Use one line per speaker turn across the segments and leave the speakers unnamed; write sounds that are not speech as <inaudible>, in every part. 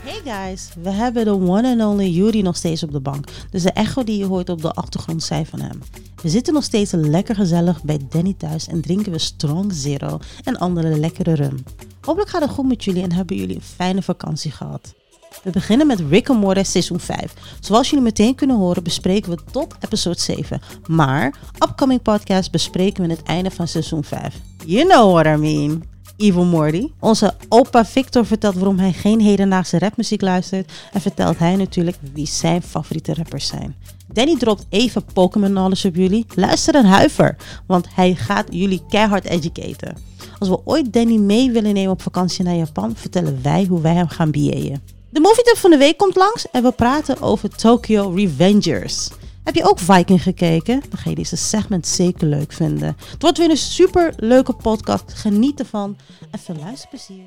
Hey guys, we hebben de one and only Yuri nog steeds op de bank. Dus de echo die je hoort op de achtergrond zijn van hem. We zitten nog steeds lekker gezellig bij Danny thuis en drinken we Strong Zero en andere lekkere rum. Hopelijk gaat het goed met jullie en hebben jullie een fijne vakantie gehad. We beginnen met Rick and Morty seizoen 5. Zoals jullie meteen kunnen horen bespreken we tot episode 7. Maar upcoming podcast bespreken we het einde van seizoen 5. You know what I mean. Evil Morty. Onze opa Victor vertelt waarom hij geen hedendaagse rapmuziek luistert. En vertelt hij natuurlijk wie zijn favoriete rappers zijn. Danny dropt even Pokémon knowledge op jullie. Luister en huiver, want hij gaat jullie keihard educaten. Als we ooit Danny mee willen nemen op vakantie naar Japan, vertellen wij hoe wij hem gaan BA'en. De movietip van de week komt langs en we praten over Tokyo Revengers. Heb je ook Viking gekeken? Dan ga je deze segment zeker leuk vinden. Het wordt weer een super leuke podcast. Geniet ervan en veel luisterplezier.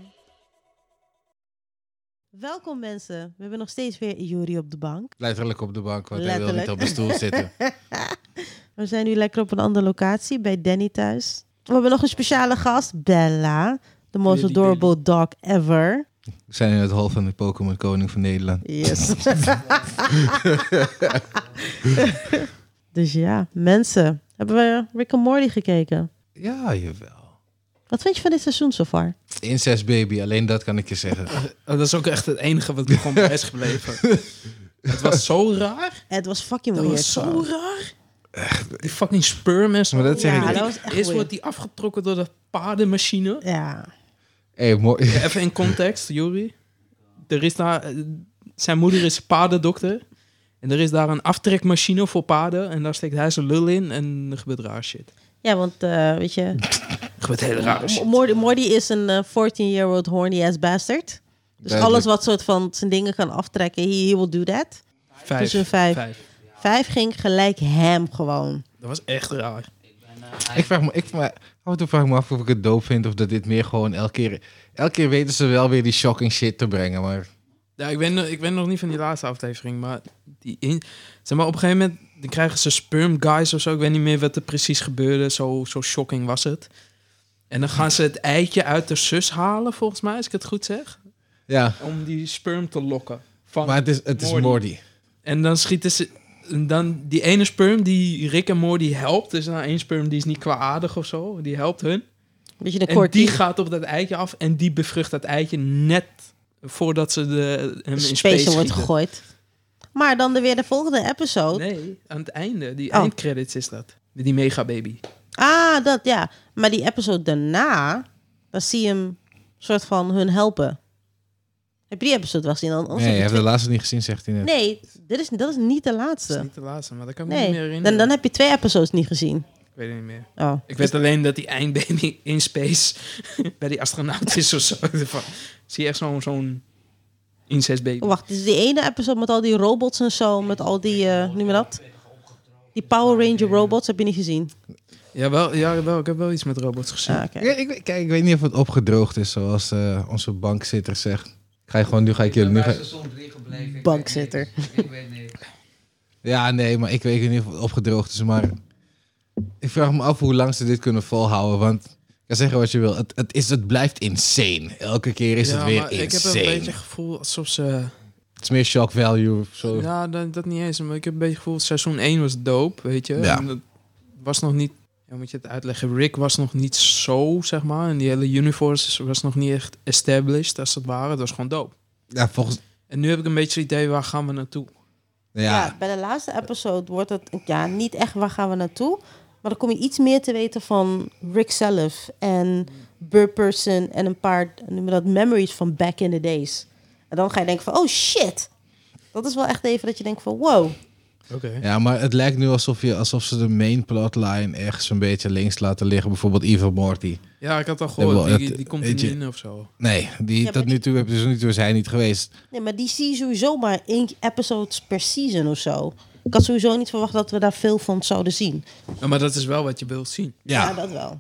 Welkom mensen. We hebben nog steeds weer Juri op de bank.
Letterlijk op de bank, want hij
Letterlijk.
wil niet op een stoel zitten.
<laughs> We zijn nu lekker op een andere locatie bij Danny thuis. We hebben nog een speciale gast, Bella. The most
Billy,
adorable dog ever.
We zijn in het hol van de Pokémon Koning van Nederland.
<laughs>
Yes. dus ja, mensen. Hebben we Rick and Morty gekeken?
Ja, jawel.
Wat vind je van dit seizoen so far?
Incest baby, alleen dat kan ik je zeggen.
Oh, dat is ook echt het enige wat me gewoon bij is
<laughs>
gebleven. het was zo raar.
Het was fucking
Dat
weird.
was zo
gewoon.
raar. Die fucking sperm en zo.
Maar dat zeg
Ja,
ik
dat
niet.
was echt
Eerst
weird.
wordt die afgetrokken door de paardenmachine.
Ja.
<laughs> Hey, mooi.
Ja, Even in context, Jori. Er is daar... eh, Zijn moeder is paardendokter. En er is daar een aftrekmachine voor paarden. En daar steekt hij zijn lul in. En er gebeurt raar shit.
Ja, want eh, weet je,
Er gebeurt hele rare <laughs> shit.
Morty, Morty is een eh, 14-year-old horny ass bastard. Dus
Duidelijk.
alles wat soort van zijn dingen kan aftrekken, he, he will do that.
Vijf.
tussen vijf. Vijf ging gelijk hem gewoon.
Dat was echt raar.
<laughs> Ik vraag me, ik, vraag- af en toe vraag ik me af of ik het doop vind of dat dit meer gewoon elke keer... Elke keer weten ze wel weer die shocking shit te brengen, maar...
Ja, ik ben, ik ben nog niet van die laatste aflevering, maar, die in, zeg maar op een gegeven moment dan krijgen ze sperm guys of zo. Ik weet niet meer wat er precies gebeurde. Zo, zo shocking was het. En dan gaan ze het eitje uit de zus halen, volgens mij, als ik het goed zeg.
Ja,
Om die sperm te lokken. Van,
maar het is, het is
Morty.
Morty.
En dan schieten ze... En dan die ene sperm die Rick en Morty helpt. Er is nou één sperm die is niet kwaadaardig of zo. Die helpt hun.
Beetje een
En
kort.
die gaat op dat eitje af. En die bevrucht dat eitje net voordat ze de, hem in space,
space wordt
schieten.
gegooid. Maar dan de, weer de volgende episode.
Nee, aan het einde. Die
Oh.
eindcredits is dat. Met Die mega baby.
Ah, dat ja. Maar die episode daarna, dan zie je hem soort van hun helpen. Heb je die episode wel gezien? Dan,
Nee, je hebt de laatste niet gezien, zegt hij net.
nee dit is, dat is niet de
Dat is
laatste.
niet de laatste, maar dat kan ik me niet
eh,
meer
Nee, dan,
herinneren.
dan heb je twee episodes niet gezien.
Ik weet het niet meer.
Oh.
Ik weet alleen dat die eindbaby in space <laughs> bij die astronaut is of zo. Van, Zie je echt zo'n zo'n incestbaby.
Wacht, dit is die ene episode met al die robots en zo, met al die, eh noem je dat? Die Power Ranger robots heb je niet gezien.
Jawel, ja, wel, ik heb wel iets met robots gezien.
Ah, oké.
Ja, ik, weet- kijk, ik weet niet of het opgedroogd is, zoals eh, onze bankzitter zegt. Ga je gewoon, nu ga ik jullie... Nu ga,
Bankzitter.
Ja, nee, maar ik weet in ieder geval opgedroogd is. Maar ik vraag me af hoe lang ze dit kunnen volhouden. Want ik kan zeggen wat je wil. Het, het, is, het blijft insane. Elke keer is
Ja,
het weer
maar Ik heb
insane.
een beetje het gevoel alsof ze...
Het is meer shock value of zo.
Ja, dat, dat niet eens. Maar ik heb een beetje het gevoel, seizoen 1 was dope, weet je.
Ja.
En dat was nog niet... Ja, moet je het uitleggen. Rick was nog niet zo, zeg maar. En die hele universe was nog niet echt established, als het ware. Dat was gewoon dope.
Ja, volgens...
En nu heb ik een beetje het idee, waar gaan we naartoe?
Ja,
Ja. bij de laatste episode wordt het ja, niet echt waar gaan we naartoe. Maar dan kom je iets meer te weten van Rick zelf en Burr Person en een paar noem je dat, memories van back in the days. En dan ga je denken van, oh shit. Dat is wel echt even dat je denkt van, wow.
Oké.
ja, maar het lijkt nu alsof, je, alsof ze de main plotline ergens een beetje links laten liggen. Bijvoorbeeld Evil Morty.
Ja, ik had al
Ja,
gehoord,
wel,
die,
het-
die komt er
weet
niet
je-
in of zo.
Nee, die,
maar
tot nu toe heb dus nu toe is hij niet geweest.
Nee, maar die zie je sowieso maar één episode per season of zo. Ik had sowieso niet verwacht dat we daar veel van zouden zien.
Ja, maar dat is wel wat je wilt zien.
Ja,
Ja, eh,
dat wel.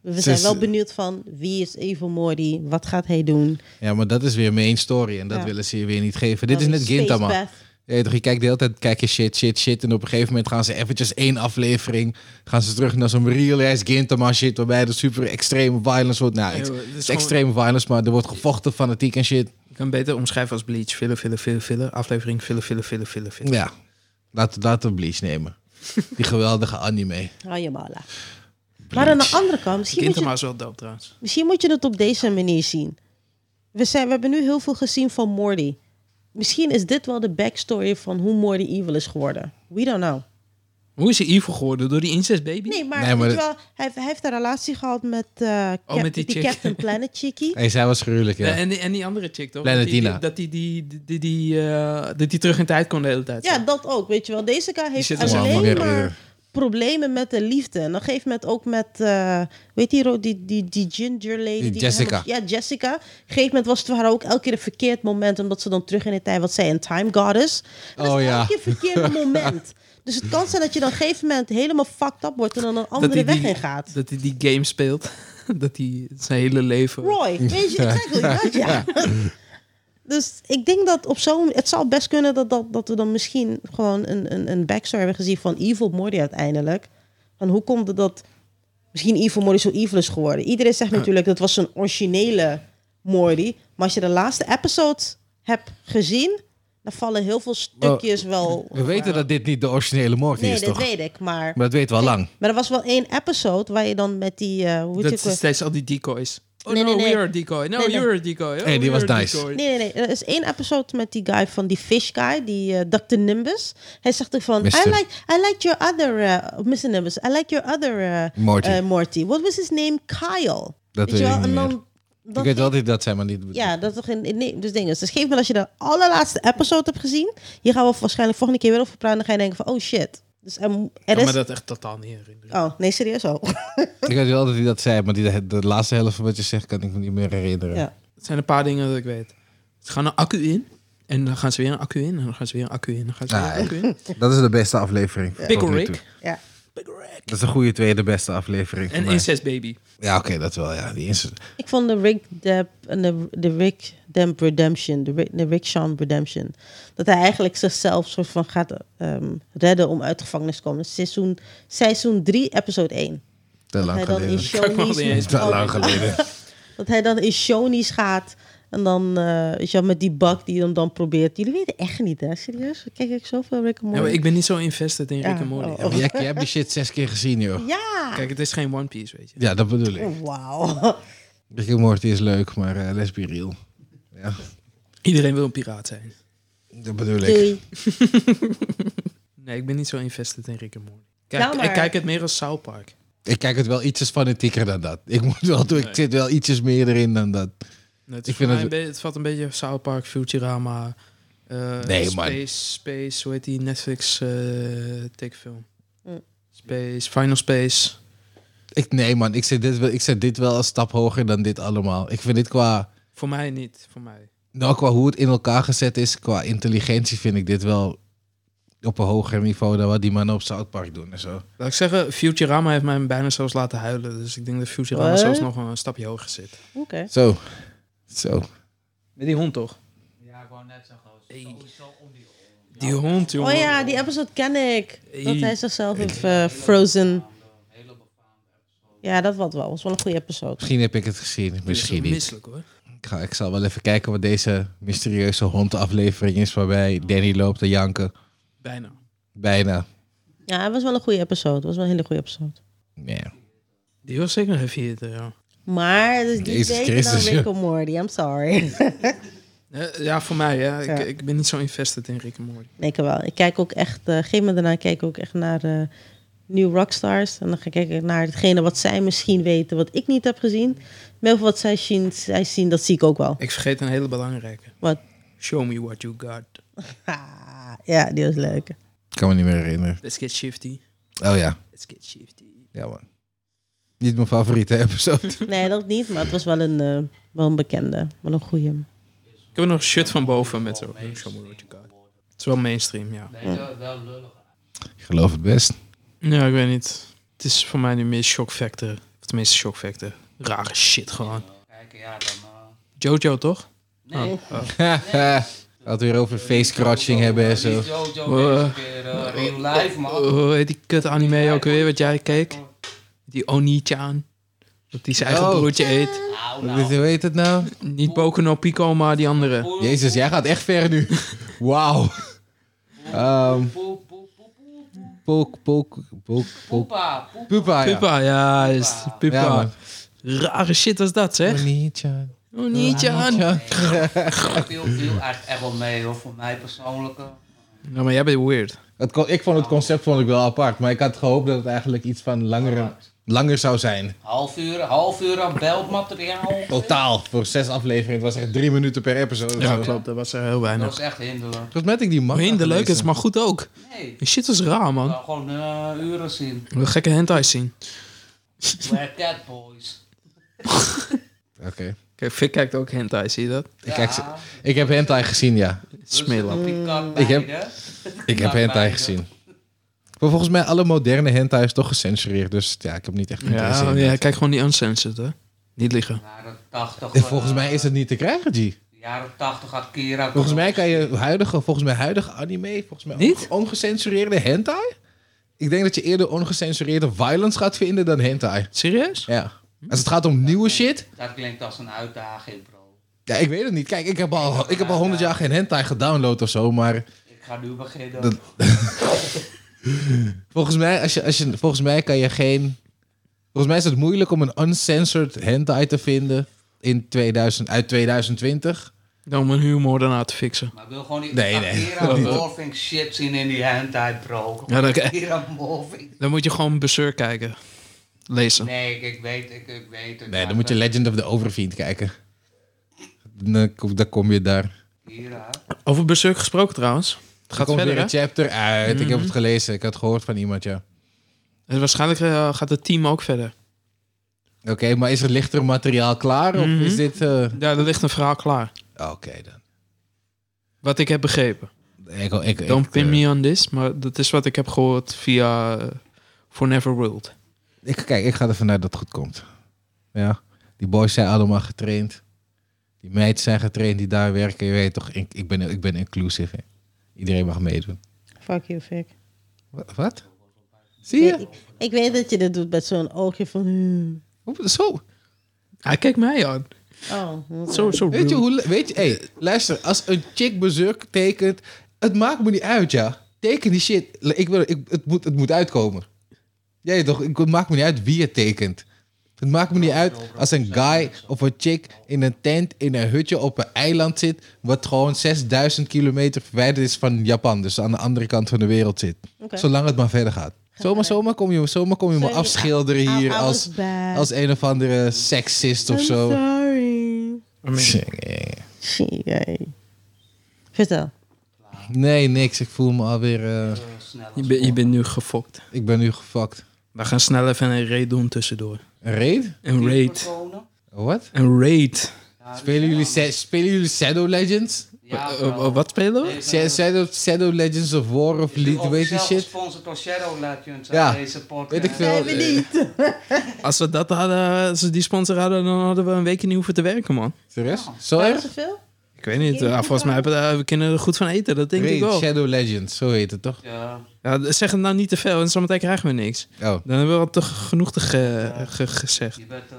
We
Zes-
zijn wel benieuwd van wie is Evil Morty, wat gaat hij doen.
ja, maar dat is weer main story. En dat
Ja.
willen ze je weer niet geven. Dit is
Dan
net
Space
Gintama.
Path.
Ja, toch, je kijkt de hele tijd Eh, kijk je shit, shit, shit. En op een gegeven moment gaan ze eventjes één aflevering... gaan ze terug naar zo'n real-ass Gintama shit... waarbij er super extreme violence wordt. Nou,
Ja,
ex-
joh, het
het
is
is
gewoon-
extreme violence, maar er wordt gevochten, fanatiek en shit.
Ik kan beter omschrijven als Bleach. Filler, filler, filler, filler. Aflevering filler, filler, filler, filler, filler.
Ja, laten laten we Bleach nemen. Die geweldige anime.
Hou je mala. Maar aan de andere kant, misschien moet,
Gintama
je,
is wel dope trouwens.
misschien moet je het op deze manier zien. We, zijn, we hebben nu heel veel gezien van Morty. Misschien is dit wel de backstory van hoe Morty evil is geworden. We don't know.
Hoe is hij evil geworden? Door die incest baby?
Nee, maar,
Nee, maar
weet je
dat-
wel, hij, hij heeft een relatie gehad met, eh, Cap-
Oh, met die chick.
Captain Planet Chickie.
Hey, zij was gruwelijk, ja.
Ja, Eh, en, die, en die andere chick, toch?
Planet
Dat die-
Tina.
Dat die, die, die, die, die, eh, dat die terug in tijd kon de hele tijd.
Ja, dat ook, weet je wel. Deze guy heeft
zit er
zo
alleen
lang
maar
eerder.
problemen met de liefde. En op een gegeven moment ook met, eh, weet je, die, die, die, die ginger lady.
Die
die
Jessica.
ja, Jessica. Op een gegeven moment was het voor haar ook elke keer een verkeerd moment, omdat ze dan terug in de tijd, wat zij een time goddess. En dat
Oh,
is
ja.
elke keer een
<laughs>
verkeerde moment. Dus het kan zijn dat je dan op een gegeven moment helemaal fucked up wordt en dan een
dat
andere
die-
weg
die-
in gaat.
Dat hij die game speelt. <laughs> dat hij zijn hele leven...
Roy, weet je, exactly, dat ja. Dus ik denk dat op zo'n... Het zou best kunnen dat, dat, dat we dan misschien gewoon een, een, een backstory hebben gezien van Evil Morty uiteindelijk. Van hoe komt het dat misschien Evil Morty zo evil is geworden? Iedereen zegt natuurlijk dat was een originele Morty. Maar als je de laatste episode hebt gezien, dan vallen heel veel stukjes wel...
We weten dat dit niet de originele Morty
Nee,
is,
dat
toch?
weet ik, maar...
Maar dat weten we al lang.
Maar er was wel één episode waar je dan met die... eh, hoe heet
Dat
het ook
is
weer?
steeds al die decoys. Oh
Nee,
no,
nee, nee.
we are a decoy. No,
Nee, nee.
you're a decoy. Oh,
Hey, die
we
was
are a
nice.
decoy.
Nee, nee, nee. Er is één episode met die guy van die fish guy, die eh Dr. Nimbus. Hij zegt er van, I
Mister.
like, I like your other, eh, Mr. Nimbus, I like your other eh,
Morty.
eh, Morty. What was his name? Kyle.
Dat weet
je
ik
wel?
niet
En
meer.
dan,
Ik
dan
weet wel dat dat zijn, maar niet...
ja, dat is toch in, in- nee, dus dingen. Dus op een gegeven moment als je de allerlaatste episode hebt gezien, hier gaan we waarschijnlijk volgende keer weer over praten, dan ga je denken van, oh shit. Dus er, mo- er
Ik kan
is...
me dat echt totaal niet herinneren.
Oh, nee, serieus al.
Ik weet wel dat hij dat zei, maar die, de, de laatste helft van wat je zegt kan ik me niet meer herinneren.
<laughs> ja.
Het zijn een paar dingen dat ik weet. Ze gaan een accu in. En dan gaan ze weer een accu in. En dan gaan ze weer een accu in. En dan gaan ze weer
Nee.
een accu in.
Dat is de beste aflevering.
Pickle
Ah, tot nu
Rick.
toe.
ja.
Dat is een goede tweede beste aflevering.
En
voor mij.
incest baby.
Ja, oké, dat wel. Ja, die is...
Ik vond de Rick Depp en de, de Rick Demp Redemption, de Rick, de Rick Sean Redemption, dat hij eigenlijk zichzelf soort van gaat ehm, redden om uit de gevangenis te komen. Dus Seizoen, seizoen 3, episode 1.
te lang
hij dan in Oh.
geleden.
Kan ik me nog
Shoney's,
niet eens-
<laughs> Te lang
<laughs>
geleden.
dat hij dan in Shoney's gaat en dan eh, weet je wel, met die bak die hem dan probeert. Jullie weten echt niet, hè? Serieus? Kijk ik zoveel Rick en
Ja,
Morty.
maar ik ben niet zo invested in
Ja,
Rick en Morty.
oh,
Ja, maar jij, jij hebt die shit zes keer gezien, joh.
Ja!
Kijk, het is geen One Piece, weet je.
Ja, dat bedoel ik.
Oh, Wauw.
Rick and Morty is leuk, maar eh let's be real. Ja,
Iedereen wil een piraat zijn.
dat bedoel ik.
Doei.
Nee, ik ben niet zo invested in Rick en Morty. Kijk,
Nou, maar-
Ik kijk het meer als South Park.
Ik kijk het wel ietsjes fanatieker dan dat. Ik, moet wel, doen, ik zit wel ietsjes meer erin dan dat.
Nee, Het,
Ik
ik
vind
vind
het-
het valt een beetje South Park, Futurama. eh,
Nee, man.
Space, Space, hoe heet die Netflix eh tekenfilm?
Mm.
Space, Final Space.
Ik, nee, man, ik zet, dit wel, ik zet dit wel een stap hoger dan dit allemaal. Ik vind dit qua,
Voor mij niet, voor mij.
nou, qua hoe het in elkaar gezet is, qua intelligentie, vind ik dit wel op een hoger niveau dan wat die mannen op South Park doen en zo.
Laat ik zeggen, Futurama heeft mij bijna zelfs laten huilen. Dus ik denk dat Futurama
Wat?
zelfs nog een stapje hoger zit.
Oké.
Zo. Zo.
Met die hond toch?
Ja, ik wou net zeggen. Zo, zo om die
Die hond, jongen.
Oh ja, die episode ken ik. Dat
Ey.
hij zichzelf heeft eh, frozen.
hele befaamde episode.
Ja, dat wat wel. was wel een goede episode.
Misschien heb ik het gezien,
Die is
misschien niet.
Misselijk hoor.
Ik, ga, ik zal wel even kijken wat deze mysterieuze hondaflevering is... waarbij Danny loopt te janken.
Bijna.
Bijna.
Ja, het was wel een goede episode. Het was wel een hele goede episode.
Nee.
Die was zeker een heavy hitter, ja.
Maar het is die
Jezus
beter dan
Christus,
Rick
joh.
and Morty. I'm sorry. <laughs>
Eh, Ja, voor mij, ja. Ik,
Ja.
ik ben niet zo invested in Rick en Morty.
Nee, ik wel. Ik kijk ook echt... eh geef me daarna kijk ik ook echt naar eh New Rockstars. En dan ga ik kijken naar hetgene wat zij misschien weten... wat ik niet heb gezien. Maar heel veel wat zij zien, zij zien, dat zie ik ook wel. <laughs>
Ik vergeet een hele belangrijke.
Wat?
Show me what you got.
Ah, ja, die was leuk.
Ik kan me niet meer herinneren.
Let's get shifty.
Oh ja.
Let's get shifty.
Ja, man. Niet mijn favoriete episode.
Nee, dat niet. Maar het was wel een, eh, wel een bekende. Wel een goeie.
Ik heb nog shit van boven met zo. Show me what you got. Het is wel mainstream, ja.
Deze wel lullig.
Ik geloof het <laughs> best.
Ja, ik weet niet. Het is voor mij nu meer shock factor. Of tenminste shock factor. Rare shit gewoon.
Kijk, ja, dan... eh,
Jojo, toch?
nee,
Oh.
Oké. Gaat weer over face crutching hebben en zo.
Jojo
Eh,
deze keer, eh, real life, man.
Hoe heet die kut anime ook weer wat jij keek? Die Oni-chan. Dat die zijn eigen
Oh.
broertje eet.
Nou,
Wat is-
nou.
Hoe heet het nou?
Niet Boku no Pico, maar die andere.
Poel,
Jezus, jij gaat echt ver
<laughs>
nu. Wauw. Ehm
poel, poel, poel, poel, poel,
pook, pook, pook, pook.
Poepa, poep.
Pupa, Ah, ja.
Pupa, ja, is
Ja,
Pupa.
man.
Rare shit was dat, zeg.
Manicha.
Oni-chan.
Viel, viel eigenlijk echt wel mee, hoor. Voor mij persoonlijk. eh.
Nou, maar jij bent weird.
Het kon- ik vond het concept vond ik wel apart, maar ik had gehoopt dat het eigenlijk iets van langer, langer zou zijn.
Half uur, half uur aan beltmateriaal.
Totaal, voor zes afleveringen. Het was echt drie minuten per episode. of
Ja,
zo.
klopt. Dat was er heel
Dat
weinig.
was echt hinderlijk.
Volgens mij had ik die man.
Hinderlijk is, maar goed ook.
Nee,
Die shit was raar,
ik
man.
wou gewoon eh, uren zien.
We gekke hentai zien. Oké,
We're cat boys.
Oké.
Fik kijkt ook hentai, zie je dat?
Ik, kijk- ik heb hentai gezien, ja.
Smillen.
Ik
Ik
heb-
heb...
Ik heb hentai gezien. Maar volgens mij alle moderne hentai is toch gecensureerd, dus ja, ik heb niet echt interesse
Ja,
in.
ja, kijk gewoon die uncensored, hè. Niet liggen.
Jaren 80.
En volgens mij is het niet te krijgen, G.
Jaren 80 Akira.
Volgens mij kan je huidige, volgens mij huidige anime, volgens mij
Niet?
onge- ongecensureerde hentai. Ik denk dat je eerder ongecensureerde violence gaat vinden dan hentai.
Serieus?
Ja. Als het gaat om nieuwe shit,
Dat klinkt als een uitdaging, bro.
ja, ik weet het niet. Kijk, ik heb al, ik heb al 100 jaar geen hentai gedownload of zo, maar
Ik ga nu beginnen.
Dat- volgens mij, als je, als je, volgens mij kan je geen. Volgens mij is het moeilijk om een uncensored hentai te vinden in 2000, uit 2020.
Dan om een huurmoordenaar te fixen.
Maar ik wil gewoon die
Nee, nee.
Akira morphing shit zien in die handtijd, bro.
Ja, dat-
Akira morphing.
<laughs> Dan moet je gewoon Berserk kijken. Lezen.
Nee, ik, ik weet, ik, ik weet het.
Nee,
maar
dan moet je Legend of the Overfiend kijken. Dan kom, dan kom je daar.
Akira.
Over Berserk gesproken trouwens. Het
er
gaat
komt
verder,
weer
hè?
een chapter uit. Ik heb het gelezen. Ik had gehoord van iemand, ja.
En waarschijnlijk eh, gaat het team ook verder.
Oké, maar is er lichter materiaal klaar?
Mhm.
Of is dit... eh,
Ja, er ligt een verhaal klaar.
Oké, dan.
Wat ik heb begrepen.
Ik, ik, ik,
Don't pin
eh,
me on this, maar dat is wat ik heb gehoord via eh, For Never World.
Ik, kijk, ik ga ervan uit dat het goed komt. Ja. Die boys zijn allemaal getraind. Die meiden zijn getraind die daar werken. Je weet toch, ik, ik, ben, ik ben inclusief. hè. Iedereen mag meedoen.
Fuck you, Fik.
Wa- Wat? Zie je?
Ik, ik weet dat je dit doet met zo'n oogje van... hmm.
Hoe- Zo.
Hij kijkt mij aan.
Oh, oké.
Zo, zo
Weet je
rude.
hoe... le- Weet je, hey, luister. Als een chick bezurk tekent... Het maakt me niet uit, ja. Teken die shit. Ik wil, ik, het, moet, het moet uitkomen. Jij toch? Ik, het maakt me niet uit wie het tekent. Het maakt me niet uit als een guy of een chick in een tent in een hutje op een eiland zit. Wat gewoon 6000 kilometer verwijderd is van Japan. Dus aan de andere kant van de wereld zit.
Oké.
Zolang het maar verder gaat. Zomaar, zomaar kom je, zomaar kom je me
Sorry,
afschilderen
I- I
hier
was
als,
bad.
als een of andere seksist of
I'm
zo.
sorry. Shit, hey. Vertel.
Nee, niks. Ik voel me alweer. eh,
eh, Snel
Je, bent- je bent nu gefokt.
ik ben nu gefakt.
We gaan snel even een raid doen tussendoor.
Een raid?
Een raid.
Personen.
Wat?
Een raid.
Ja, die
Spelen
zijn
jullie,
al-
Sa- spelen jullie Shadow Legends?
Ja,
Eh, eh, wat spelen we?
Nee,
Sha- Shadow, Shadow Legends of War of
Is
League, weet je
officieel
shit?
gesponsord door Shadow Legends.
Ja,
Ja, deze podcast.
Weet ik veel.
Nee, we niet.
Als we dat hadden, als we die sponsor hadden, dan hadden we een weekje niet hoeven te werken, man.
Serieus? Zo
Waren
erg?
ze veel?
Ik weet niet. eh, volgens mij hebben we daar- we kunnen er goed van eten, dat denk ik
Raid,
wel.
Shadow Legends, zo heet het toch?
Ja,
Ja, zeg het nou niet te veel, en zometeen krijgen we niks.
Oh.
Dan hebben we al te genoeg te ge- ge- gezegd.
je bent eh,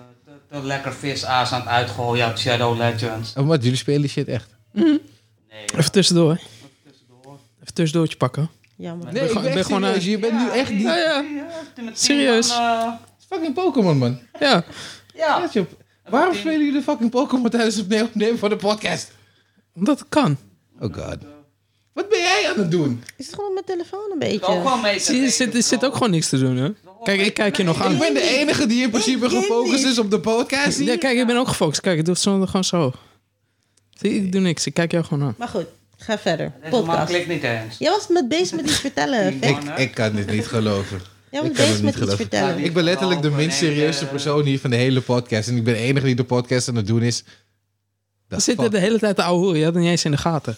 te, te lekker visaas aan het uitgooien uit Shadow Legends.
Oh, wat, jullie spelen die shit echt?
Nee,
Even tussendoor.
tussendoor.
Even tussendoortje pakken.
Jammer.
ben gewoon- ik ben gewoon,
serieus, Je bent nu echt niet...
Ja, ja. Serieus?
Fucking Pokémon, man.
Ja,
ja,
Let je op. Waarom spelen jullie fucking Pokémon tijdens het opne- opnemen van de podcast?
omdat het kan.
Oh god. Wat ben jij aan het doen?
Is het gewoon met mijn telefoon een
ik ook
beetje?
gewoon mee te
Zie je,
denken,
zit, er zit
bro.
ook gewoon niks te doen, hè? Kijk, ik kijk je nog
Ik
aan.
ben de enige die in principe
ken
gefocust
niet.
is op de podcast
Ja,
hier.
kijk, ik ben ook gefocust. Kijk, ik doe het zo- gewoon zo. Zie, je, ik doe niks. Ik kijk jou gewoon aan.
Maar goed, ga verder.
Deze man
Podcast.
klikt niet eens.
Jij was met bezig met iets vertellen. Fik.
Ik, ik kan dit niet geloven.
Jij
Ik
was
kan het
bezig
niet
met iets
geloven.
vertellen.
Ik ben letterlijk de minst serieuze persoon hier van de hele podcast. En ik ben de enige die de podcast aan het doen is.
We
Dat
zitten de hele tijd te ouwe hoeren. Je had het niet eens in de gaten.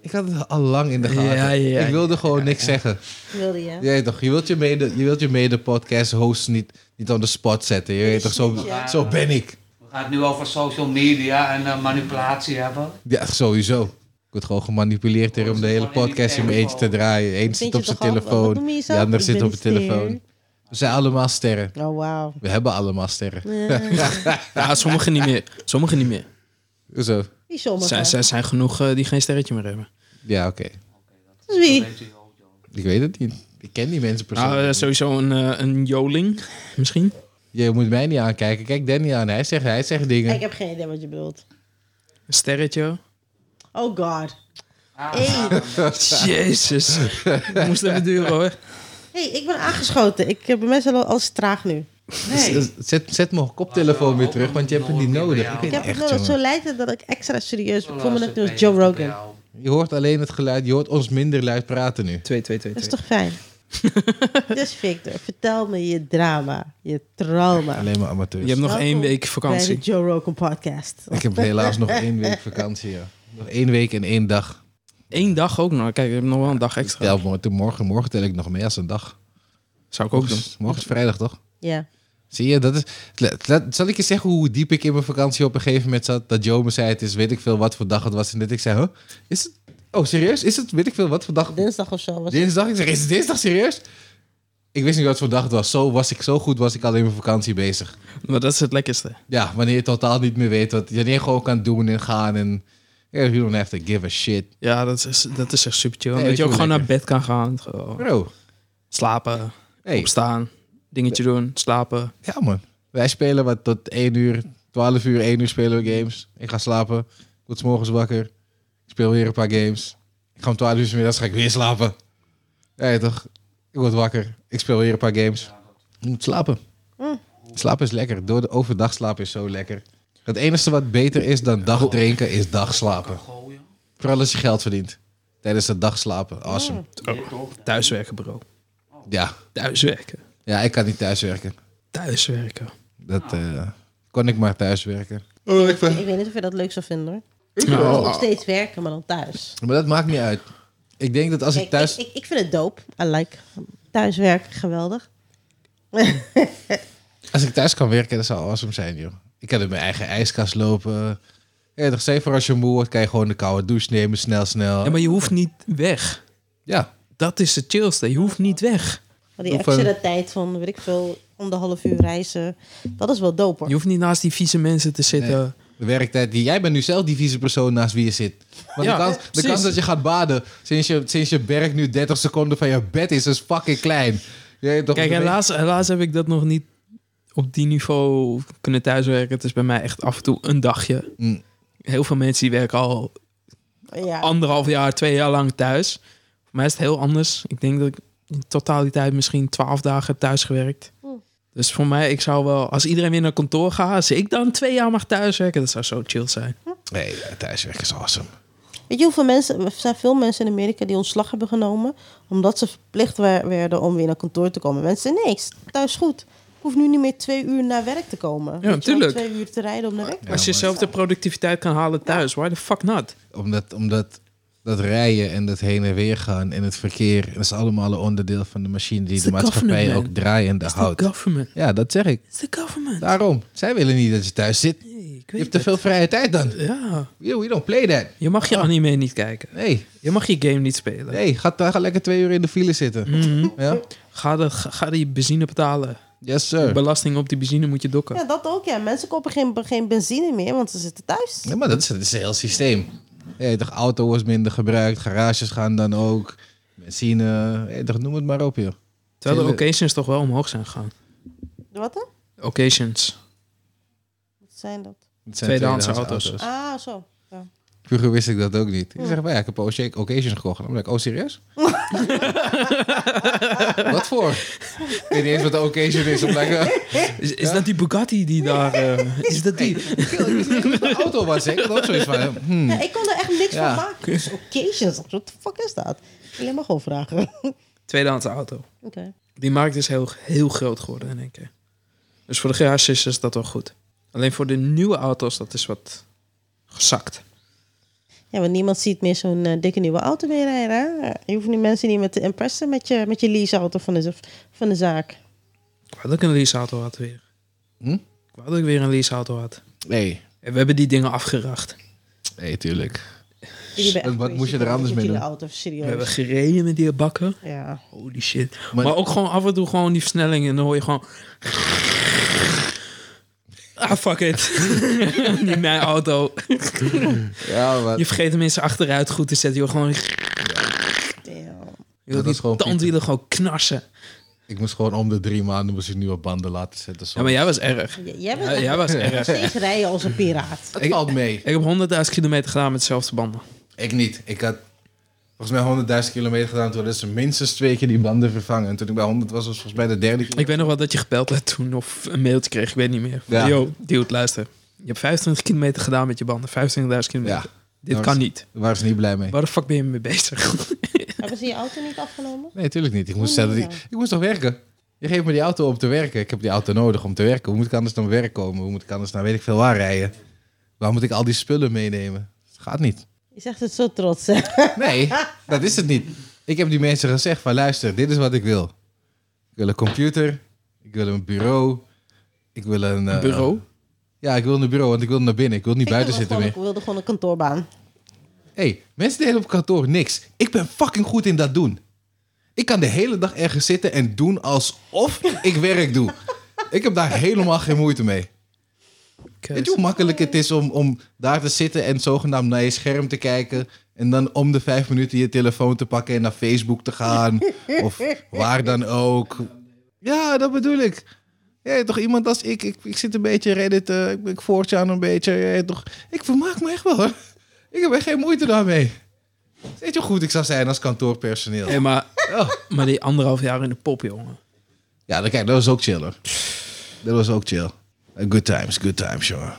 Ik had het al lang in de gaten.
Ja, ja,
ik wilde gewoon niks zeggen.
Wilde je?
Je, weet toch, je wilt je mede, je wilt je mede podcast host niet, niet on the spot zetten. Je weet toch, zo,
Ja.
zo ben ik.
We gaan het nu over social media en eh, manipulatie hebben.
Ja, sowieso. word gewoon gemanipuleerd hier om de hele podcast in mijn eentje te draaien. Eén
Vind
zit
je
op zijn
toch grappig? Wat
telefoon,
noem je
de
jezelf?
ander
Ik
zit
ben
op de
ster.
telefoon. We zijn allemaal sterren.
Oh, wauw. Eh,
We hebben allemaal sterren.
Ja,
Ja, sommigen niet meer. Sommigen niet meer.
Zo.
Wie sommige?
Zijn, zijn, zijn genoeg eh, die geen sterretje meer hebben.
Ja, oké.
Dat is Wie?
Weet u wel, joh.
Ik weet het niet. Ik ken die mensen
Nou, eh,
persoonlijk.
sowieso een, eh, een joling, misschien.
Je moet mij niet aankijken. Kijk Danny aan. Hij zegt, hij zegt dingen.
Ik heb geen idee wat je bedoelt.
Een <laughs> sterretje.
Oh god.
Ah,
Hey.
Jezus. Dat moest even duren, hoor.
hey, ik ben aangeschoten. Ik heb mensen al alles traag nu.
Nee.
Z- Dus, eh, Zet, zet mijn koptelefoon weer terug, want je hebt het niet nodig. Ik
Ik
weet
heb
echt,
het nodig. Zo
jongen.
lijkt het dat ik extra serieus voel me
Luister,
net als
ben
Joe
je
Rogan.
wel.
Je hoort alleen het geluid. Je hoort ons minder luid praten nu.
Twee, twee, twee,
Dat is
twee.
toch
<laughs>
fijn? dus Victor, vertel me je drama, je trauma
Alleen maar amateurs.
Je hebt nog
Welkom
één week
bij de
vakantie.
Joe Rogan podcast.
Ik heb helaas nog één week vakantie. Ja. Nog één week en één dag.
Eén dag ook nog. Kijk, ik heb nog wel een dag extra.
Tel morgen, morgen, morgen tel ik nog mee als een dag.
Zou ik ook doen.
Morgen, is- morgen is vrijdag, toch?
Ja.
Zie je, dat is... let- let- zal ik je zeggen hoe diep ik in mijn vakantie op een gegeven moment zat? Dat Joe me zei, het is weet ik veel wat voor dag het was. En dit, ik zei, huh? Is het... Oh, serieus? Is het weet ik veel wat voor dag?
Dinsdag of zo was het.
Dinsdag? Ik zeg, is het dinsdag serieus? Ik wist niet wat voor dag het was. Zo, was ik, zo goed was ik al in mijn vakantie bezig.
Maar dat is het lekkerste.
Ja, wanneer je totaal niet meer weet wat... Wanneer je gewoon kan doen en gaan en... Yeah, you don't have to give a shit.
Ja, dat is, dat is echt super chill.
Nee,
dat
ik
je ook
voel
gewoon naar
lekker.
bed kan gaan. Gewoon
Bro,
Slapen,
hey.
opstaan, dingetje doen, slapen.
Ja man, wij spelen wat tot 1 uur, 12 uur, 1 uur spelen we games. Ik ga slapen, ik word 's morgens wakker, ik speel weer een paar games. Ik ga om 12 uur 's middags ga ik weer slapen. Ja ja, toch, ik word wakker, ik speel weer een paar games. Ik moet slapen.
Mm.
Slapen is lekker, door de overdag slapen is zo lekker. Het enige wat beter is dan dag drinken is dag slapen.
Gooien.
Vooral als je geld verdient. Tijdens de dag slapen, awesome.
Dit ook.
Thuiswerken, bro.
Ja,
Thuiswerken.
ja ik kan niet thuiswerken.
Thuiswerken.
Dat eh, kon ik maar thuiswerken.
ik, weet niet of je dat leuk zou vinden hoor.
Nou,
Oh.
Nog steeds werken, maar dan thuis.
Maar dat maakt niet uit. Ik denk dat als
Kijk,
ik thuis...
ik, ik, ik vind het dope. I like thuiswerken, geweldig.
Als ik thuis kan werken, dat zou awesome zijn, joh. Ik kan in mijn eigen ijskast lopen. Ja, toch zeker als je moe wordt, kan je gewoon de koude douche nemen, snel, snel.
Ja, maar je hoeft niet weg.
Ja,
Dat is het chillste. Je hoeft niet weg.
Maar die
Hoeveel-
extra tijd van, weet ik veel, anderhalf uur reizen. Dat is wel dope
Je
hoor.
hoeft niet naast die vieze mensen te zitten.
de werktijd. Die, jij bent nu zelf die vieze persoon naast wie je zit. Want
Ja,
de, kans, de
precies.
kans dat je gaat baden sinds je, sinds je werk nu 30 seconden van je bed is, is fucking klein. Ja, toch,
Kijk, helaas, helaas heb ik dat nog niet op die niveau kunnen thuiswerken. Het is bij mij echt af en toe een dagje.
Mm.
Heel veel mensen die werken al
Ja.
anderhalf jaar, twee jaar lang thuis. Voor mij is het heel anders. Ik denk dat ik in totaliteit misschien twaalf dagen heb thuisgewerkt.
Mm.
Dus voor mij, ik zou wel, als iedereen weer naar kantoor gaat, als ik dan twee jaar mag thuiswerken, dat zou zo chill zijn.
Nee, thuiswerken is awesome.
Weet je hoeveel mensen, er zijn veel mensen in Amerika die ontslag hebben genomen. Omdat ze verplicht wer- werden om weer naar kantoor te komen. Mensen zeiden, nee, ik sta thuis goed. Ik hoef nu niet meer twee uur naar werk te komen. Weet je wel,
tuurlijk.
Twee uur te rijden om naar werk te
als je
maar-
zelf de productiviteit kan halen thuis, why the fuck not?
Omdat, omdat dat rijden en dat heen en weer gaan en het verkeer... dat is allemaal een onderdeel van de machine die
Is
de
de government,
maatschappij
man.
ook draaiende
It's the
houdt.
government.
Ja, dat zeg ik.
It's the government.
Daarom. Zij willen niet dat je thuis zit.
Nee, ik weet
Je hebt te
het.
veel vrije tijd dan.
Ja,
Yo, you don't play that.
je mag je anime niet kijken.
Nee,
Je mag je game niet spelen.
Ah. nee ga, ga lekker twee uur in de file zitten.
Mhm.
Ja?
Ga, de, ga ga die benzine betalen.
Yes,
De
sir.
belasting op die benzine moet je dokken.
Ja, dat ook, ja. Mensen kopen geen, geen benzine meer, want ze zitten thuis.
Ja, maar dat is, dat is een heel systeem. Hey, toch, auto wordt minder gebruikt, garages gaan dan ook. Benzine, hey, toch, noem het maar op, joh.
Terwijl de
Tuurlijk.
occasions toch wel omhoog zijn gegaan.
Wat dan?
Occasions.
Wat zijn dat?
Het zijn
Tweedehands auto's.
Ah, zo. Ja.
Vroeger wist ik dat ook niet. Ik zeg, maar ja, ik heb een occasion gekocht. En dan ben ik, oh, serieus? wat voor? Ik weet niet eens wat de occasion is. Om lekker...
Is, is dat die Bugatti die daar...
<laughs>
eh, is dat die...
Ik wist niet dat het een auto was. hè. Ik had ook zoiets van, hmm.
Ja, ik kon er echt niks
Ja.
van maken. Dus occasions, wat de fuck is dat? Alleen maar gewoon vragen. <laughs> Oké.
Tweedehands auto. Die markt is heel, heel groot geworden in één keer. Dus voor de garages is dat wel goed. Alleen voor de nieuwe auto's, dat is wat gezakt.
Ja, want niemand ziet meer zo'n eh, dikke nieuwe auto meer rijden. hè? Je hoeft die mensen niet meer te impressen met je, met je leaseauto van de, van de zaak.
Ik wou dat ik een leaseauto had weer.
Hm?
Ik wou dat ik weer een leaseauto had.
Nee,
En we hebben die dingen afgeracht.
nee, tuurlijk.
Jullie hebben echt
Wat moest je
crazy
er anders
met
mee
jullie
doen?
auto,
We hebben
serieus.
gereden met die bakken.
Ja.
Holy shit. Maar,
Maar-
ook gewoon af en toe gewoon die versnelling en dan hoor je gewoon... Ah, fuck it. <laughs> Niet mijn auto.
Ja, maar...
Je vergeet hem in zijn achteruit goed te zetten. Je wil gewoon...
Damn.
Je wil
Dat is
die
gewoon
tandwielen gewoon knarsen.
Ik moest gewoon om de drie maanden moest ik nieuwe banden laten zetten.
Ja, maar jij was erg.
J- Jij bent
Ja, jij was
nog
erg.
steeds rijden als een piraat. <laughs>
Het valt mee.
Ik heb 100.000 kilometer gedaan met dezelfde banden.
Ik niet. Ik had volgens mij 100.000 kilometer gedaan. Toen is ze minstens twee keer die banden vervangen. En toen ik bij 100 was, was volgens mij de derde keer.
Ik weet nog wel dat je gebeld had toen of een mailtje kreeg. Ik weet niet meer.
Ja.
Yo, dude, luister. Je hebt 25 kilometer gedaan met je banden. 25.000 kilometer.
Ja,
Dit
Dat
kan
was-
niet.
daar waren ze niet blij mee.
Waar de fuck ben je mee bezig?
Hebben ze je auto niet afgenomen?
Nee, tuurlijk niet. Ik moest,
Hoe
zelf-
niet
ik moest toch werken? Je geeft me die auto om te werken. Ik heb die auto nodig om te werken. Hoe moet ik anders naar mijn werk komen? Hoe moet ik anders naar weet ik veel waar rijden? Waar moet ik al die spullen meenemen? Dat gaat niet.
Je zegt het zo trots. hè? <laughs>
Nee, dat is het niet. Ik heb die mensen gezegd van luister, dit is wat ik wil. Ik wil een computer, ik wil een bureau, ik wil een... eh,
Bureau?
Ja, ik wil een bureau, want ik wil naar binnen. Ik wil niet
<laughs> Ik
buiten
wilde
zitten
gewoon-
meer.
Ik wilde gewoon een kantoorbaan.
Hé, hey, mensen deden op kantoor niks. Ik ben fucking goed in dat doen. Ik kan de hele dag ergens zitten en doen alsof ik werk doe. Ik heb daar helemaal geen moeite mee.
Keus.
Weet je hoe makkelijk het is om, om daar te zitten en zogenaamd naar je scherm te kijken. En dan om de vijf minuten je telefoon te pakken en naar Facebook te <laughs> gaan. of waar dan ook. Ja, dat bedoel ik. Ja, toch iemand als ik. Ik, ik zit een beetje Reddit, eh, ik, ik voortjaan een beetje. Ja, toch, ik vermaak me echt wel hoor. Ik heb echt geen moeite daarmee. Weet je hoe goed ik zou zijn als kantoorpersoneel?
Hey, maar,
Oh.
maar die anderhalf jaar in de pop, jongen.
Ja, dan kijk, dat was ook chill hoor. Dat was ook chill. Good times, good times, jongen.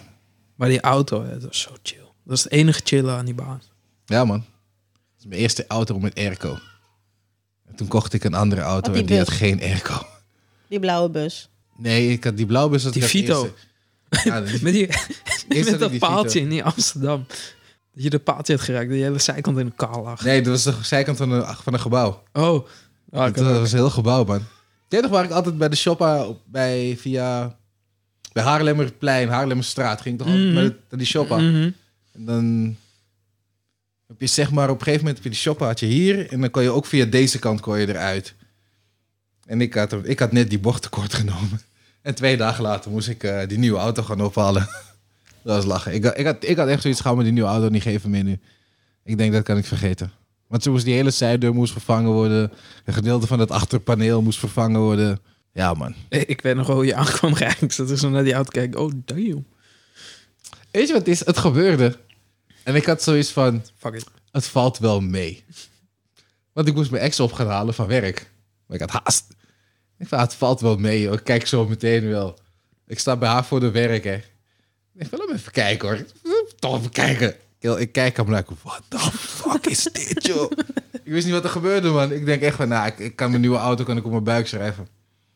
Maar die auto, hè, dat is zo chill. Dat is het enige chillen aan die baan.
Ja, man. Dat is mijn eerste auto met airco. En toen kocht ik een andere auto
Had die
en die
bus?
had geen airco.
Die blauwe bus.
Nee, ik had die blauwbus. dat
Die
was de
Vito.
eerste. Ja, die-
<laughs> Met, die, met
had ik
dat
die
paaltje
Vito.
in die Amsterdam. Dat je dat paaltje had geraakt. Dat je hele zijkant in elkaar lag.
nee, dat was de zijkant van een, van een gebouw.
Oh. Ah, ik
dat
had-
was een heel gebouw, man. Dit waar ik altijd bij de shoppa op- bij, via... Bij Haarlemmerplein, Haarlemmerstraat ging ik toch altijd
Mhm.
met het- naar die shoppa.
Mhm.
En dan heb je zeg maar op een gegeven moment heb je die shoppa had je hier en dan kon je ook via deze kant kon je eruit. En ik had, ik had net die bocht tekort genomen. <laughs> En twee dagen later moest ik eh, die nieuwe auto gaan ophalen. <laughs> dat was lachen. Ik, had- ik, had, ik had echt zoiets, gaan me die nieuwe auto niet geven meer nu. Ik denk, dat kan ik vergeten. Want toen moest die hele zijdeur moest vervangen worden. Een gedeelte van het achterpaneel moest vervangen worden. Ja, man.
Hey, Ik weet nog wel hoe je <laughs> aankwam rijden. Ik zat er zo naar die auto te kijken. Oh, damn.
Weet je wat het is? Het gebeurde. En ik had zoiets van,
Fuck it.
het valt wel mee. Want ik moest mijn ex op gaan halen van werk. Maar ik had haast. Ik dacht, het valt wel mee hoor. Ik kijk zo meteen wel. Ik sta bij haar voor de werk, hè. Ik wil hem even kijken, hoor. Toch even kijken. Ik, ik kijk hem like, what the fuck is dit, joh? ik wist niet wat er gebeurde, man. Ik denk echt van, nou, ik, ik kan mijn nieuwe auto kan ik op mijn buik schrijven.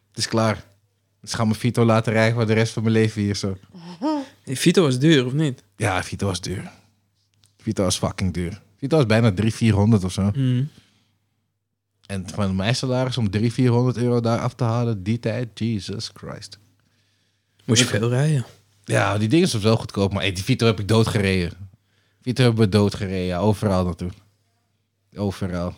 Het is klaar. Dus ik ga mijn Vito laten rijden voor de rest van mijn leven hier, zo.
Die Vito was duur, of niet?
Ja, Vito was duur. Vito was fucking duur. Vito was bijna 300, 400 of zo.
Mhm.
En van mijn salaris om 300, 400 euro daar af te halen, die tijd, Jesus Christ.
Moest je veel rijden.
Ja, die dingen zijn wel goedkoop, maar hey, die Vito heb ik doodgereden. Vito hebben we doodgereden, ja, overal naartoe. Overal.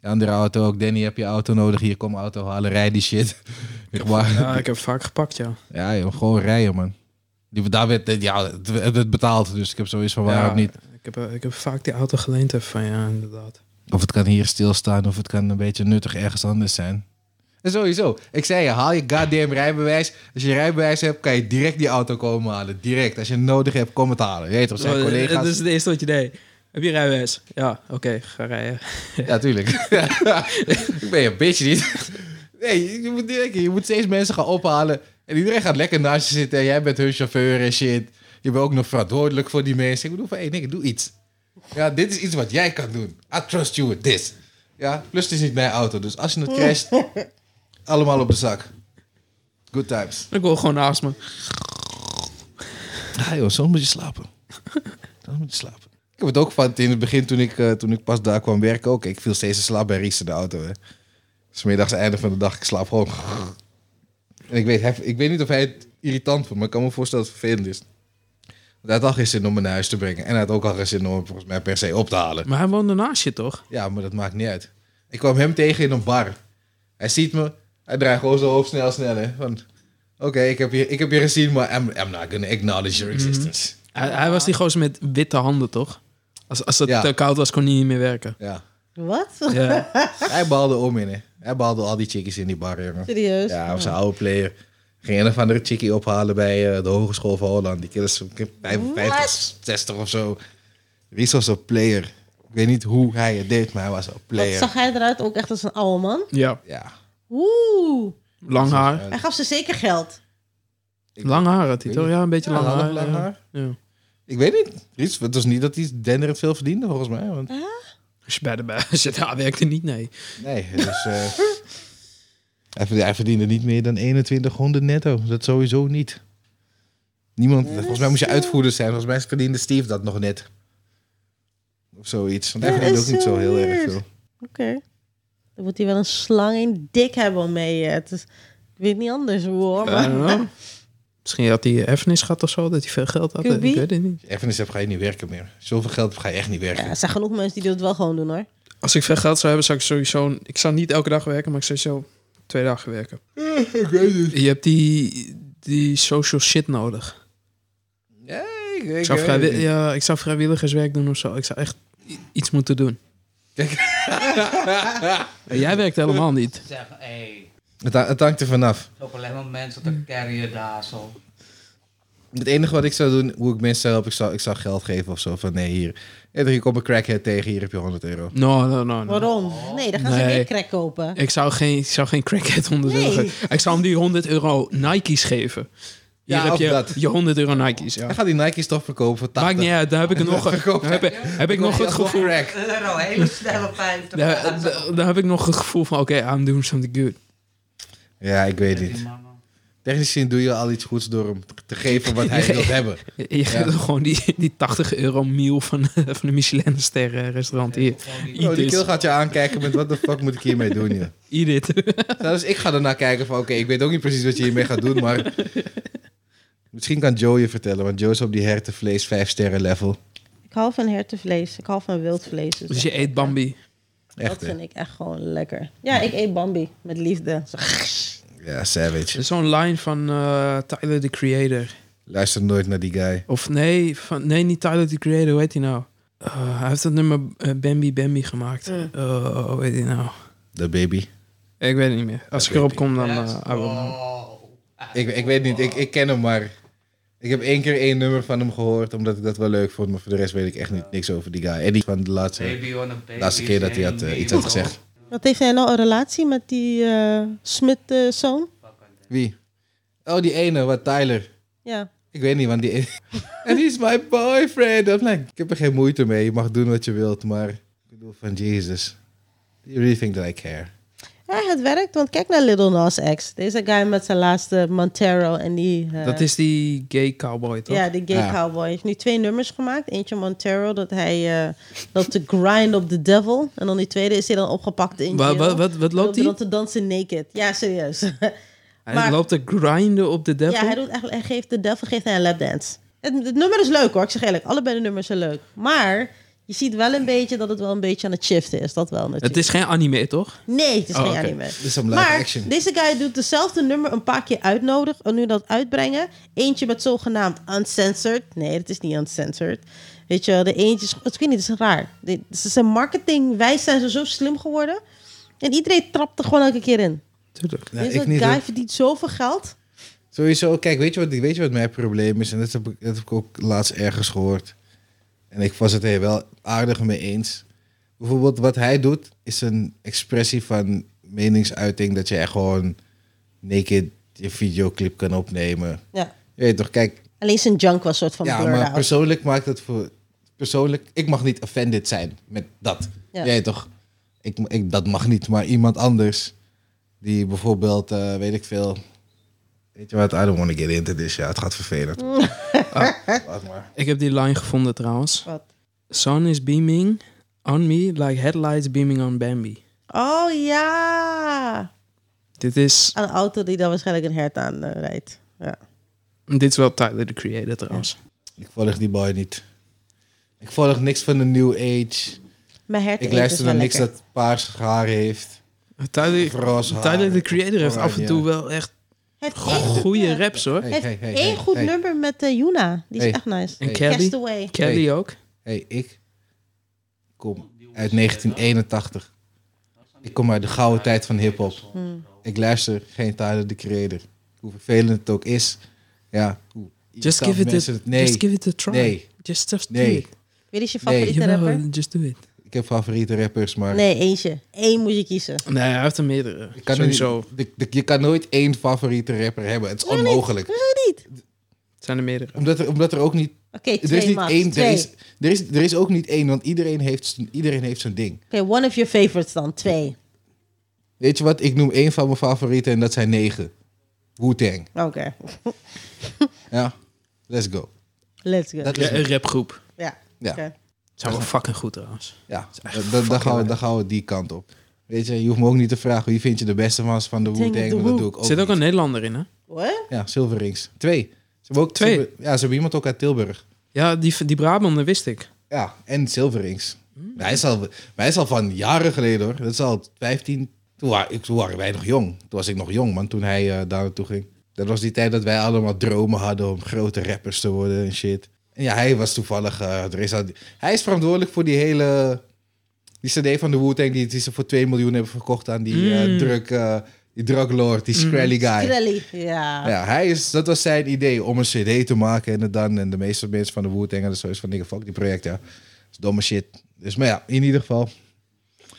De andere auto ook, Danny, heb je auto nodig? Hier, kom auto halen, rij die shit. <laughs> Zeg maar.
Ja, <laughs> ik heb vaak gepakt, ja.
Ja, joh, gewoon rijden, man. Die, daar werd, ja, het werd betaald, dus ik heb zoiets van waarom
Ja,
niet.
Ik heb, eh, ik heb vaak die auto geleend even van ja, inderdaad.
Of het kan hier stilstaan, of het kan een beetje nuttig ergens anders zijn. En sowieso, ik zei je, haal je goddamn rijbewijs. Als je rijbewijs hebt, kan je direct die auto komen halen. Direct. Als je het nodig hebt, kom het halen. Je weet toch, zijn
Oh,
collega's.
Dat is het eerste wat je deed. Heb je rijbewijs? Ja, oké, ga rijden.
Ja, tuurlijk. <laughs> ik ben je bitch niet. Nee, je moet, direct, je moet steeds mensen gaan ophalen. En iedereen gaat lekker naast je zitten. En jij bent hun chauffeur en shit. Je bent ook nog verantwoordelijk voor die mensen. Ik bedoel van, hé, hey, nee, doe iets. Ja, dit is iets wat jij kan doen. I trust you with this. Ja, plus het is niet mijn auto. Dus als je het <laughs> crasht, allemaal op de zak. Good times.
Ik wil gewoon naast me.
Ja Ah, joh, soms moet je slapen. <laughs> Soms moet je slapen. Ik heb het ook van in het begin toen ik, eh, toen ik pas daar kwam werken ook. Ik viel steeds in slaap bij Ries in de auto. Hè. Dus middags einde van de dag, ik slaap gewoon. En ik weet, hij- ik weet niet of hij het irritant vond, maar ik kan me voorstellen dat het vervelend is. Want Hij had al geen zin om me naar huis te brengen. En hij had ook al geen zin om hem volgens mij per se op te halen.
Maar hij woonde naast je, toch?
Ja, maar dat maakt niet uit. Ik kwam hem tegen in een bar. Hij ziet me. Hij draait gewoon zijn hoofd snel, snel. Hè? Van, oké, ik, heb je- ik heb je gezien, maar I'm, I'm not gonna acknowledge your existence.
Hij, hij was die gozer met witte handen, toch? Als, als het
Ja.
te koud was, kon hij niet meer werken.
Ja.
Wat? <laughs>
Ja.
Hij behaalde om in, hè. Hij behaalde al die chickies in die bar, jongen.
Serieus?
Ja, hij was een oude player. Ging een of andere chickie ophalen bij eh, de Hogeschool van Holland. Die kinderen is 55, 60 of zo. Ries was een player. Ik weet niet hoe hij het deed, maar hij was een
Wat
player.
zag hij eruit ook echt als een oude man?
ja.
Ja.
Oeh,
Lang haar.
hij gaf ze zeker geld.
Lang haar had hij,
Ik weet
toch? Ja, een beetje
Ja,
lang
hij had
haar.
lang
ja.
haar.
Ja.
Ik weet niet. Ries, het was niet dat hij denderend veel verdiende, volgens mij. Want,
Als je bij de bij <laughs> als je daar werkte niet, nee.
nee, dus... eh, <laughs> hij verd- hij verdiende niet meer dan 2100 netto. Dat sowieso niet. Niemand... Volgens mij moest je uitvoerder zijn. Volgens mij verdiende Steve dat nog net. Of zoiets. Want hij
Dat
verdiende
is
ook niet
zo
zo heel erg
weird.
veel.
Oké. Dan moet hij wel een slang in dik hebben om mee. eh, te- ik weet niet anders hoor.
Oh.
I
Maar...
don't know. Misschien had hij erfenis gehad of zo, dat hij veel geld had.
Could
Ik
be.
weet het niet.
Erfenis heb ga je niet werken meer. Zoveel geld heb, ga je echt niet werken.
Ja, er zijn genoeg mensen die dat wel gewoon doen hoor.
Als ik veel geld zou hebben, zou ik sowieso... Ik zou niet elke dag werken, maar ik zou sowieso twee dagen werken.
<laughs> Ik weet het.
Je hebt die, die social shit nodig.
Ja, ik, ik
Ik zou,
weet het
vrijwi-
niet.
ja, ik zou vrijwilligerswerk doen of zo. Ik zou echt i- iets moeten doen. <laughs> Jij werkt helemaal niet.
Zeg, hé, hey,
Het, ha- het hangt er vanaf.
lopen alleen maar mensen te carryen daar zo.
Het enige wat ik zou doen, hoe ik mensen help, ik zou, ik zou geld geven of zo. Van nee, hier. Ja, hier komt een crackhead tegen, hier heb je 100 euro.
No, no, no. no.
Waarom? Nee, dan gaan ze
Nee.
weer crack kopen.
Ik zou geen, ik zou geen crackhead 100 euro
Nee.
geven. Ik zou hem die 100 euro Nike's geven. Hier
Ja,
heb
of
je
dat.
je 100 euro Nike's. Ja.
Hij gaat die Nike's toch verkopen voor 80.
Maakt niet uit. Daar
<laughs>
heb ik nog,
Verkoop-
daar heb, ik- heb ik nog
Koop je
het
alsnog <laughs>
gevoel.
crack.
Euro, hele snelle 50.
Daar, daar- daar heb ik nog het gevoel van: oké, I'm doing something good.
Ja, ik weet
Die
niet.
mannen.
Technisch gezien doe je al iets goeds door hem te geven wat hij wil hebben.
Je je geeft hem gewoon die, die 80 euro meal van, <laughs> van een Michelinster eh, restaurant hier.
Gewoon die-
Oh, die
Idis.
kill gaat je aankijken met wat de fuck moet ik hiermee doen, joh.
Eat it.
<laughs>
<laughs>
Nou, dus ik ga ernaar kijken van, oké, ik weet ook niet precies wat je hiermee gaat doen, <laughs> maar... Misschien kan Joe je vertellen, want Joe is op die hertenvlees 5 sterren level.
Ik hou van hertenvlees. Ik hou van wild vlees.
Dus je eet Bambi.
Echt,
dat
hè?
vind ik echt gewoon lekker. Ja, ik eet Bambi met liefde. Zo.
Ja,
Er
savage.
is zo'n line van eh, Tyler, the creator.
Luister nooit naar die guy.
Of nee, van, nee, niet Tyler, the creator. Hoe heet hij nou? Eh, hij heeft dat nummer eh, Bambi Bambi gemaakt.
Mm.
Eh, hoe heet hij nou?
De baby.
Ik weet het niet meer. Als ik erop kom, dan... eh, I will know.
Oh.
Ik, ik weet niet, ik, ik ken hem, maar... Ik heb één keer één nummer van hem gehoord, omdat ik dat wel leuk vond. Maar voor de rest weet ik echt niet, niks over die guy. En die van de laatste...
Baby on a baby.
Laatste keer dat hij had, eh, iets had gezegd.
Wat heeft hij nou een relatie met die eh Smit-zoon?
Wie? Oh, die ene, wat Tyler.
ja.
Ik weet niet, want die... <laughs> En he's my boyfriend. I'm like, ik heb er geen moeite mee. Je mag doen wat je wilt, maar... Ik bedoel van, Jesus. You really think that I care?
ja, het werkt. Want kijk naar Little Nas X. Deze guy met zijn laatste Montero en die... eh,
Dat is die gay cowboy, toch?
Ja, de gay
Ja.
cowboy. Hij heeft nu twee nummers gemaakt. Eentje Montero, dat hij eh, loopt te grind op the devil. En dan die tweede is hij dan opgepakt in
Wa-
jail.
wa- wat, wat, loopt
hij
hij?
dan te dansen naked. Ja, serieus. <laughs>
Hij
maar-
loopt te grinden op de devil.
ja, hij, doet eigenlijk, hij geeft de devil geeft hij een lapdance. Het, het nummer is leuk hoor, ik zeg eerlijk. Allebei de nummers zijn leuk. Maar je ziet wel een beetje dat het wel een beetje aan het shiften is. Dat wel natuurlijk.
Het is geen anime, toch?
Nee, het is
Oh,
geen
oké.
anime.
Dit is hem live
Maar
action.
deze guy doet dezelfde nummer een paar keer uitnodigen. En nu dat uitbrengen. Eentje met zogenaamd uncensored. Nee, dat is niet uncensored. Weet je wel, de eentje is... Ik weet niet, het is raar. Dit- Ze zijn marketing, wij zijn ze zo slim geworden. En iedereen trapt er gewoon elke keer in.
Tuurlijk.
Nou,
Deze
ik niet,
guy
hoor.
verdient zoveel geld.
Sowieso, kijk, weet je, wat, weet je wat mijn probleem is? En dat heb, ik, dat heb ik ook laatst ergens gehoord. En ik was het er wel aardig mee eens. Bijvoorbeeld, wat hij doet, is een expressie van meningsuiting... dat je echt gewoon naked je videoclip kan opnemen.
Ja.
Je weet toch, kijk,
Alleen zijn junk was soort van
ja,
blurred
maar
out.
persoonlijk maakt het voor... Persoonlijk, ik mag niet offended zijn met dat.
Ja.
Jij toch? Ik, ik, dat mag niet, maar iemand anders die bijvoorbeeld, eh, weet ik veel... Weet je wat, I don't want to get into this. Ja, het gaat vervelend.
Mm. <laughs>
Ah, wacht maar.
Ik heb die line gevonden, trouwens.
Wat?
Sun is beaming on me like headlights beaming on Bambi.
Oh ja.
Dit is,
Aan een auto die dan waarschijnlijk een hert aan eh, rijdt. Ja.
dit is wel Tyler, the creator, trouwens.
Ik volg die boy niet. Ik volg niks van de New Age.
Mijn hert dus
Ik luister naar niks
lekker.
dat paars haar heeft.
Tyler,
Roze haar.
Tyler, de creator, heeft af en toe
Oranje.
wel echt
Het
goede raps, hoor.
Hey,
heeft
hey, hey,
één
hey,
goed
hey.
nummer met eh, Juna. Die is
Hey.
echt nice.
En
Hey.
Kelly.
Castaway.
Kelly ook.
hey, ik kom uit 1981. Ik kom uit de gouden tijd van hip-hop.
Hmm.
Ik luister geen Tyler de Creator. Hoe vervelend het ook is. Ja, hoe
Just
irritant
give, it
mensen
a,
het- Nee,
just give it a try.
nee,
Just, just
Nee.
do it.
Wie is je
Nee.
favoriete
Jawel,
rapper?
just do it.
ik heb favoriete rappers, maar...
Nee, eentje. Eén moet je kiezen.
Nee, hij heeft er meerdere.
ik kan er
Sowieso.
niet- de- de- je kan nooit één favoriete rapper hebben. Het is
Hoezo niet?
onmogelijk.
Hoezo niet? Oké,
Het zijn er meerdere.
Omdat er, omdat er ook niet... Er
twee
is niet
max.
één... Er
Twee.
is, er, is, er is ook niet één, want iedereen heeft, zijn- iedereen heeft zijn ding.
Oké, one of your favorites dan. Twee.
Weet je wat? Ik noem één van mijn favorieten en dat zijn negen. Wu-Tang.
Oké,
Ja, let's go.
let's go.
Dat is
Ja, een rapgroep.
ja.
Ja.
oké.
Zijn wel fucking goed trouwens.
Ja, dan, dan, gaan we, dan gaan we die kant op. Weet je, je hoeft me ook niet te vragen wie vind je de beste van van de
Tang of
Wu-Tang.
the
want Dat
Wu.
doe ik ook
Er zit ook
niet.
een Nederlander in, hè?
What?
Ja, Silverings. Twee. Ze hebben ook,
Twee?
Ze hebben- ja, ze hebben iemand ook uit Tilburg.
Ja, die, die Brabander wist ik.
Ja, en Silverings. Hij, is al, maar hij is al van jaren geleden hoor. Dat is al 15... Toen, wa- ik, toen waren wij nog jong. Toen was ik nog jong, man, toen hij eh, daar naartoe ging. Dat was die tijd dat wij allemaal dromen hadden om grote rappers te worden en shit. En ja, hij was toevallig... eh, er is al, hij is verantwoordelijk voor die hele... Die cd van de Wu-Tang die, die ze voor 2 miljoen hebben verkocht aan die eh,
Mm.
drug... eh, die druglord, die Scrally guy.
Krelly. Ja.
Ja, hij is, dat was zijn idee om een cd te maken en het dan. En de meeste mensen van de Wu-Tang en zo is van, nigga, fuck die projecten. Dat is domme shit. Dus, maar ja, in ieder geval.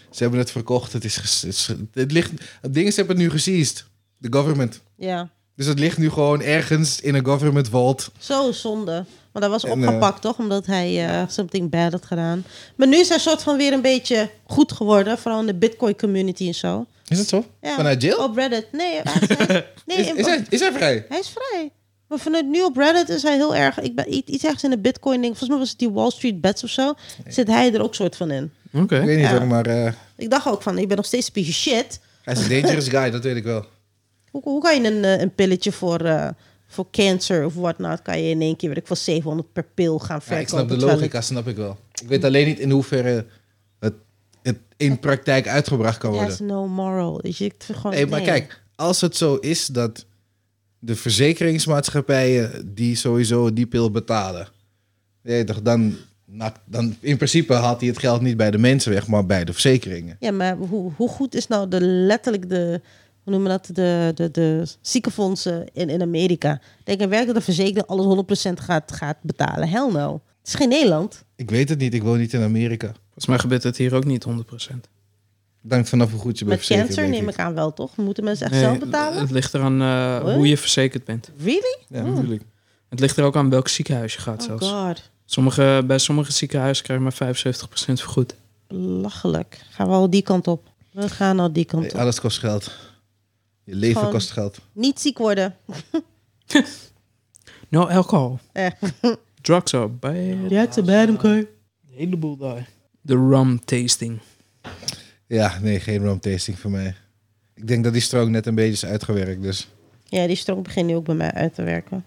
Ze hebben het verkocht. Het, is, ges- het, is- het ligt... Het ding is, ze hebben het nu geseized. De government.
ja.
Dus het ligt nu gewoon ergens in een government vault.
Zo zonde. Maar dat was
En, eh,
opgepakt, toch? Omdat hij eh, something bad had gedaan. Maar nu is hij soort van weer een beetje goed geworden. Vooral in de bitcoin community en zo.
Is dat zo?
Ja.
Vanuit jail?
Op Reddit. Nee, <laughs> hij is, hij is- nee
is,
in-
is, hij, is hij vrij?
hij is vrij. Maar vanuit nu op Reddit is hij heel erg... Ik ben iets iets ergens in de bitcoin ding. Volgens mij was het die Wall Street Bets of zo. Zit hij er ook soort van in.
Oké.
Ik weet niet
Ja.
hoor, maar eh,
Ik dacht ook van, ik ben nog steeds een piece of shit. <laughs>
hij is een dangerous guy, dat weet ik wel.
Hoe, hoe kan je een, eh, een pilletje voor, eh, voor cancer of whatnot... kan je in één keer, weet ik veel, 700 per pil gaan
Ja,
verkopen.
ik snap de
terwijl
logica, snap ik wel. Ik weet alleen niet in hoeverre het, het in praktijk uitgebracht kan worden.
There's no moral. Weet je, ik vind gewoon,
Nee, maar kijk, als het zo is dat de verzekeringsmaatschappijen die sowieso die pil betalen, nee, toch, dan, nou, dan in principe haalt hij het geld niet bij de mensen weg, maar bij de verzekeringen.
Ja, maar hoe, hoe goed is nou de letterlijk de... Hoe noemen we dat? De, de, de ziekenfondsen in, in Amerika. Denk in werk dat de verzekering alles 100% gaat, gaat betalen. Hell no. Het is geen Nederland.
Ik weet het niet, ik woon niet in Amerika.
Volgens mij gebeurt het hier ook niet 100%.
Dank vanaf hoe goed je bij
Met
verzekerd
cancer
bent,
neem
weet
ik aan wel, toch? Moeten mensen echt
Nee,
zelf betalen?
Het ligt eraan eh,
What?
hoe je verzekerd bent.
Really?
Ja, natuurlijk.
Het ligt er ook aan welk ziekenhuis je gaat
Oh
zelfs.
god.
Sommige, bij sommige ziekenhuizen krijg je maar 75% vergoed.
Belachelijk. Gaan we al die kant op. We gaan al die kant
Nee,
op.
alles kost geld. Je leven
Gewoon-
kost geld.
Niet ziek worden.
No alcohol.
Eh. <laughs>
Drugs are bad.
Ja, het is bij hem,
De hele boel daar. De rum tasting.
Ja, nee, geen rum tasting voor mij. Ik denk dat die strook net een beetje is uitgewerkt, dus...
Ja, die stroom begint nu ook bij mij uit te werken.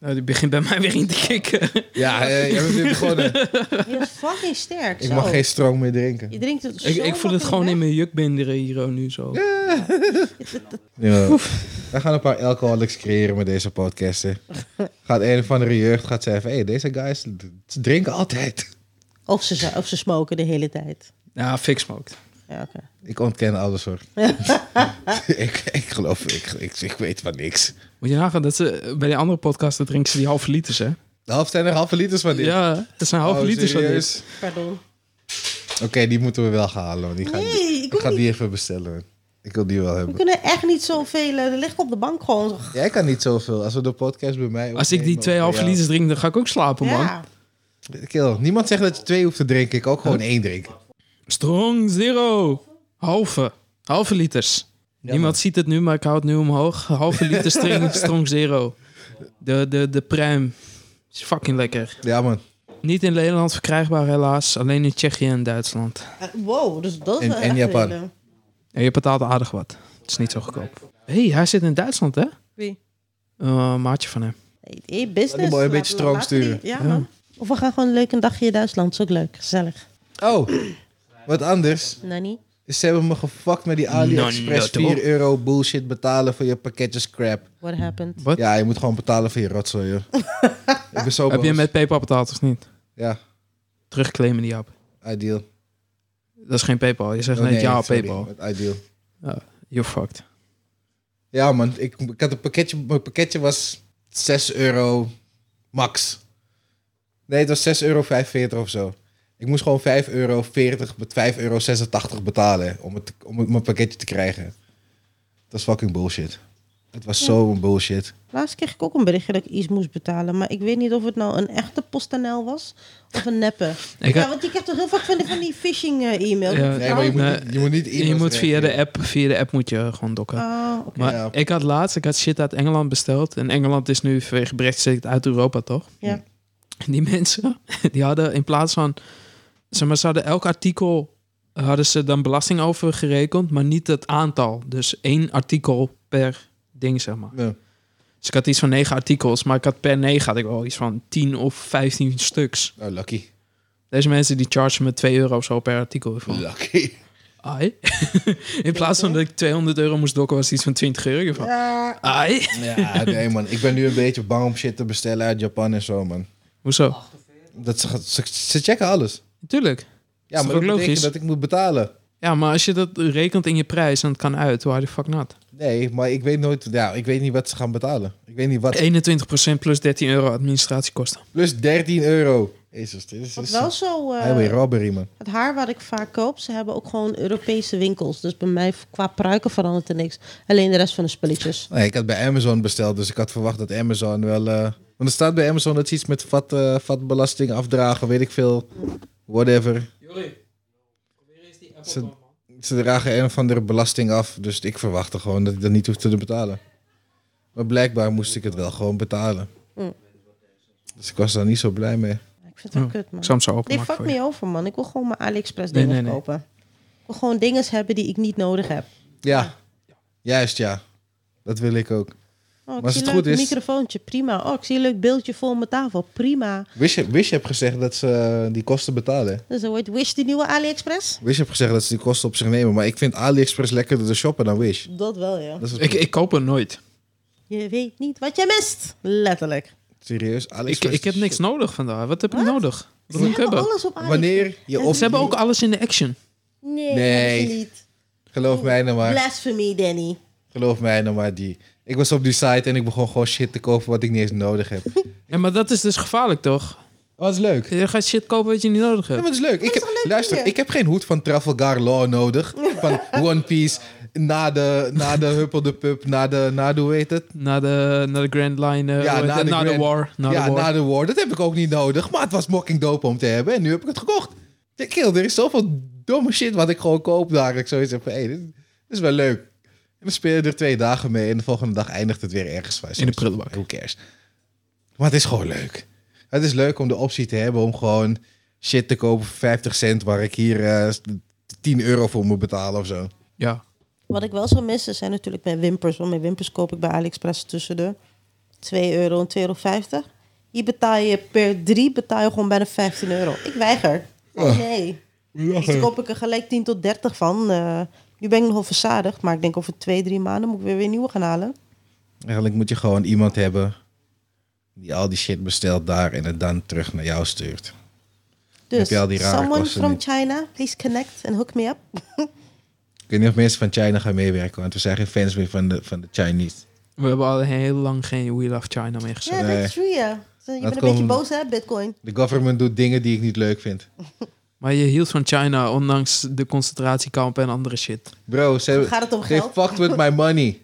Nou, die begint bij mij weer in te kicken.
Ja, eh, jij bent weer begonnen.
<laughs> Je
<laughs>
is fucking sterk.
Ik
zo.
mag geen stroom meer drinken.
Je drinkt het <laughs> zo
ik, ik voel het
makkelijk
gewoon
weg.
in mijn jukbinderen hier ook nu zo.
Ja. Wij gaan een paar alcoholics creëren met deze podcast. hè. Gaat een of andere jeugd gaat zeggen van... Hey, deze guys ze drinken altijd.
Of ze, zo- of ze smoken de hele tijd.
Ja, fix Nou, smoked.
Ja, oké.
Ik ontken alles
<laughs>
hoor. ik, ik geloof, ik, ik, ik weet van niks.
Moet je nagaan dat ze bij die andere podcasten drinken ze die halve liters, hè?
De half zijn er halve liters van dit.
Ja, dat zijn halve
Oh,
liters van
serieus?
dit.
Pardon.
Oké, die moeten we wel gaan halen. hoor. Die ga,
Nee, ik wil
ga die even bestellen. hoor. Ik wil die wel
We
hebben.
kunnen echt niet zoveel... eh, Er ligt op de bank gewoon... zo-
Jij kan niet zoveel. Als we de podcast bij mij...
Als ik die
opnemen,
twee
of bij
halve
jou.
liters drink, dan ga ik ook slapen, man.
Ja.
Kill. Niemand zegt dat je twee hoeft te drinken. Ik ook gewoon één drinken.
Strong zero. Halve. Halve liters. Niemand ziet het nu, maar ik hou het nu omhoog. Halve
<laughs>
liter strong, strong zero. De, de, de pruim. Is fucking lekker.
Ja man.
Niet in Nederland verkrijgbaar helaas. Alleen in Tsjechië en Duitsland.
Eh, Wow, dus dat is
En-
wel
en
echt
Japan.
een-
En je betaalt aardig wat. Het is niet zo goedkoop. Hé, hey, hij zit in Duitsland hè?
Wie?
Eh, een maatje van hem.
Hey, business.
mooi een
Laat-
beetje stroom
laten die-
sturen.
Ja, man. Of we gaan gewoon leuk een dagje in Duitsland. Is ook leuk. Gezellig.
Oh, wat anders.
Nanny?
Dus Ze hebben me gefuckt met die AliExpress
Nou, nou,
4 euro bullshit betalen voor je pakketjes crap.
What happened?
Wat?
Ja, je moet gewoon betalen voor je rotzooi, joh. Ik ben zo
Heb je
boos.
hem met PayPal betaald of niet?
Ja,
Terugclaimen die app.
ideal.
Dat is geen PayPal. Je zegt
Oh,
net ja op
sorry,
PayPal.
met Ideal.
You're fucked.
Ja, man. Ik, ik had een pakketje. Mijn pakketje was 6 euro max. Nee, het was 6,45 euro of zo. Ik moest gewoon 5,40 euro, 5,86 euro betalen om, het, om het, mijn pakketje te krijgen. Dat is fucking bullshit. Het was zo'n bullshit.
Laatst kreeg ik ook een berichtje dat ik iets moest betalen. Maar ik weet niet of het nou een echte PostNL was of een neppe.
Ik
ja,
had-
want je krijgt toch heel vaak van die, van die phishing eh, e-mail.
Ja.
Nee, maar je moet,
Nee.
niet- je moet niet
je
e-mails
moet via de
reageren.
app, via de app moet je gewoon dokken.
Oh, oké.
maar
Ja.
ik had laatst, ik had shit uit Engeland besteld. En Engeland is nu vanwege Brexit uit Europa, toch?
Ja.
En die <laughs> mensen, die hadden in plaats van, zeg maar, ze hadden elk artikel, hadden ze dan belasting over gerekend, maar niet het aantal. Dus één artikel per ding, zeg maar.
Ja.
Dus ik had iets van negen artikels, maar ik had per negen had ik wel iets van tien of vijftien stuks.
Oh, lucky.
<laughs> Deze mensen die chargen me 2 euro of zo per artikel. Ik vond,
Lucky.
Ai. <laughs> In plaats van dat ik 200 euro moest dokken, was het iets van 20 euro. Van,
Ja,
Ai.
Ja, nee, man. Ik ben nu een beetje bang om shit te bestellen uit Japan en zo, man.
Hoezo?
48.
Dat ze, ze, ze checken alles.
Oh. Tuurlijk.
Ja,
Is
maar dat
toch ook
betekent
logisch?
dat ik moet betalen.
Ja, maar als je dat rekent in je prijs, dan het kan uit. Why the fuck not?
Nee, maar ik weet nooit. Ja, ik weet niet wat ze gaan betalen. Ik weet niet wat.
21% plus 13 euro administratiekosten.
Plus 13 euro. Jezus, dit is.
wat
is-
wel zo... eh,
Highway robbery, man.
het haar wat ik vaak koop, ze hebben ook gewoon Europese winkels. Dus bij mij qua pruiken verandert er niks. Alleen de rest van de spulletjes.
Nee, ik had bij Amazon besteld, dus ik had verwacht dat Amazon wel. eh, want er staat bij Amazon dat ze iets met vat, eh, vatbelasting afdragen, weet ik veel. Whatever. Ze- Ze dragen een van de belasting af, dus ik verwachtte gewoon dat ik dat niet hoefde te betalen. Maar blijkbaar moest ik het wel gewoon betalen.
Mm.
Dus ik was daar niet zo blij mee.
Ik vind het wel
Ja,
kut, man.
Ik zal hem zo
Nee,
openmaken
fuck
voor je.
me over, man. Ik wil gewoon mijn AliExpress
Nee,
dingen
nee, nee.
kopen. Ik wil gewoon dingen hebben die ik niet nodig heb.
Ja, juist ja. Dat wil ik ook.
Oh, ik
als
zie
het
leuk
goed is-
microfoontje, prima. Oh, ik zie een leuk beeldje voor mijn tafel, prima.
Wish, Wish heb gezegd dat ze eh, die kosten betalen.
Dus dan wordt Wish de nieuwe AliExpress?
Wish heb gezegd dat ze die kosten op zich nemen. Maar ik vind AliExpress lekkerder te shoppen dan Wish.
Dat wel, ja.
Dat is het-
Ik, ik koop er nooit.
Je weet niet wat je mist. Letterlijk.
serieus. AliExpress
Ik, ik heb
is
niks
shit.
nodig vandaag. Wat heb ik nodig? Wat
Ze
moet ik
hebben
hebben?
alles op AliExpress.
Wanneer je op...
Ze hebben ook alles in de action.
Nee,
Nee.
nee. niet.
Geloof mij nou maar.
Blasphemy, Danny.
Geloof mij nou maar die. Ik was op die site en ik begon gewoon shit te kopen wat ik niet eens nodig
<laughs>
heb. Oh,
Ja, maar dat is dus gevaarlijk, toch?
Wat is leuk.
Je gaat shit kopen wat je niet nodig
Ja,
hebt.
maar het is leuk. Ik
is
heb,
wel leuk
luister,
idee.
ik heb geen hoed van Trafalgar Law nodig. Van One Piece. Na de, na de Huppel de Pup. Na de, na de hoe heet het?
Na de, na de Grand Line, eh,
Ja,
hoe heet
na
het?
de
na de
Grand-
war. Na
ja,
de war.
na de war. Dat heb ik ook niet nodig. Maar het was mocking dope om te hebben. En nu heb ik het gekocht. Ja, Kill, er is zoveel domme shit wat ik gewoon koop daar. Ik zoiets heb van, hey, dit, dit is wel leuk. En dan speel je er twee dagen mee. En de volgende dag eindigt het weer ergens. waar je
In de
zoiets-
prullenbak.
Who cares? Maar het is gewoon leuk. Het is leuk om de optie te hebben om gewoon shit te kopen voor 50 cent. Waar ik hier eh, 10 euro voor moet betalen of zo.
Ja.
Wat ik wel zou missen zijn natuurlijk mijn wimpers. Want mijn wimpers koop ik bij AliExpress tussen de 2 euro en 2,50 euro. Hier betaal je per drie betaal je gewoon bijna 15 euro. Ik weiger.
Ah.
Oh, nee. Dus dan koop ik er gelijk 10 tot 30 van. Eh, nu ben ik nogal verzadigd. Maar ik denk over twee, drie maanden moet ik weer weer nieuwe gaan halen.
Eigenlijk moet je gewoon iemand hebben die al die shit bestelt daar en het dan terug naar jou stuurt.
Dus
Heb je al die rare
someone
kosten
from
niet?
China, please connect and hook me up.
Ik weet niet of mensen van China gaan meewerken, want we zijn geen fans meer van de, van de Chinese.
We hebben al heel lang geen We Love China meer gezet.
Ja,
Nee.
that's true, ja. Zo, Je
Dat
bent een beetje
komt-
boos, hè, Bitcoin?
De government doet dingen die ik niet leuk vind.
Maar je hield van China, ondanks de concentratiekampen en andere shit.
Bro, ze
Gaat het om
they
geld?
fucked with my money.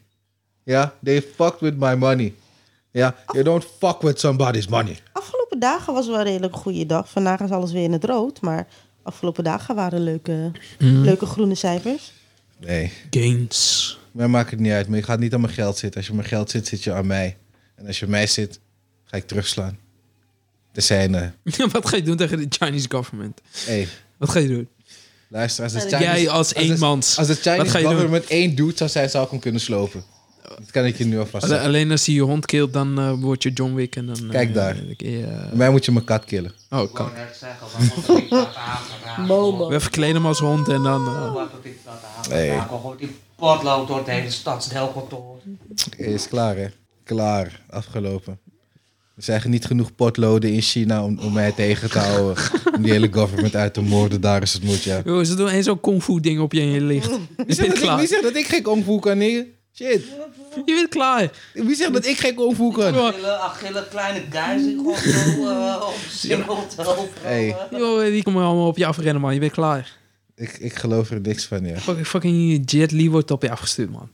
Ja, they fucked with my money. Ja, you don't fuck with somebody's money.
Afgelopen dagen was wel een redelijk goede dag. Vandaag is alles weer in het rood, maar afgelopen dagen waren leuke,
Mhm.
leuke groene cijfers.
Nee,
Gains.
mij maakt het niet uit, maar je gaat niet aan mijn geld zitten. Als je aan mijn geld zit, zit je aan mij. En als je aan mij zit, ga ik terugslaan. Er zijn, eh,
<laughs> Wat ga je doen tegen de Chinese government?
hey,
Wat ga je doen?
luister, als de
Jij
Chinese...
Jij als
de-
eenmans.
Als de
Wat ga
Chinese
je doen?
government één dude zou zijn, zou ik hem kunnen slopen. Dat kan ik je nu alvast
Alle-
zeggen.
alleen als hij je hond keelt, dan eh, word je John Wick en dan... eh,
Kijk daar.
dan kun je, eh,
Mij moet je mijn kat killen.
oh,
Ik wou
kan.
net zeggen, waar moet ik dat <laughs> aangeraakt worden?
We verkleden hem als hond en dan... eh,
Waar moet ik dat aangeraakt worden? Gewoon die potlood door het hele stadsdeelkantoor.
Is klaar, hè? Klaar. Afgelopen. Er zijn niet genoeg potloden in China om, om mij tegen te <laughs> houden. om die hele government uit te moorden. Daar is het moet, ja.
Joh, ze doen eens zo'n kung fu ding op je en je ligt. Je
Wie
bent
zegt dat ik, wie
klaar.
zegt dat ik geen kung fu kan, nigga? Shit.
Je bent klaar.
Wie zegt dat ik geen kung fu kan?
Achille, Achille, kleine guys die gewoon zo eh, omsingeld overal,
Hey.
eh.
Joh, die komen allemaal op je afrennen, man. Je bent klaar.
Ik, ik geloof er niks van, ja.
Fucking, fucking Jet Li wordt op je afgestuurd, man.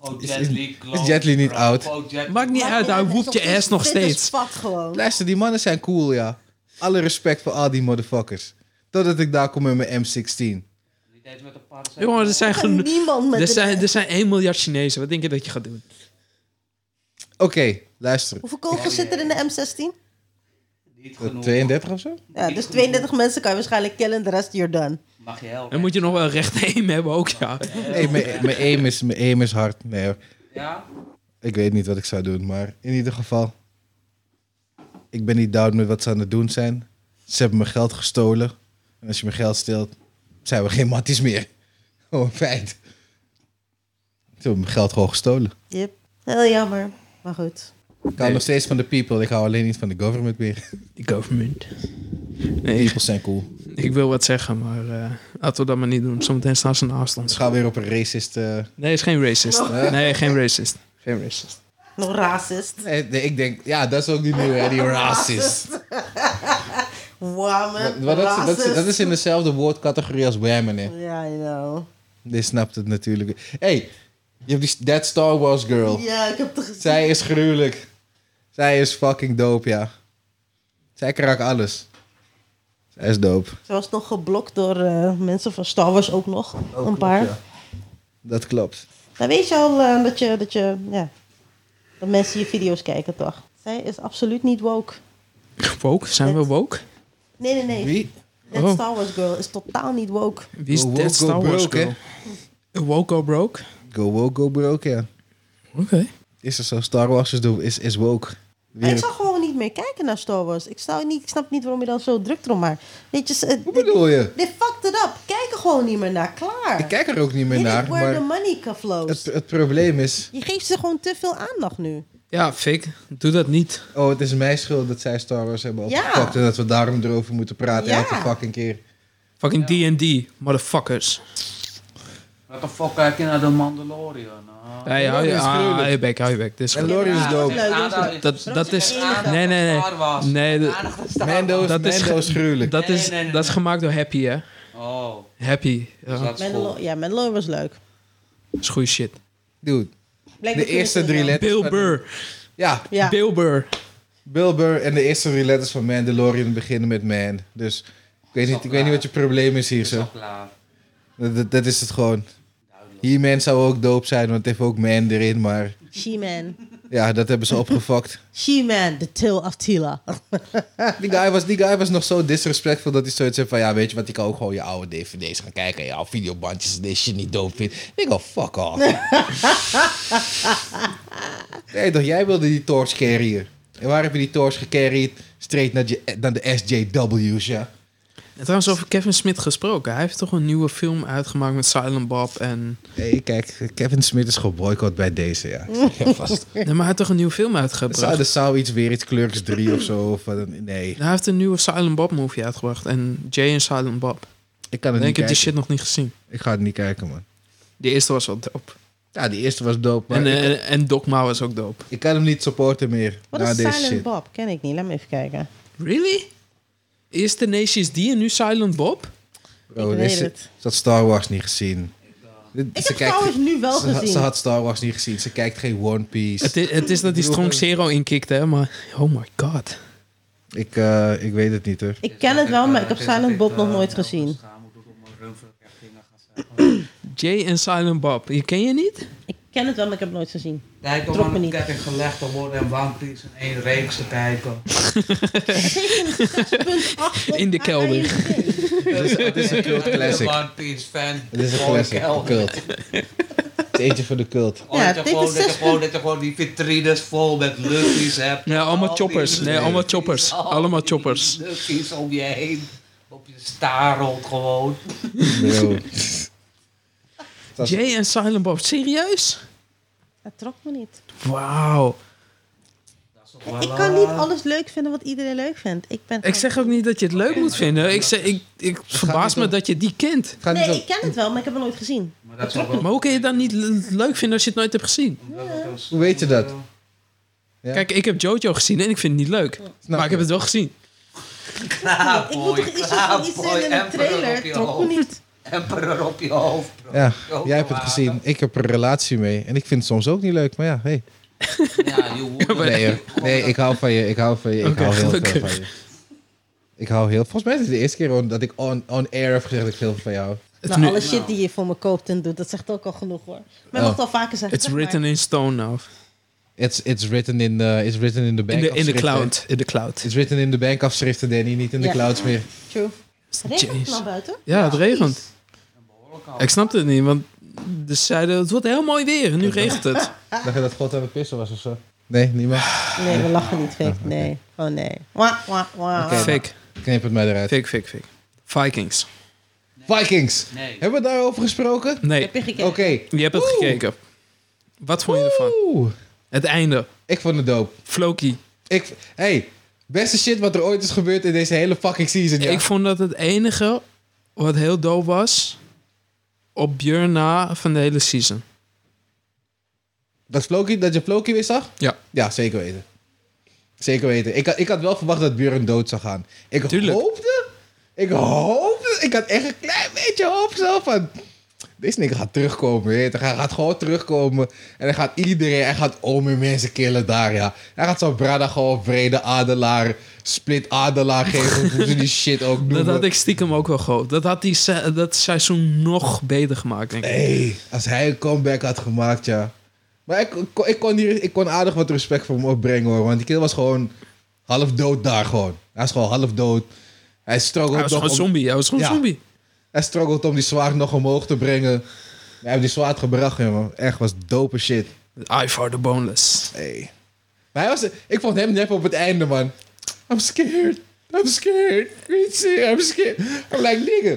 Gewoon
Is-
Jet
is-
Li,
is Jet Li niet
Bro,
oud?
gewoon Jet Li.
Maakt niet uit, hij woept je ass nog steeds.
Dit is gewoon.
Luister, die mannen zijn cool, ja. Alle respect voor al die motherfuckers. Totdat ik daar kom met mijn M16.
Die deed met een paar
Jongen, er zijn genoeg...
Niemand met
Er
een-
zijn, er zijn 1 miljard Chinezen. Wat denk je dat je gaat doen?
Oké, luister.
Hoeveel kogels zitten er in de M16?
Niet genoeg.
32 of zo?
Ja, dus 32 mensen kan je waarschijnlijk killen, de rest you're done.
Mag je helpen?
Dan moet je nog wel recht <laughs> aim hebben ook, ja.
Nee, mijn mijn aim, is- mijn aim is hard. Nee hoor.
Ja?
Ik weet niet wat ik zou doen, maar in ieder geval. Ik ben niet down met wat ze aan het doen zijn. Ze hebben mijn geld gestolen. En als je mijn geld steelt, zijn we geen matties meer. <laughs> Gewoon een feit. Ze hebben mijn geld gewoon gestolen.
Yep. Heel jammer, maar goed.
Ik hou nog steeds van de people. Ik hou alleen niet van de government meer.
Die government. Nee,
People zijn cool.
ik wil wat zeggen, maar eh, laten we dat maar niet doen. Zometeen staan ze naast
Ze
ons.
gaan weer op een racist... eh,
Nee, is geen racist. Nee, geen racist. Geen racist.
Nog racist.
Nee, nee, ik denk, ja, dat is ook die nieuwe, <laughs> hè, die racist.
Woman,
Maar dat, is- dat,
racist.
is, dat is in dezelfde woordcategorie als whammen, hè.
Ja, I know.
Die snapt het natuurlijk. Hé, hey, je hebt die That Star Wars girl.
Ja, ik heb het gezien.
Zij is gruwelijk. Zij is fucking dope, ja. Zij kraakt alles. Zij is dope.
Ze was nog geblokt door eh, mensen van Star Wars ook nog.
Oh,
een paar.
Dat klopt.
Dan weet je al eh, dat, je, dat, je, ja, dat mensen je video's kijken, toch? Zij is absoluut niet woke.
Woke? Zijn we woke?
Nee, nee, nee.
Wie?
That
Oh.
Star Wars girl is totaal niet woke.
Wie is
Go
Dead
woke, go
Star Wars
broke, hè?
girl? Woke or broke?
Go woke, go broke, ja.
Oké.
Is er zo? Star Wars is, dope, is, is woke.
Maar
Weer-
ik zou gewoon niet meer kijken naar Star Wars. Ik, zou niet, ik snap niet waarom je dan zo druk erom maakt. Weet je, ze-
Hoe
dit-
bedoel je?
Dit fucked it up. Kijk er gewoon niet meer naar. Klaar.
Ik kijk er ook niet meer
Dit is
naar,
where the
maar
money flows.
het, het probleem is...
Je geeft ze gewoon te veel aandacht nu.
Ja, Fik, doe dat niet.
Oh, het is mijn schuld dat zij Star Wars hebben
Ja.
opgepakt en dat we daarom erover moeten praten
Ja.
elke fucking keer.
Fucking D&D, motherfuckers.
Wat de fuck kijk je naar de Mandalorian? ah?
Hey, hou je,
Dat is
ah,
gruwelijk.
hou je bek, hou je bek. Dit is
En
goed.
Lori is
Ja,
dope.
leuk,
aandacht-
dat
Dat, dat is...
aandacht
Nee, nee, nee.
Star Wars.
Nee, dat-
Aandacht aan Star
Mando is,
Wars.
Dat is
Mando is gruwelijk.
Dat
Nee,
is,
nee, nee,
dat is
nee.
gemaakt door Happy, hè?
Oh,
Happy.
dus
Ja,
dat is
Mandalor
goed.
ja, Mandalore was leuk.
dat is goede shit.
Dude,
Blijkbaar
de
vind ik
eerste
het
drie
wel.
letters...
Bill
van-
Burr.
Ja,
Ja.
Bill Burr.
Bill Burr en de eerste drie letters van Mandalorian beginnen met man. Dus ik weet niet, ik weet niet wat je probleem is hier
Is al
zo.
klaar.
Dat, dat, dat is het gewoon.
Duidelijk.
He-Man zou ook dope zijn, want het heeft ook man erin. Maar
She-Man.
ja, dat hebben ze opgefokt.
She-Man, the tale of Tila.
Die guy, was, die guy was nog zo disrespectful dat hij zoiets zei van... Ja, weet je wat, ik kan ook gewoon je oude dvd's gaan kijken. En je oude videobandjes en deze shit niet dope vindt. Ik go, fuck off. nee toch, jij wilde die torch carrier. En waar heb je die torch gecarried? Straight naar, je, naar de SJW's, ja.
En trouwens, over Kevin Smith gesproken. Hij heeft toch een nieuwe film uitgemaakt met Silent Bob en...
Nee, kijk, Kevin Smith is geboycott bij deze,
<laughs>
ja. Vast.
Nee, maar hij heeft toch een nieuwe film
Er
uitgebracht?
zou, er zou iets weer, iets Clerks 3 of zo. Of, wat dan- nee,
Hij heeft een nieuwe Silent Bob movie uitgebracht. En Jay en Silent Bob.
ik kan het
En
niet
ik heb die
kijken.
shit nog niet gezien.
Ik ga het niet kijken, man.
De eerste was wel dope.
Ja, die eerste was dope, maar
En,
ik,
eh, en Dogma was ook dope.
ik kan hem niet supporten meer.
Wat
na
is
deze
Silent
shit.
Bob? Ken ik niet. Laat me even kijken.
Really? Eerst The Nations D en nu Silent Bob?
Bro,
Ik
deze-
weet het.
Ze had Star Wars niet gezien.
Ik
Dus
heb trouwens nu wel
ze, had-
gezien.
ze had Star Wars niet gezien. Ze kijkt geen One Piece.
Het is, het is
<laughs>
dat hij Strong Zero inkikt, hè? Maar oh my god.
Ik, eh, ik weet het niet, hoor.
Ik ken het wel, maar ik heb
Het is dat
Silent Bob
ik,
nog
eh,
nooit
wel
gezien.
beschaamd doe om een rumvel echt dingen gaan zeggen.
Jay en Silent Bob. Je ken je niet?
Ik ken het wel, maar ik heb het nooit gezien.
Kijk om
Trok me
aan een
niet.
ketting gelegd te worden en One Piece in één reeks te
<laughs>
kijken.
<laughs> 6.8
In de
op
kelder.
IMDb.
Het
is een cult classic.
One Piece fan.
Het is een
Gewoon
classic.
kelder.
Cult. Het eentje voor de
<laughs>
cult.
Oh,
Ja,
dat, je
tegen
gewoon, dat, je
zes-
gewoon, dat je gewoon die vitrines vol met luckies hebt.
Nee, allemaal
Al
choppers.
die
Nee, allemaal choppers.
al
Allemaal
die
choppers.
Luckies om je heen. Op je starelt gewoon.
Bro. Dat-
Jay en Silent Bob, serieus?
Dat trok me niet.
Wauw.
Dat is toch
Ik
wel,
kan
eh,
niet alles leuk vinden wat iedereen leuk vindt. Ik ben
Ik zeg ook niet dat je het leuk moet vinden. Ik, zeg, ik, ik verbaas me dat je die kent.
Het gaat niet
Nee,
om-
ik ken het wel, maar ik heb het nooit gezien.
Maar dat is toch wel...
Maar hoe kun je dat niet l- leuk vinden als je het nooit hebt gezien?
Hoe weet je dat? Ja.
Kijk, ik heb Jojo gezien en ik vind het niet leuk.
Nou,
Maar ik heb het wel gezien.
ik moet toch iets van iets zien in de trailer. Trok me niet.
Emperor op je hoofd. bro.
Ja,
Jojo
jij hebt het
wapen.
gezien. Ik heb er een relatie mee. En ik vind het soms ook niet leuk. Maar ja, hey.
Ja, je woede.
Nee, joh. nee ik hou van je. Ik hou van je. Ik
Oké,
hou heel veel
gelukkig.
van je. Ik hou heel... Volgens mij is het de eerste keer on- dat ik on, on air heb gezegd dat ik veel van jou hou.
Nou, alle shit die je voor me koopt en doet, dat zegt ook al genoeg hoor. Maar
Oh.
mag het al vaker zeggen.
It's
zeg maar.
written in stone now.
It's, it's, written in the, it's written in the bank
In de, in de
afschriften.
cloud. In de cloud.
It's written in de bank afschriften, Danny. Niet in de
Ja.
clouds meer.
True. Regent het
Jeez.
nou buiten?
Ja, het regent.
Behoorlijk
Ik snap het niet, want ze zeiden het wordt heel mooi weer en nu regent het.
Dacht je dat God aan het pissen was of zo? Nee, niemand.
Nee, we lachen niet, fake. Nee. Oh nee. Wah, wah, wah.
Oké.
Fake,
Knip het mij eruit.
fake, fake, fake. Vikings.
Vikings.
Nee.
Hebben we daarover gesproken?
Nee,
Heb je gekeken?
Oké.
je hebt het gekeken. Wat vond je ervan?
Oeh.
Het einde.
Ik vond het dope.
Floki.
Ik, hey, beste shit wat er ooit is gebeurd in deze hele fucking season. Ja.
Ik vond dat het enige wat heel doof was op Björn na van de hele season.
dat, Floki, dat je Floki weer zag?
Ja.
Ja, zeker weten. Zeker weten. Ik, had- ik had wel verwacht dat Björn dood zou gaan. Ik
Tuurlijk.
hoopte... Ik hoopte... Ik had echt een klein beetje hoop zo van... Deze nigga gaat terugkomen, weet je. Hij gaat gewoon terugkomen. En hij gaat iedereen... Hij gaat ome mensen killen daar, ja. Hij gaat zo'n Brada gewoon vrede adelaar... Split adelaar geven. hoe ze die shit ook noemen.
<laughs> Dat had ik stiekem ook wel gehoopt. Dat had die se- dat seizoen nog beter gemaakt, denk ik.
Nee, als hij een comeback had gemaakt, ja. Maar ik, ik, kon- ik kon hier, ik kon aardig wat respect voor hem opbrengen hoor. Want die kind was gewoon half dood daar gewoon. Hij is gewoon half dood. Hij
Hij
struggelt
was gewoon
nog om,
zombie. Hij was gewoon
Ja.
zombie.
hij struggelt om die zwaard nog omhoog te brengen. Hij heeft die zwaard gebracht, jongen. Echt, was dope shit.
Eye for the boneless.
Hey. Maar hij was, ik vond hem nep op het einde, man. I'm scared. I'm scared. Niet zien, I'm scared. I'm like, nigga.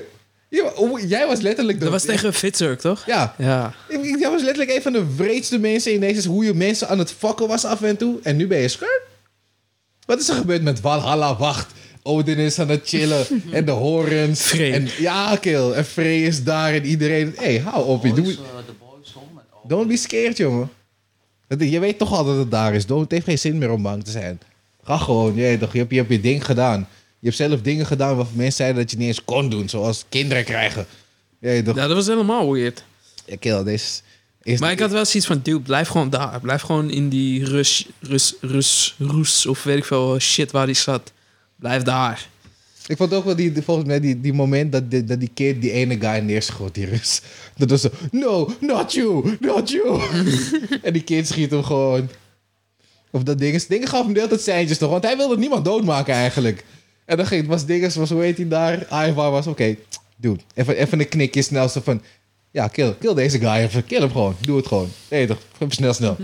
je- Jij was letterlijk... de-
Dat was tegen Fitzurk, toch?
Ja,
Ja.
Ik, ik- dat was letterlijk een van de wreedste mensen in deze. Hoe je mensen aan het fokken was af en toe. En nu ben je skirt. Wat is er gebeurd met Valhalla? Wacht. Odin is aan het
<laughs>
chillen. en de horens.
Frey.
En, ja, kill. En Frey is daar. En iedereen. Hé, hey, hou op. je. Doe,
de boys hoor, met ogen.
don't be scared, jongen. Dat- Je weet toch al dat het daar is. Don't, het heeft geen zin meer om bang te zijn. Ga gewoon. Je, weet toch, je, hebt, je hebt je ding gedaan. Je hebt zelf dingen gedaan waarvan mensen zeiden dat je niet eens kon doen. Zoals kinderen krijgen. Je, weet toch,
ja, dat was helemaal weird.
ja, kill. Deze is
Maar ik had wel zoiets van, dude, blijf gewoon daar. Blijf gewoon in die rus, rus, rus, roes of weet ik veel shit waar hij zat. Blijf daar.
Ik vond ook wel die, die- volgens mij die, die moment dat die, dat die kid die ene guy neerschoot, die Rus. Dat was zo, no, not you, not you. <laughs> en die kid schiet hem gewoon. Of dat ding is, dingen gaf hem de hele tijd seintjes toch, want hij wilde niemand doodmaken eigenlijk. En dan ging, was dinges, was hoe heet hij daar? Ivar was, oké, dude, even, even een knikje snel zo van, ja, kill, kill deze guy even, kill hem gewoon, doe het gewoon. Nee toch, even snel, snel.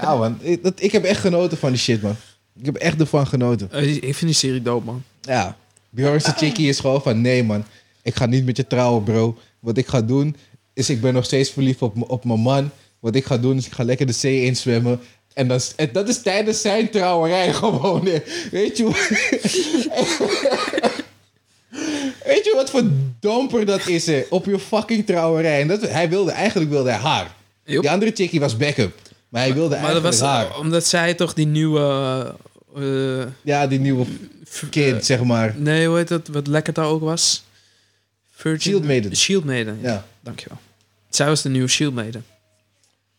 ja man, ik, dat- ik heb echt genoten van die shit man. Ik heb echt ervan genoten.
Eh, Ik vind die serie dood, man.
Ja. Bjornse chickie is gewoon van... Nee, man. Ik ga niet met je trouwen, bro. Wat ik ga doen, is ik ben nog steeds verliefd op, m- op mijn man. Wat ik ga doen, is ik ga lekker de zee inzwemmen. En, dan, s- en dat is tijdens zijn trouwerij <laughs> gewoon. hè. Weet je hoe... <laughs> Weet je wat voor domper dat is, hè? Op je fucking trouwerij. En dat, hij wilde, eigenlijk wilde hij haar.
Yep.
Die andere chickie was backup. Maar hij wilde
Maar dat
eigenlijk
was
haar.
omdat zij toch die nieuwe... eh, eh,
Ja, die nieuwe
v-
kind, zeg maar.
Nee, hoe heet dat? Wat lekker daar ook was? Virgin...
Shield Maiden.
Shield Maiden, ja.
Ja.
Dankjewel. Zij was de nieuwe Shield Maiden.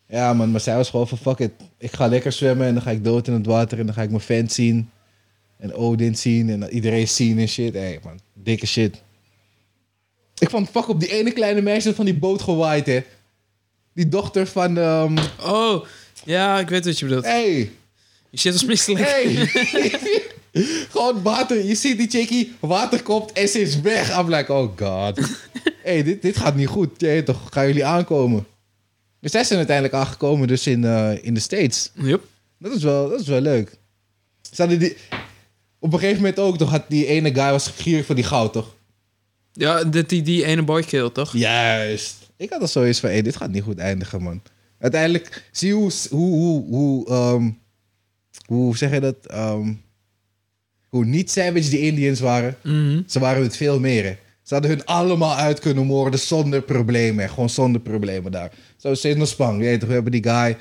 Ja, man, maar zij was gewoon van fuck it. Ik ga lekker zwemmen en dan ga ik dood in het water en dan ga ik mijn fans zien. En Odin zien en iedereen zien en shit. Hé, man, dikke shit. Ik vond fuck op die ene kleine meisje van die boot gewaaid, hè. Die dochter van, ehm
Oh, ja, ik weet wat je bedoelt.
hey,
Je shit was misselijk.
hey. <laughs> Gewoon water, je ziet die chickie, water komt en ze is weg. I'm like, oh god. Hé, hey, dit, dit gaat niet goed. Jij weet toch, gaan jullie aankomen? Dus zij zijn uiteindelijk aangekomen dus in, eh, in de States.
Yup.
Dat is wel, dat is wel leuk. Ze hadden die... Op een gegeven moment ook, toch? Had die ene guy was gierig van die goud, toch?
Ja, dat die, die ene boy killt, toch?
Juist. Ik had al zoiets van, hé, dit gaat niet goed eindigen, man. Uiteindelijk, zie je hoe, hoe, hoe, hoe, ehm, hoe zeg je dat? ehm, hoe niet savage die Indians waren.
Mhm.
Ze waren het veel meer. hè. Ze hadden hun allemaal uit kunnen moorden zonder problemen. hè. Gewoon zonder problemen daar. Zo steeds naar Spang. Je weet toch, we hebben die guy.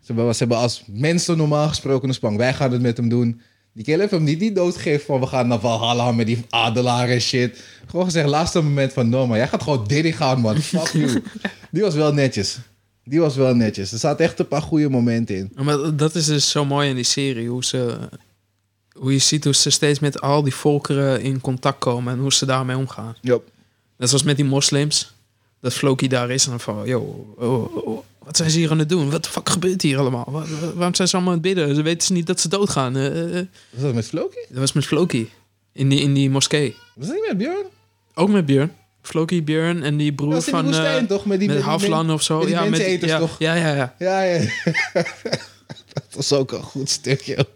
Ze hebben, ze hebben als mensen normaal gesproken een Spang. Wij gaan het met hem doen. Die kill heeft hem niet, niet doodgegeven van we gaan naar Valhalla met die adelaar en shit. Gewoon gezegd, laatste moment van no man, jij gaat gewoon dit gaan man. Fuck you. Die was wel netjes. Die was wel netjes. Er zaten echt een paar goede momenten in.
Maar dat is dus zo mooi in die serie. Hoe, ze, hoe je ziet hoe ze steeds met al die volkeren in contact komen en hoe ze daarmee omgaan.
Yep.
Net zoals met die moslims. Dat Floki daar is en dan van, yo, oh, oh, wat zijn ze hier aan het doen? Wat de fuck gebeurt hier allemaal? Wa- wa- waarom zijn ze allemaal aan het bidden? Ze weten ze niet dat ze doodgaan. Eh, eh, eh.
Was dat met Floki?
dat was met Floki in die, in die moskee.
Was dat niet met Björn?
Ook met Björn. Floki, Björn en die broer
Dat was in die
van... eh,
woestijn toch? Met die,
met
met die
Haflan of zo.
met die
ja, met
menseneters
ja,
toch?
Ja, ja, ja.
Ja, ja. <laughs> dat was ook een goed stukje.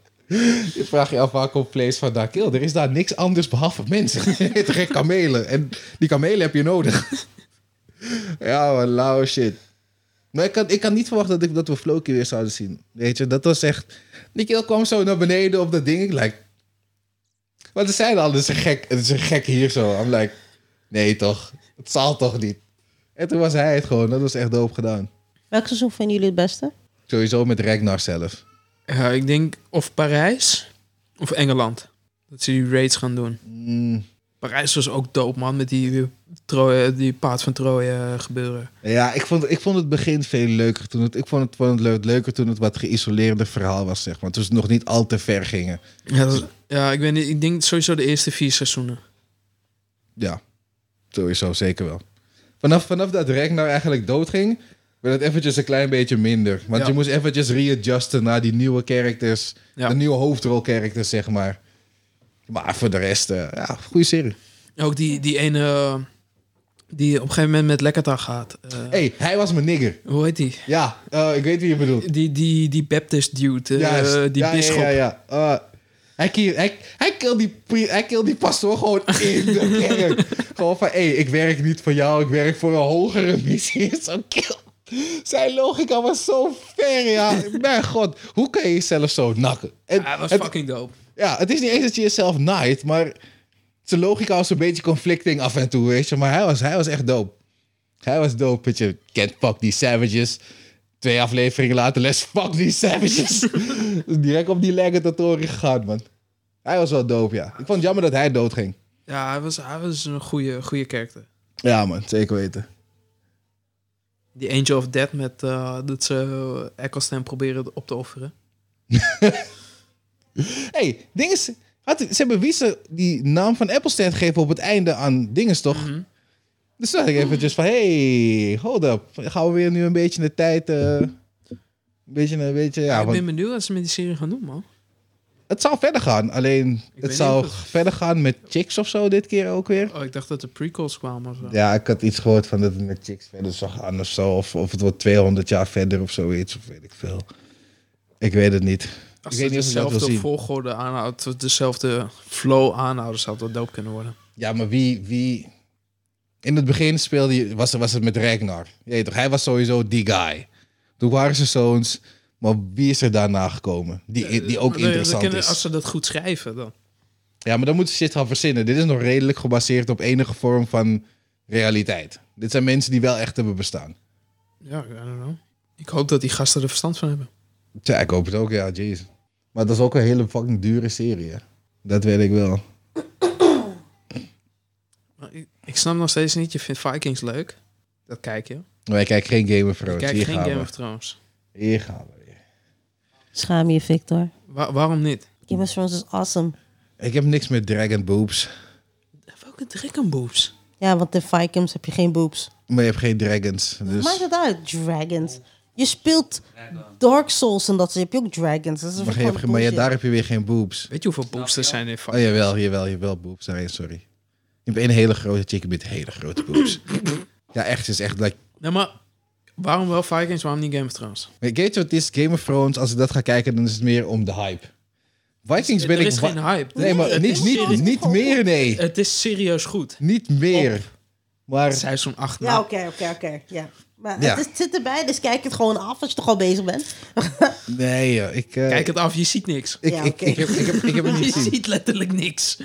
Je vraagt je af waar komt vlees vandaan. Kill, er is daar niks anders behalve <laughs> mensen. Je hebt geen kamelen. En die kamelen heb je nodig. ja, man, lauwe shit. Maar ik had, ik had niet verwacht dat, ik, dat we Floki weer zouden zien. Weet je, dat was echt... Die kill kwam zo naar beneden op dat ding. Ik like... Want ze zeiden al, het is een gek, het is een gek hier zo. I'm like, nee toch. Het zal toch niet. En toen was hij het gewoon. Dat was echt doop gedaan.
Welk seizoen vinden jullie het beste?
Sowieso met Ragnar zelf.
Ja, ik denk of Parijs of Engeland. Dat ze die raids gaan doen.
Mm,
Parijs was ook dope, man. Met die, die, Troje- die paard van Troje eh, gebeuren.
Ja, ik vond, ik vond het begin veel leuker toen het... Ik vond het, vond het leuk, leuker toen het wat geïsoleerder verhaal was, zeg maar. Toen ze nog niet al te ver gingen.
Ja, dat is- ja ik, ben, ik denk sowieso de eerste vier seizoenen.
Ja, sowieso, zeker wel. Vanaf, vanaf dat Ragnar eigenlijk doodging... werd het eventjes een klein beetje minder. Want
Ja.
je moest eventjes readjusten naar die nieuwe characters.
Ja.
De nieuwe hoofdrolcharacters, zeg maar. Maar voor de rest, eh, ja, goede serie.
Ook die, die ene eh, die op een gegeven moment met Lekkerta gaat. Eh,
hey, hij was mijn nigger.
Hoe heet die?
Ja, eh, ik weet wie je bedoelt.
Die, die, die Baptist dude, eh,
Juist.
die
ja,
bisschop.
Ja, ja, ja. Eh, hij, kill, hij, hij, kill die, pri- hij kill die pastoor gewoon in
<laughs>
de kerk. gewoon van, hé, ik werk niet voor jou, ik werk voor een hogere missie. <laughs> Zo kill. Zijn logica was zo ver,
<laughs>
ja. Mijn god, hoe kan je jezelf zo nakken? En
Ja, hij was
het,
fucking dope.
ja, het is niet eens dat je jezelf naait, maar zijn logica was een beetje conflicting af en toe, weet je. Maar hij was, hij was echt dope. Hij was dope, weet je. Kent fuck die savages. Twee afleveringen later, les fuck die savages. <laughs> Dus Direct op die legatorie gegaan, man. Hij was wel dope, ja. Ik vond het jammer dat hij doodging.
Ja, hij was, hij was een goede, goede karakter.
Ja, man, zeker weten.
Die Angel of Death met eh, dat ze Eccleston proberen op te offeren.
hey, ding is... Had, ze hebben Wiese die naam van Applestead gegeven op het einde aan dinges, toch?
Mhm.
Dus toen dacht ik eventjes van, hey, hold up. Gaan we weer nu een beetje in de tijd... eh, een beetje, een beetje, ja,
ik
want
ben benieuwd wat ze met die serie gaan doen, man.
het zou verder gaan. Alleen,
weet
het
niet
zou
of het-
verder gaan met chicks of zo dit keer ook weer.
Oh, ik dacht dat de prequels kwamen of zo.
Ja, ik had iets gehoord van dat het met chicks verder zou gaan of zo. Of, of het wordt 200 jaar verder of zoiets, of weet ik veel. Ik weet het niet.
Als
ik weet
ze
niet of ik dat wil
dezelfde
zien.
volgorde aanhoudt, dezelfde flow aanhouden, zou dat dope kunnen worden.
Ja, maar wie... wie... In het begin speelde je, was, was het met Ragnar. Je weet toch, hij was sowieso die guy. Toen waren ze zoons. Maar wie is er daarna gekomen? Die, die ook
Maar dan- dan
interessant
kunnen-
is.
Als ze dat goed schrijven, dan.
Ja, maar dan moeten ze dit gaan verzinnen. Dit is nog redelijk gebaseerd op enige vorm van realiteit. Dit zijn mensen die wel echt hebben bestaan.
Ja, I don't know. Ik hoop dat die gasten er verstand van hebben.
Ja, ik hoop het ook, ja, jeez. Maar dat is ook een hele fucking dure serie, hè? Dat weet ik wel.
Maar ik, ik snap nog steeds niet, je vindt Vikings leuk. Dat kijk je.
Maar ik kijk geen Game of
Ik
Thrones.
kijk
Hier
geen
gaan
Game
we.
of Thrones.
Hier gaan we weer.
Schaam je, Victor.
Wa- waarom niet?
Game of Thrones is awesome.
Ik heb niks met Dragon Boobs.
Welke Dragon Boobs?
Ja, want de Vikings heb je geen boobs.
Maar je hebt geen dragons. Dus...
Maakt het uit, dragons. Je speelt Dark Souls en dat soort. Heb je ook dragons? Dat is
Maar, je
gewoon
hebt geen- maar ja,
bullshit.
daar heb je weer geen boobs.
Weet je hoeveel boobs er zijn in Vikings?
Oh, jawel, jawel, jawel, boobs. Nee, sorry. Je hebt één hele grote chick met hele grote boobs. ja, echt, ze is echt like
Nee, maar Waarom wel Vikings, waarom niet Game of Thrones?
Weet je wat het is? Game of Thrones, als ik dat ga kijken, dan is het meer om de hype. Vikings ben
er
ik...
is
wa-
geen hype.
Nee, maar
het,
niet,
is
niet,
serieus-
niet meer, nee.
het is serieus goed.
Niet meer. Maar
Seizoen nou, 8.
Ja, oké, oké, oké. Ja. Maar
Ja.
Het, is, het zit erbij, dus kijk het gewoon af als je toch al bezig bent.
nee, joh, ik... eh,
Kijk het af, je ziet niks.
ik,
Ja,
ik,
oké.
ik, heb, ik, heb, ik heb het
Je <laughs>
niet gezien.
ziet letterlijk niks.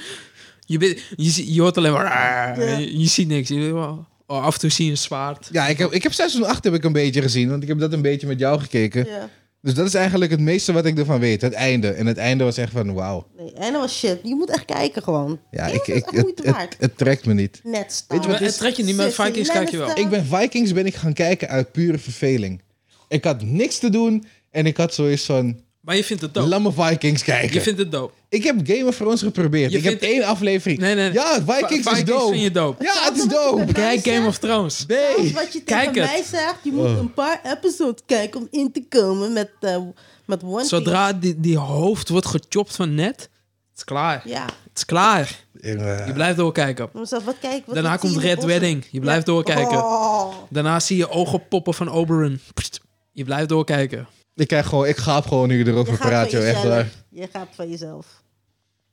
Je, bent- je, zie- je hoort alleen maar... "Ah",
Ja.
je, je ziet niks. Je, weet wel, oh, af en toe zie je een zwaard.
Ja, ik heb, ik heb seizoen 8 heb ik een beetje gezien, want ik heb dat een beetje met jou gekeken.
Ja.
Dus dat is eigenlijk het meeste wat ik ervan weet, het einde. En het einde was echt van, wauw.
Nee, en dat was shit. Je moet echt kijken gewoon.
Ja,
Ja,
ik,
dat is
ik,
echt
het,
moeite
het,
waard.
het trekt me niet.
Net
Weet je wat
staan.
het
Maar
is-
het trekt je niet, maar
Sissy
Vikings kijk je wel.
Lannister.
Ik ben Vikings ben ik gaan kijken uit pure verveling. Ik had niks te doen en ik had zoiets van,
Maar je vindt het dope.
laat me Vikings
Je
kijken.
vindt het dope.
Ik heb Game of Thrones geprobeerd.
Je
ik heb
vindt-
één aflevering.
Nee, nee.
Ja,
Vi-
Vikings, is
Vikings
dope.
vind je dope.
Ja, het is dope.
Kijk
Nice,
Game
hè?
of Thrones.
Als
Nee.
wat je
Kijk
tegen
het.
mij zegt, je
Oh.
moet een paar episodes kijken om in te komen met, eh met One
Zodra die, die hoofd wordt gechopt van net, het is klaar.
Piece. Ja.
Het is klaar.
Ja.
Je blijft doorkijken.
Maar zelf, wat kijk, wat
Daarna
wat zie
komt
je
Red
eronder?
Wedding. Je blijft doorkijken.
Oh.
Daarna zie je ogen poppen van Oberon. Pst. Je blijft doorkijken.
Ik, krijg gewoon, ik gaap gewoon nu
Je
erover
gaat
praten,
van
joh, echt waar.
jezelf. Je gaat van jezelf.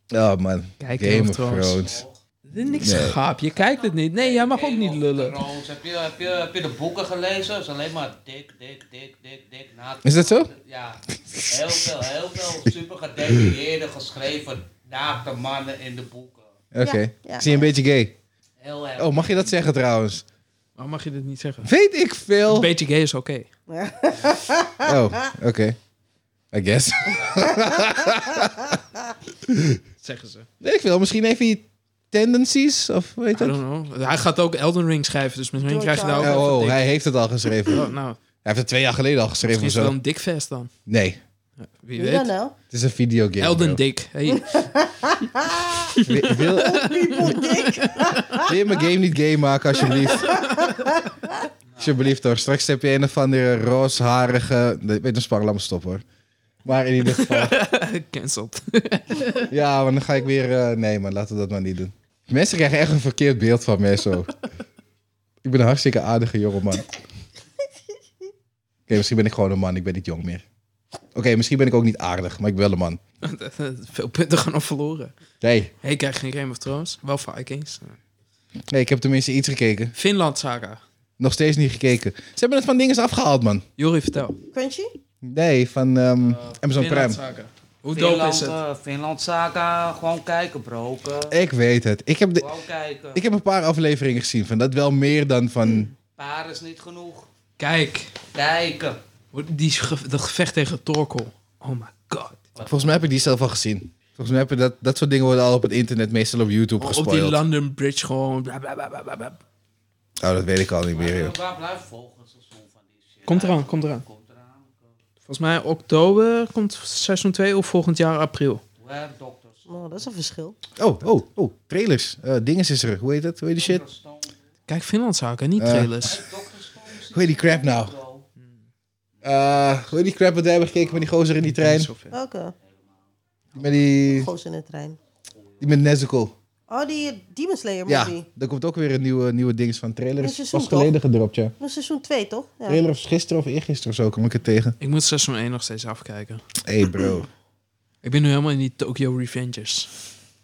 Oh man,
Kijk,
Game of
Game of
Thrones.
Dit is niks
Nee.
gaap. Je kijkt het niet. Nee, jij mag ook niet lullen.
Thrones. Heb, je, heb, je, heb je de boeken gelezen? Het is alleen maar dik, dik, dik, dik, dik. Na
Is dat zo?
Ja. Heel veel, heel veel super gedetailleerde geschreven naakte mannen in de boeken.
Oké.
Ja, ja.
Ik Zie je een beetje gay?
Heel erg.
Oh, mag je dat zeggen trouwens?
Waarom mag je dit niet zeggen?
Weet ik veel.
Een beetje gay is oké.
Oh, oké. I guess.
Zeggen ze.
Weet ik veel. Misschien even je tendencies of weet
I
je dat?
don't know. Hij gaat ook Elden Ring schrijven, dus misschien
Door
krijg je daar ook
Charles.
Oh,
wel
oh,
van
hij
dik.
heeft het al geschreven. Hij
Oh, nou,
heeft het twee jaar geleden al
misschien
geschreven of
is het wel
zo.
een dikfest dan.
Nee,
Wie
<laughs> You don't
weet.
know.
het is een videogame.
Elden
bro.
Dick. Hey, <laughs>
Wil, wil,
People dick.
<laughs> wil je mijn game niet game maken, alsjeblieft? alsjeblieft hoor. Straks heb je een of andere roosharige... Nee, Weet je, spang, laat me stoppen hoor. Maar in
<laughs>
ieder geval...
cancelled. <laughs>
Ja, maar dan ga ik weer... eh, nee, man, laten we dat maar niet doen. Mensen krijgen echt een verkeerd beeld van mij zo. ik ben een hartstikke aardige jongeman. Oké, misschien ben ik gewoon een man. Ik ben niet jong meer. Oké, misschien ben ik ook niet aardig, maar ik ben wel een man.
Veel punten gaan nog verloren.
Nee,
Hey, ik krijg geen Game of Thrones. Wel Vikings.
nee ik heb tenminste iets gekeken.
Finland saga.
Nog steeds niet gekeken. Ze hebben het van dingen afgehaald, man.
Jori, vertel.
Crunchy?
Nee, van ehm, Amazon
Finland
Prime.
saga. Hoe dope
Finland,
is het?
eh, Finland saga, gewoon kijken bro. ook, eh.
Ik weet het. Ik heb, de,
Gewoon kijken.
ik heb een paar afleveringen gezien van dat wel meer dan van...
Paar is niet genoeg.
Kijk,
Kijken.
die, ge- dat gevecht tegen Torkel. Oh my god.
Volgens mij heb ik die zelf al gezien. Volgens mij heb ik dat, dat soort dingen worden al op het internet, meestal op YouTube
Oh, Op die
gespoild.
London Bridge gewoon. Bla, bla, bla, bla, bla, bla.
Oh, dat weet ik al niet meer.
Maar,
joh.
eh, waar blijft volgend seizoen van die shit?
Komt eraan, komt eraan.
Komt eraan.
Volgens mij oktober komt seizoen 2 of volgend jaar april.
Where Doctors.
Oh, dat is een verschil.
Oh, oh, oh, trailers. Eh dinges is er. Hoe heet dat? Hoe heet die shit?
Doctor Stone.
Kijk, Finland zaken, niet
Eh.
trailers.
Doctor Stone is
Hoe heet die crap nou?
zo.
Eh, hoe heet die crap wat we hebben gekeken met die gozer in die trein?
Oké.
Met die,
Goos eh, in de trein.
die met Nezuko.
Oh, die Demon Slayer
Ja,
movie.
daar komt ook weer een nieuwe, nieuwe ding van. Trailer
Dit
is
seizoen
pas geleden gedropt, ja.
Dat is seizoen 2, toch? Ja.
Trailer was gisteren of eergisteren of zo, kom ik het tegen.
Ik moet seizoen 1 nog steeds afkijken.
hey bro.
Ik ben nu helemaal in die Tokyo Revengers.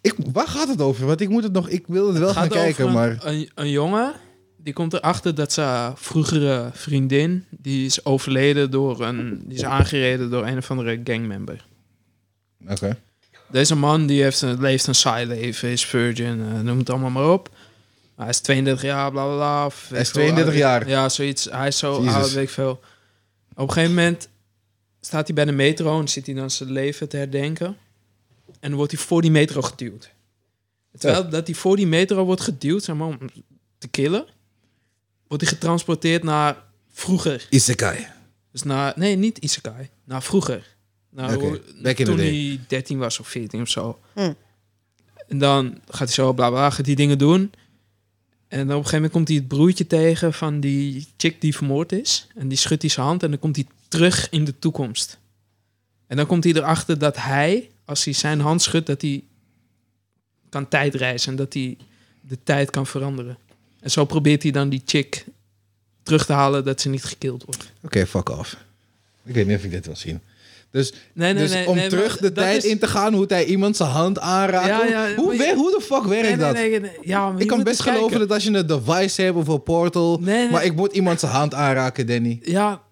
Ik, waar gaat het over? Want ik moet het nog, ik wil het wel
Het
gaan
gaat
kijken,
over
maar...
een- Een, een jongen, die komt erachter dat zijn vroegere vriendin... die is overleden door een... die is aangereden door een of andere gangmember.
Oké.
Deze man die heeft een, leeft een saai leven, is virgin, eh, noem het allemaal maar op. Hij is 32 jaar, bla bla bla. of weet
Hij is
ik veel,
32
oud-
jaar.
Ja, zoiets. Hij is zo
Jezus.
oud, weet ik veel. Op een gegeven moment staat hij bij de metro en zit hij dan zijn leven te herdenken. En dan wordt hij voor die metro geduwd. Terwijl dat hij voor die metro wordt geduwd, zeg maar, om te killen, wordt hij getransporteerd naar vroeger.
Isekai.
Dus naar, nee, niet Isekai. Naar vroeger. Naar
Oké,
Nou, hoe-
back in the
toen
day.
hij 13 was of 14 of zo.
Hm.
En dan gaat hij zo bla bla, gaat die dingen doen. En dan op een gegeven moment komt hij het broertje tegen van die chick die vermoord is. En die schudt hij zijn hand en dan komt hij terug in de toekomst. En dan komt hij erachter dat hij, als hij zijn hand schudt, dat hij kan tijdreizen. En dat hij de tijd kan veranderen. En zo probeert hij dan die chick terug te halen dat ze niet gekild wordt.
fuck off. Ik weet niet of ik dit wil zien. Dus,
Nee, nee,
dus
nee,
om
nee,
terug
maar
de
dat
tijd
is-
in te gaan hoe hij iemand zijn hand aanraakt.
Ja,
hoe-
ja,
hoe,
maar je-
wer- hoe de fuck werkt
Nee,
dat?
nee, nee, nee, Ja, maar je
Ik kan
moet
best
eens
geloven
kijken.
dat als je een device hebt of een portal...
Nee, nee.
Maar ik moet iemand zijn hand aanraken, Danny.
Ja,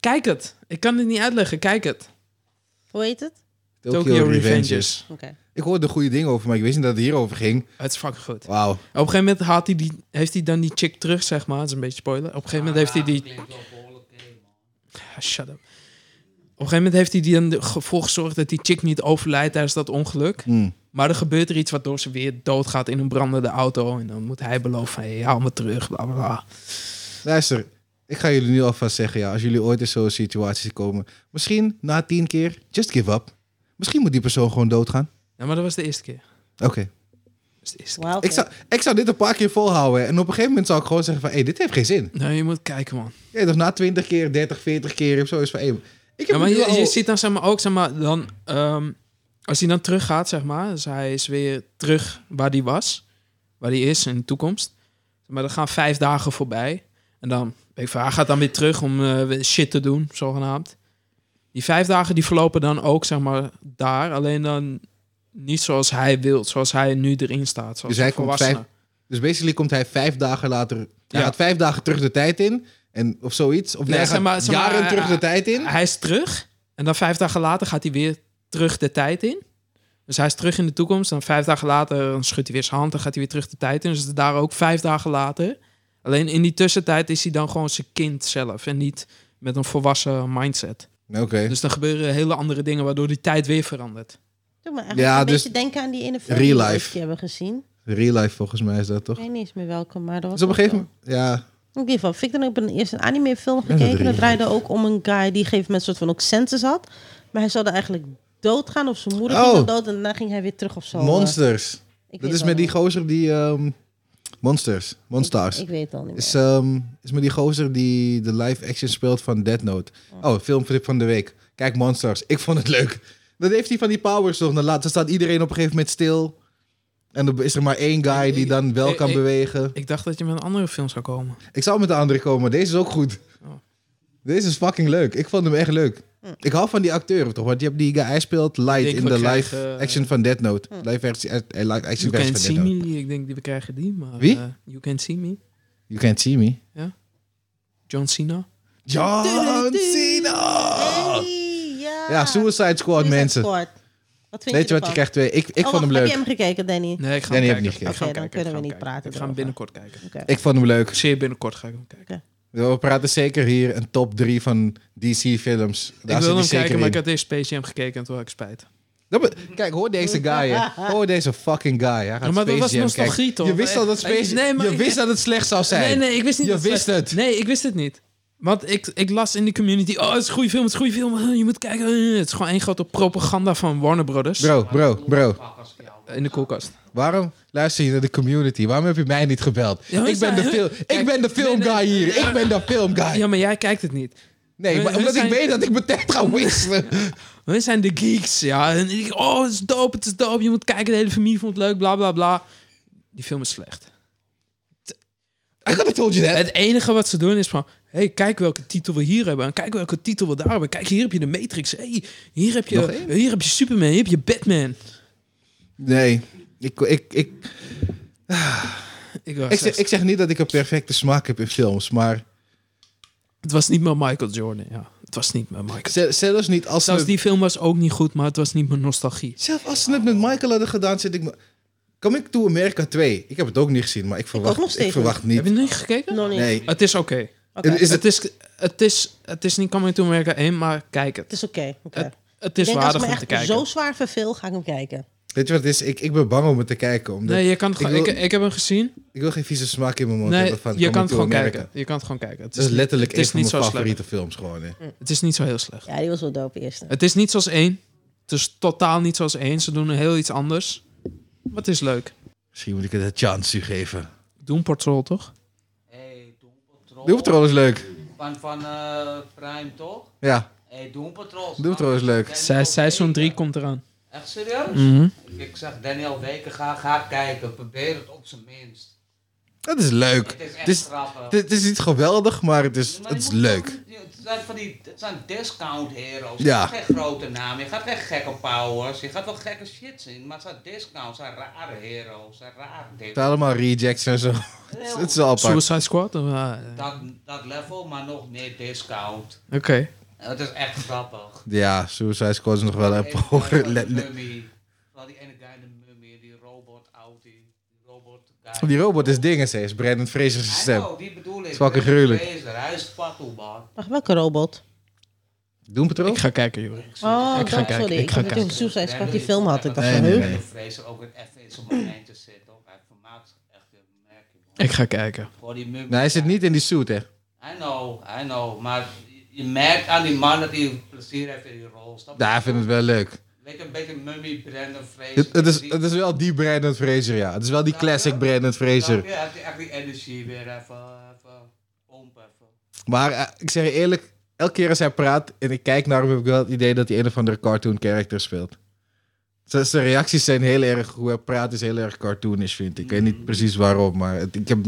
kijk het. Ik kan het niet uitleggen. Kijk het.
Hoe heet het?
Tokyo, Revengers.
Oké.
Ik hoorde goede dingen over, maar ik wist niet dat het hierover ging.
Het is fucking goed.
Wauw.
Op een gegeven moment haalt hij die, heeft hij dan die chick terug, zeg maar. Dat is een beetje spoiler. Op een gegeven moment heeft hij die...
Klinkt wel behoorlijk oké, man.
Ah, shut up. Op een gegeven moment heeft hij die dan ervoor gezorgd dat die chick niet overlijdt tijdens dat ongeluk.
Hmm.
Maar er gebeurt er iets waardoor ze weer doodgaat in een brandende auto. En dan moet hij beloven van, hey, haal me terug, bla bla bla.
Luister, ik ga jullie nu alvast zeggen, ja, als jullie ooit in zo'n situatie komen, misschien na tien keer, just give up. Misschien moet die persoon gewoon doodgaan.
Ja, maar dat was de eerste keer.
Oké.
Dat was de eerste
Wild
Ik, zou, ik zou dit een paar keer volhouden en op een gegeven moment zou ik gewoon zeggen van, hé, dit heeft geen zin.
keer. Nee, Nou, je moet kijken, man.
Ja, dus na twintig keer, dertig, veertig keer of zo is van, hé, ik heb
Ja, maar
het nu
je,
al-
je ziet dan zeg maar, ook, zeg maar, dan, ehm, als hij dan teruggaat, zeg maar, dus hij is weer terug waar hij was, waar hij is in de toekomst. Maar dan gaan vijf dagen voorbij. En dan, weet ik, van, hij gaat dan weer terug om eh, weer shit te doen, zogenaamd. Die vijf dagen die verlopen dan ook, zeg maar, daar. Alleen dan niet zoals hij wil, zoals hij nu erin staat. Zoals
Dus hij
een
komt
volwassene.
vijf- Dus basically komt hij vijf dagen later, hij
Ja.
gaat vijf dagen terug de tijd in en, of zoiets. Of
Nee,
nee, hij
zeg
gaat
maar- zeg maar,
jaren
eh,
terug de tijd in.
Hij is terug. En dan vijf dagen later gaat hij weer terug de tijd in. Dus hij is terug in de toekomst. Dan vijf dagen later dan schudt hij weer zijn hand. Dan gaat hij weer terug de tijd in. Dus het is daar ook vijf dagen later. Alleen in die tussentijd is hij dan gewoon zijn kind zelf. En niet met een volwassen mindset.
Oké.
Dus dan gebeuren hele andere dingen waardoor die tijd weer verandert.
Doe me eigenlijk
Ja,
een
dus-
beetje denken aan die ene film
Real
die we
life.
die hebben gezien.
Real life volgens mij is dat
Ik
toch?
weet niet eens meer welke, maar dat was
Dus op een
ook
gegeven
wel.
moment, ja,
In ieder geval, vind ik dan ook een, eerst een animefilm
dat
gekeken.
drie.
Dat draaide ook om een guy die op een gegeven moment soort van ook senses had. Maar hij zou er eigenlijk doodgaan of zijn moeder
Oh.
ging dan dood en daarna ging hij weer terug of zo.
Monsters.
Eh, ik
Dat
weet
is
wel
met die
niet.
gozer die... ehm, Monsters. Monstars.
Ik, ik weet het al niet meer.
is, ehm, is met die gozer die de live action speelt van Dead Note. Oh, filmflip van de week. Kijk, Monsters. Ik vond het leuk. Dat heeft hij van die powers toch. Dan, laat, dan staat iedereen op een gegeven moment stil. En dan is er maar één guy die dan wel
ik-
kan
ik-
bewegen.
Ik dacht dat je met een andere film zou komen.
Ik zou met de andere komen, maar deze is ook goed.
Oh. Hm.
Deze is fucking leuk. Ik vond hem echt leuk. Ik hou van die acteur toch? Want je hebt die guy, hij speelt Light
denk,
in
we
de live
krijgen, eh,
action van Dead Note. Live action, eh, live action
You
versie
Can
van
See
Dead Note.
Me. Ik denk, die we krijgen die. Maar,
Wie?
eh, you Can See Me.
You can't see me.
John Cena.
John Cena!
Hey, ja.
Ah. Ja, Suicide Squad,
Ah. Suicide
mensen.
Squad. Wat vind
Weet je wat je
ervan?
krijgt twee? Ik, ik
Oh,
vond hem
wacht, Heb
leuk.
je hem gekeken, Danny?
Nee, ik ga
Nee, die
hem
heb ik niet
kijken.
gekeken.
Ik ga hem
Oké, dan
kijken, ik
kunnen we
ga hem
niet
kijken.
praten
Ik ga hem
erover.
binnenkort kijken.
Oké.
Ik vond hem leuk.
Zeer binnenkort ga ik hem kijken.
We praten zeker hier een top 3 van DC-films.
ik wilde hem kijken, maar ik had eerst Space Jam gekeken en toen had ik spijt.
Kijk, hoor deze guy. hè. Hoor deze fucking guy. Hij gaat
Ja, maar dat
Space
was
Jam
nostalgie,
kijken.
toch?
Je wist al dat
Nee,
Space
nee, maar
Je
ik-
wist dat het slecht zou zijn.
Nee, nee, ik wist niet.
Je
dat
wist
slecht-
het.
Nee, ik wist het niet. Want ik, ik las in de community, oh, het is een goede film, het is een goede film, <laughs> eh, je moet kijken. eh, Het is gewoon één grote propaganda van Warner Brothers
Bro, bro, bro.
Fuckers, jou.
in de koelkast.
Waarom luister je naar de community? Waarom heb je mij niet gebeld?
Ja,
ik,
hun
ben de
zijn-
fil-
Kijk,
ik ben de
nee,
filmguy
nee,
hier.
nee,
Ik ben de filmguy.
Ja, maar jij kijkt het niet.
nee, maar
hun
omdat ik
zijn-
weet dat ik mijn tijd ga
<laughs>
wisselen.
We zijn de geeks, ja. En ik, oh, het is dope, het is dope, je moet kijken, de hele familie vond het leuk, bla bla bla. Die film is slecht.
I could have told you that.
Het enige wat ze doen is van... hey, kijk welke titel we hier hebben. En kijk welke titel we daar hebben. Kijk, hier heb je de Matrix. hey, hier, heb
Nog
je,
één?
hier heb je Superman. Hier heb je Batman.
Nee. Ik, ik, ik,
Ik, was
ik, zeg,
echt-
ik zeg niet dat ik een perfecte smaak heb in films, maar
Het was niet meer Michael Jordan, ja. Het was niet meer Michael
ze- zelfs niet als
Zelfs
ze,
die film was ook niet goed, maar het was niet meer nostalgie.
zelf als ze het met Michael hadden gedaan, zit ik... me- Coming to America 2. Ik heb het ook niet gezien, maar ik verwacht,
ook nog
ik
steeds
verwacht niet.
Heb je niet gekeken?
Nog niet.
Nee.
Het is oké.
Oké.
Is het,
Het, is, het, is, het is niet Coming to America 1, maar kijk
Het
het.
is oké. oké.
Het, het
Ik
is
denk als ik
waardig
me
om te
echt
kijken.
zo zwaar verveel, ga ik hem kijken.
weet je wat het is? Ik, ik ben bang om het te kijken. Omdat
Nee, je kan het
Ik
gewoon- ik,
wil-
ik, heb hem gezien.
Ik wil geen vieze smaak in mijn mond
Nee,
hebben van
je
Coming
kan het
to
gewoon
America.
kijken. Je kan het gewoon kijken. Het
Het
Dus-
is letterlijk
het is
een van
niet
mijn
zo
favoriete
slecht.
films gewoon. Hè.
Het is niet zo heel slecht.
Ja, die was wel dope eerst.
Het is niet zoals één. Het is totaal niet zoals één. Ze doen heel iets anders. Maar het is leuk.
Misschien moet ik het een chance geven.
Doom Patrol, toch?
Hey, Doom Patrol.
Doom Patrol is leuk.
Van, van eh, Prime toch?
Ja,
Hey, Doom Patrol.
Doom Patrol is leuk.
Zij, seizoen 3
komt.
komt eraan.
Echt
Mm. Mhm.
serieus? Ik zeg Daniel Weken, ga, ga kijken. Probeer het op zijn minst.
Dat is leuk.
Het is echt
Het is,
grappig.
het is niet geweldig, maar het is,
Maar je
het is
moet
leuk.
toch- Het zijn, van die, het zijn discount heroes.
Ja.
Je gaat geen grote namen, je gaat geen gekke powers, je gaat wel gekke shit zien. Maar het zijn discounts, het zijn rare heroes, het zijn rare
Het
dingen.
is allemaal rejects en zo. Het is- Het is wel apart.
Suicide Squad? of, eh, Oké.
Dat, dat level, maar nog meer discount. Het is echt grappig.
Ja, Suicide Squad is nog wel een
Even
hoger
de
le-
mummy. Vooral die ene guy in de mummy, die robot Audi, die robot guy.
le- Oh, Die robot is dingen, ze is Brandon Fraser's
Hij
stem.
ook, die bedoel ik.
is fucking
Brandon
gruwelijk.
Fraser, Hij is fatsoen, man.
Wacht, welke robot?
Doen Patrol?
Ik ga kijken, joh.
Oh,
Ik ga
dat-
kijken,
sorry.
ik
Ik
ga
had het over
kijken.
Suicide Squad, die film had ik. dacht
Nee,
van,
nee,
huh?
nee.
Brandon Fraser ook weer even in zo'n momentje zit. hoor. Hij vermaakt zich echt een merkje, man.
Ik ga kijken.
Voor die mummy.
Nee, hij zit niet in die suit, hè?
I know, I know. Maar je merkt aan die man dat hij plezier heeft in die rol. Snap je?
Ja, hij vindt het wel leuk.
Weet je, een beetje mummy, Brandon Fraser.
Het, het, is,
Die-
het is wel die Brandon Fraser, ja. Het is wel die classic Brandon
snap
Fraser.
je? Hij heeft echt die energie weer even, even pompen. Even.
Maar eh, ik zeg je eerlijk, elke keer als hij praat en ik kijk naar hem, heb ik wel het idee dat hij een of andere cartoon character speelt. Z- Zijn reacties zijn heel erg, hoe hij praat is heel erg cartoonish, vind ik. Ik weet niet precies waarom, maar het, ik heb,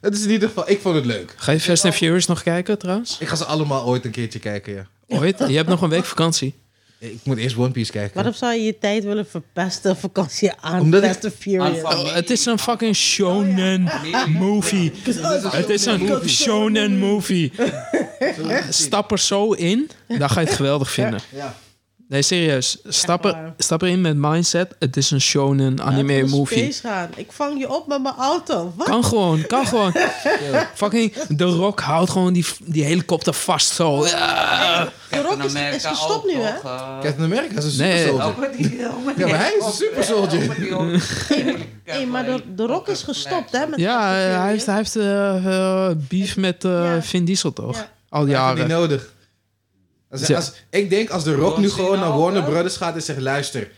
het is in ieder geval, ik vond het leuk.
Ga je Fast and Furious nog kijken, trouwens?
Ik ga ze allemaal ooit een keertje kijken, ja.
Ooit? Je hebt nog een week vakantie.
Eh, Ik moet eerst One Piece kijken.
Waarom zou je je tijd willen verpesten vakantie aan
Omdat ik-
Fast and Furious? <laughs>
Aan-
Oh, het is een fucking shonen movie.
Oh,
Het is een shonen movie. Stap er zo in, dan ga je het geweldig vinden.
Ja.
Nee, serieus. Stap, er,
waar.
stap erin met mindset. Het is een shonen anime
Laten we
movie.
space gaan. Ik vang je op met mijn auto. Wat?
Kan gewoon, kan gewoon. Fucking The Rock houdt gewoon die, die helikopter vast zo. Ja.
De rock is, is gestopt nu, hè?
Captain America is een super
Nee. oh,
soldier.
Ook eh, oh, met die ook
Ja,
met die-
maar hij is een super soldier.
ook met die- ook met
<laughs>
die-
Hey, maar de, de rock is gestopt, hè? Met
Ja,
<laughs> Fast and
hij
Furious.
heeft, hij heeft eh, eh, beef met eh,
Ja.
Vin Diesel, toch? Oh,
Ja.
Al
Hij heeft het
jaren.
niet nodig. Als,
Ja.
als- ik denk als de Rock nu
Ron
gewoon
Cena
naar
ook,
Warner
hè?
Brothers gaat en zegt... luister,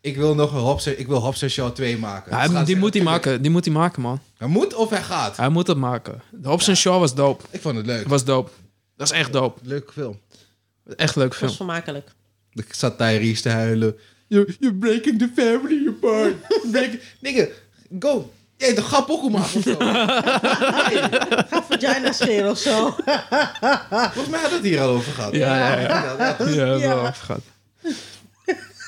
ik wil nog een Hobbs, ik wil Hobbs en Shaw 2 maken.
Hij-
Ze gaan
die
zeggen,
moet hij maken, die moet hij maken, man.
Hij moet of hij gaat.
Hij moet het maken. De Hobbs Show was dope.
Ik vond het leuk.
Was dope. Dat is echt dope.
Leuke film.
Echt leuk
Dat is
film.
vermakelijk.
Ik zat Tyrese te huilen. You- You're breaking the family apart. <laughs> You're breaking... Nigga, go. Jij de grap ook om af
<laughs>
of zo.
Ga vagina scheren of zo.
Volgens mij had het hier al over gehad.
Ja, ja, ja.
Ja.
Ja,
Ja.
wel afgegaan.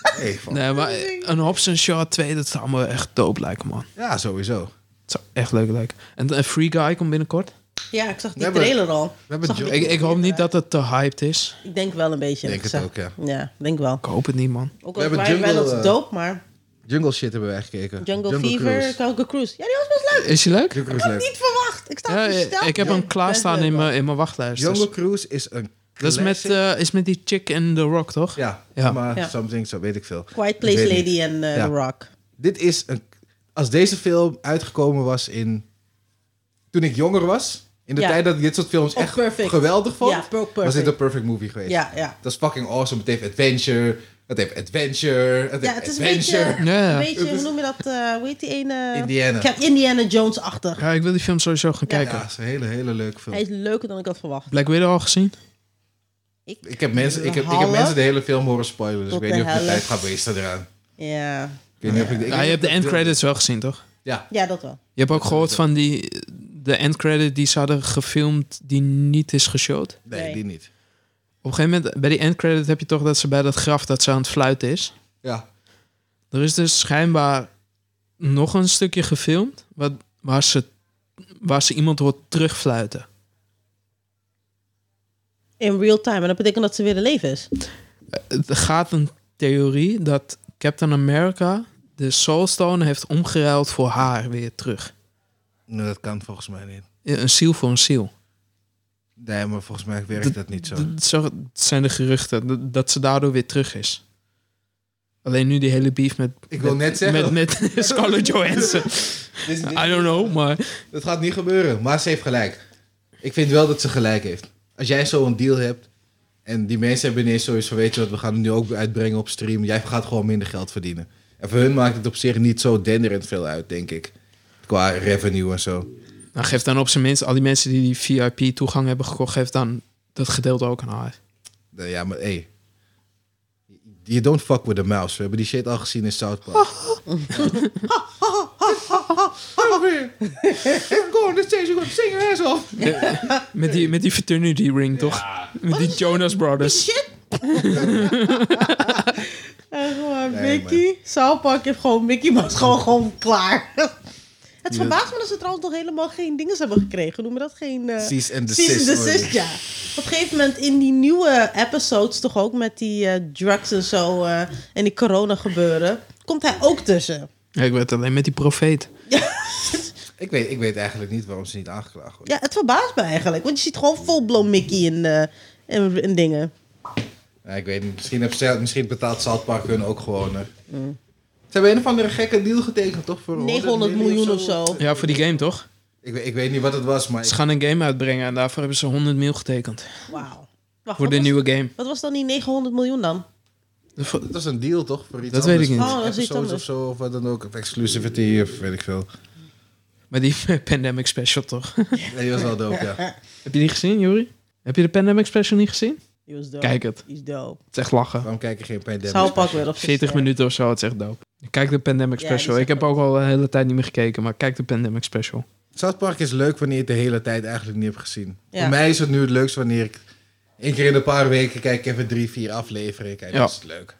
Hey, fuck.
Nee, maar een Hobbs Shaw 2, dat zou me echt dope lijken, man.
ja, sowieso.
Het zou echt leuk lijken. En eh, Free Guy komt binnenkort.
Ja, ik zag die
We hebben-
trailer al.
We hebben Jo-
Ik, ik hoop niet dat het te hyped is.
Ik denk wel een beetje.
Denk het
zeg.
ook, ja.
Ja, denk wel.
Ik hoop het niet, man.
Ook
We
al
hebben
waren wij
Jungle,
dat
eh,
dope, maar
Jungle shit hebben we gekeken.
Jungle, Fever,
Cruise.
Calco Cruise. Ja, die was best leuk.
Is hij leuk?
Jungle
Ik
Cruise
had
is
het
leuk.
niet verwacht. Ik sta
Ja,
versteld.
ik heb hem klaarstaan
Best
in
leuk.
mijn, in mijn wachtlijst. dus-
Jungle Cruise is een
Dat is met,
classic.
eh, is met die chick en The Rock, toch?
Ja,
Ja.
maar
Ja.
something, zo weet ik veel.
Quiet
Ik
Place
weet
Lady
niet.
en eh,
Ja.
The Rock.
Dit is een... Als deze film uitgekomen was in... Toen ik jonger was. In de
Ja.
tijd dat ik dit soort films
Of
echt
Perfect.
geweldig vond.
Ja, per-
was dit
Perfect.
een perfect movie geweest.
Ja, ja.
Dat is fucking awesome. Het heeft adventure. Het heeft adventure. Het
Ja,
heeft
het is een
adventure.
beetje,
Ja, ja.
een beetje hoe noem je dat? eh hoe heet die ene?
Indiana.
Cap Indiana Jones-achtig.
Ja, ik wil die film sowieso gaan kijken.
Ja, het is een hele, hele leuke film.
Hij is leuker dan ik had verwacht.
Black Widow al gezien?
Ik heb, mensen, ik, heb, ik heb
Hallen.
mensen de hele film horen spoilen. Dus ik
Tot
weet
de
niet of ik de
helft.
tijd ga beesten eraan.
Ja,
Ik weet niet of ik, ik
Ja, je hebt de end credits wel gezien, toch?
Ja.
ja dat wel.
Je hebt ook gehoord van die, de end credit die ze hadden gefilmd die niet is geshowt.
Nee,
Nee.
die niet.
Op een gegeven moment, bij die end credit heb je toch dat ze bij dat graf dat ze aan het fluiten is.
Ja.
Er is dus schijnbaar nog een stukje gefilmd wat, waar, ze, waar ze iemand hoort terugfluiten.
In real time. En dat betekent dat ze weer in leven is.
Er gaat een theorie dat Captain America de Soul Stone heeft omgeruild voor haar weer terug.
Nee, Nou, dat kan volgens mij niet.
Een ziel voor een ziel.
Nee, maar volgens mij werkt dat niet zo.
D- Zo zijn de geruchten d- dat ze daardoor weer terug is. Alleen nu die hele beef met...
Ik wil
met-
net zeggen.
Met, <laughs> Ah. met
<laughs>
Scarlett Johansson.
Dit is- dit-
I don't know, maar...
Dat gaat niet gebeuren, maar ze heeft gelijk. Ik vind wel dat ze gelijk heeft. Als jij zo'n deal hebt en die mensen hebben ineens zoiets van... weet je wat, we gaan het nu ook uitbrengen op stream. Jij gaat gewoon minder geld verdienen. En voor hun maakt het op zich niet zo denderend veel uit, denk ik. Qua revenue en zo.
Nou, geef dan op zijn minst al die mensen die die VIP-toegang hebben gekocht... geef dan dat gedeelte ook aan haar.
Nou Ja, maar hey.
Oh.
You don't fuck with the mouse. We hebben die shit al gezien in South Park. Come here. I'm going to stage, you're going to sing your ass off.
Eh, Met die, met die fraternity ring, toch? Met die Jonas Brothers.
Shit! <laughs> Echt waar, Mickey.
Nee,
South Park heeft gewoon Mickey Mouse gewoon, gewoon klaar. <laughs> Het verbaast me dat ze trouwens nog helemaal geen dingen hebben gekregen. Noem we dat geen... eh,
Cease and
Precies,
desist.
de zus, ja. Op een gegeven moment in die nieuwe episodes, toch ook met die eh, drugs en zo eh, en die corona gebeuren, komt hij ook tussen.
Ja, ik werd alleen met die profeet.
Ik weet, ik weet eigenlijk niet waarom ze niet aangeklaagd worden.
Ja, het verbaast me eigenlijk, want je ziet gewoon full-blown Mickey in, eh, in, in dingen.
Ja, ik weet niet. Misschien, heb ze, misschien betaalt South Park hun ook gewoon. hè.
Mm.
Ze hebben een of andere gekke deal getekend, toch? Voor
900 miljoen of zo.
Ja, voor die game, toch?
Ik, weet- ik weet niet wat het was, maar...
Ze gaan een game uitbrengen en daarvoor hebben ze 100 mil getekend.
Wauw. Wacht,
Voor
wat
de
was-
nieuwe game.
Wat was dan die 900 miljoen dan?
Dat was een deal, toch? Voor iets
Dat weet ik
anders.
niet. Oh, dat is iets
Episodes
anders.
of zo, of wat dan ook. Of exclusivity, of weet ik veel.
Maar die <laughs> Pandemic Special, toch?
Nee, die was wel
<laughs>
dope, ja.
Heb je die gezien, Jori? Heb je de Pandemic Special niet gezien?
Die was dope.
Kijk het.
Die is dope.
Het is echt lachen.
Waarom kijken geen Pandemic?
Zou pak weer op
40 minuten of zo, het is echt dope. Kijk de Pandemic
Ja, die
Special.
is
ik heb
echt
ook al een hele tijd niet meer gekeken, maar kijk de Pandemic Special.
South Park is leuk wanneer je het de hele tijd eigenlijk niet hebt gezien.
Ja.
Voor mij is het nu het leukst wanneer ik... één keer in een paar weken kijk ik even drie, vier afleveringen. Kijk,
Ja.
dat is leuk.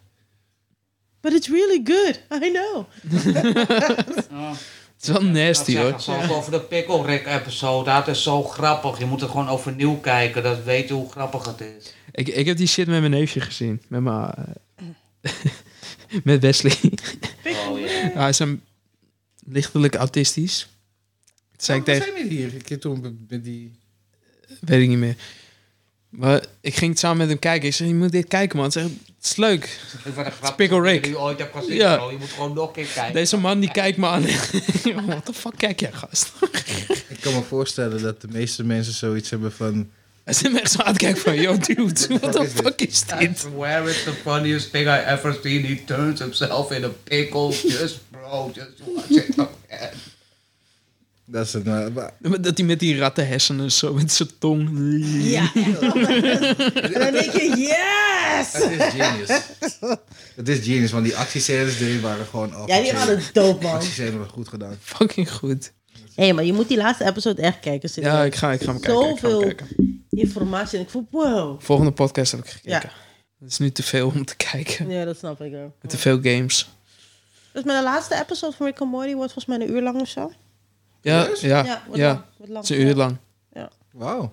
But it's really good. I know.
Het is wel
nou,
nasty, hoor.
Zo over de Pickle Rick episode. Dat is zo grappig. Je moet er gewoon overnieuw kijken. Dat weet je hoe grappig het is.
Ik, ik heb die shit met mijn neefje gezien. Met mijn... eh, <laughs> met
<laughs>
Wesley.
Oh, ja.
Hij is een lichtelijk autistisch. Toen zei ik
Oh, we
tegen...
zijn niet hier. Ik heb toen met die...
Weet ik niet meer. Maar ik ging het samen met hem kijken. Ik zei, je moet dit kijken, man. Het is, echt- het is leuk.
Ik vind het grappig.
Pickle
dat je
Rick.
die ooit hebt gezien,
Ja.
bro. Je moet gewoon nog een keer kijken.
Deze man, die kijkt me aan. <laughs> Wat de fuck kijk jij, gast?
Ik kan me voorstellen dat de meeste mensen zoiets hebben van...
Hij zit me echt zo aan te kijken van...
<laughs>
Yo, dude, what the fuck is
I
dit?
swear it's the funniest thing I ever seen. He turns himself in a pickle. <laughs> Just bro, just watch it again.
Dat is het, maar- maar-
Dat hij met die rattenhersenen zo met zijn tong...
Ja. <laughs> en dan denk je, yes!
Het is
<laughs>
genius. Het is genius, want die actiescènes erin waren gewoon... Oh,
Ja, die
actiescènes-
waren dope, man.
actiescènes waren goed gedaan.
Fucking goed.
Hé, maar je moet die laatste episode echt kijken. serieus.
Ja, ik ga, ik ga hem kijken. Ik ga hem
Zoveel.
kijken.
Informatie. En ik voel, wow.
Volgende podcast heb ik gekeken.
Ja.
Het is nu te veel om te kijken.
Ja, dat snap ik
<laughs>
wel.
Te veel games.
Dus mijn laatste episode van Rick and Morty wordt volgens mij een uur lang of zo.
Ja,
Serieus?
Ja,
ja, ja.
wordt lang, wordt lang.
Het is een uur lang.
Wauw.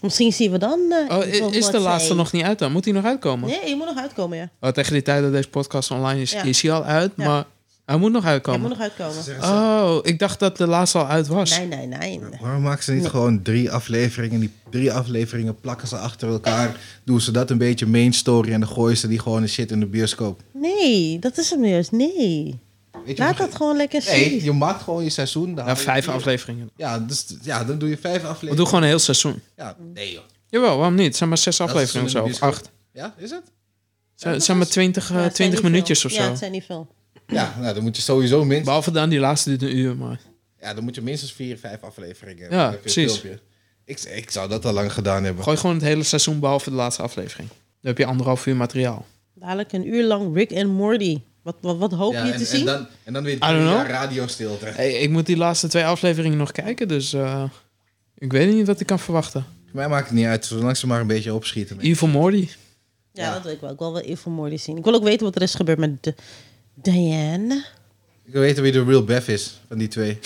Misschien zien we dan... eh,
Oh,
Evil
i- is de
Morty.
laatste nog niet uit dan? Moet hij nog uitkomen?
Nee, je moet nog uitkomen, ja.
Oh, tegen die tijd dat deze podcast online is,
Ja.
is hij al uit.
Ja.
Maar hij moet nog
Je moet
uitkomen.
nog uitkomen.
Oh, ik dacht dat de laatste al uit was.
Nee, nee, nee.
Waarom maken ze niet gewoon drie afleveringen? Die drie afleveringen plakken ze achter elkaar. Doen ze dat een beetje main story en dan gooien ze die gewoon een shit in de bioscoop.
Nee, dat is hem juist. Nee.
Weet je
Laat
wat-
dat gewoon lekker
Nee,
zien.
je maakt gewoon je seizoen. dan
Ja,
haal je
vijf
vier.
afleveringen.
Ja, dus, ja, dan doe je vijf
We
afleveringen.
doen gewoon een heel seizoen.
Ja, nee joh.
Jawel, waarom niet? Het zijn maar zes
is
afleveringen
in
of zo.
de
Of
bioscoop.
acht.
Ja, is het?
Zijn- Het zijn maar twintig, eh,
Ja, het zijn
twintig
niet veel.
minuutjes of zo.
Ja, het zijn niet veel.
Ja, nou, dan moet je sowieso minstens...
Behalve dan die laatste duurt een uur. Maar
Ja, dan moet je minstens vier, vijf afleveringen
Ja,
Dan heb je een
precies.
filmpje. Ik, ik zou dat al lang gedaan hebben.
gooi gewoon het hele seizoen behalve de laatste aflevering. Dan heb je anderhalf uur materiaal.
Dadelijk een uur lang Rick en Morty. Wat, wat, wat hoop
Ja,
je
en,
te
en,
zien?
dan, en dan weer
don't
drie
know.
jaar radiostilte.
Hey, ik moet die laatste twee afleveringen nog kijken, dus eh, ik weet niet wat ik kan verwachten.
Voor mij maakt het niet uit, zolang ze maar een beetje opschieten.
Evil Morty.
Ja,
Ja.
dat wil ik wel. Ik wil wel Evil Morty zien. Ik wil ook weten wat er is gebeurd met de- Diane.
Ik wil weten wie de real Beth is van die twee.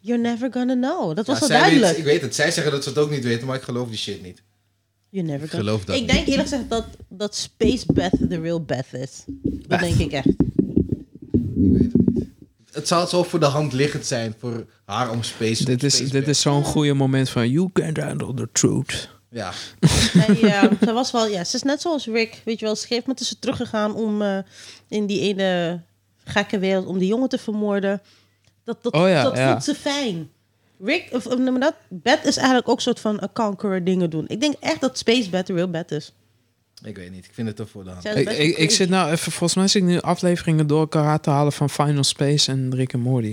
You're never gonna know. Dat was
Ja,
wel
zij
duidelijk.
Weet, ik weet het. Zij zeggen dat ze het ook niet weten, maar ik geloof die shit niet.
You're never gonna
geloof dat
Ik
niet.
denk eerlijk gezegd dat, dat Space Beth de real Beth is. Dat denk ik echt.
Ik weet het niet. Het zal zo voor de hand liggend zijn voor haar om space
Dit is,
space
dit
Beth.
is zo'n goede moment van you can't handle the truth.
Ja.
Zij, eh, zij was wel, ja, <laughs> ze is net zoals Rick, weet je wel. Ze geeft moment is ze teruggegaan om eh, in die ene gekke wereld om die jongen te vermoorden. Dat, dat,
Oh ja,
dat
ja.
voelt ze fijn. Rick, of, of noem maar dat, Beth is eigenlijk ook een soort van een conqueror dingen doen. Ik denk echt dat Space Beth de real Beth is.
Ik weet niet. Ik vind het toch voor de hand.
Zij is
Ik,
best
ik,
wel
ik zit nou even, volgens mij zit ik nu afleveringen door elkaar te halen van Final Space en Rick en Morty.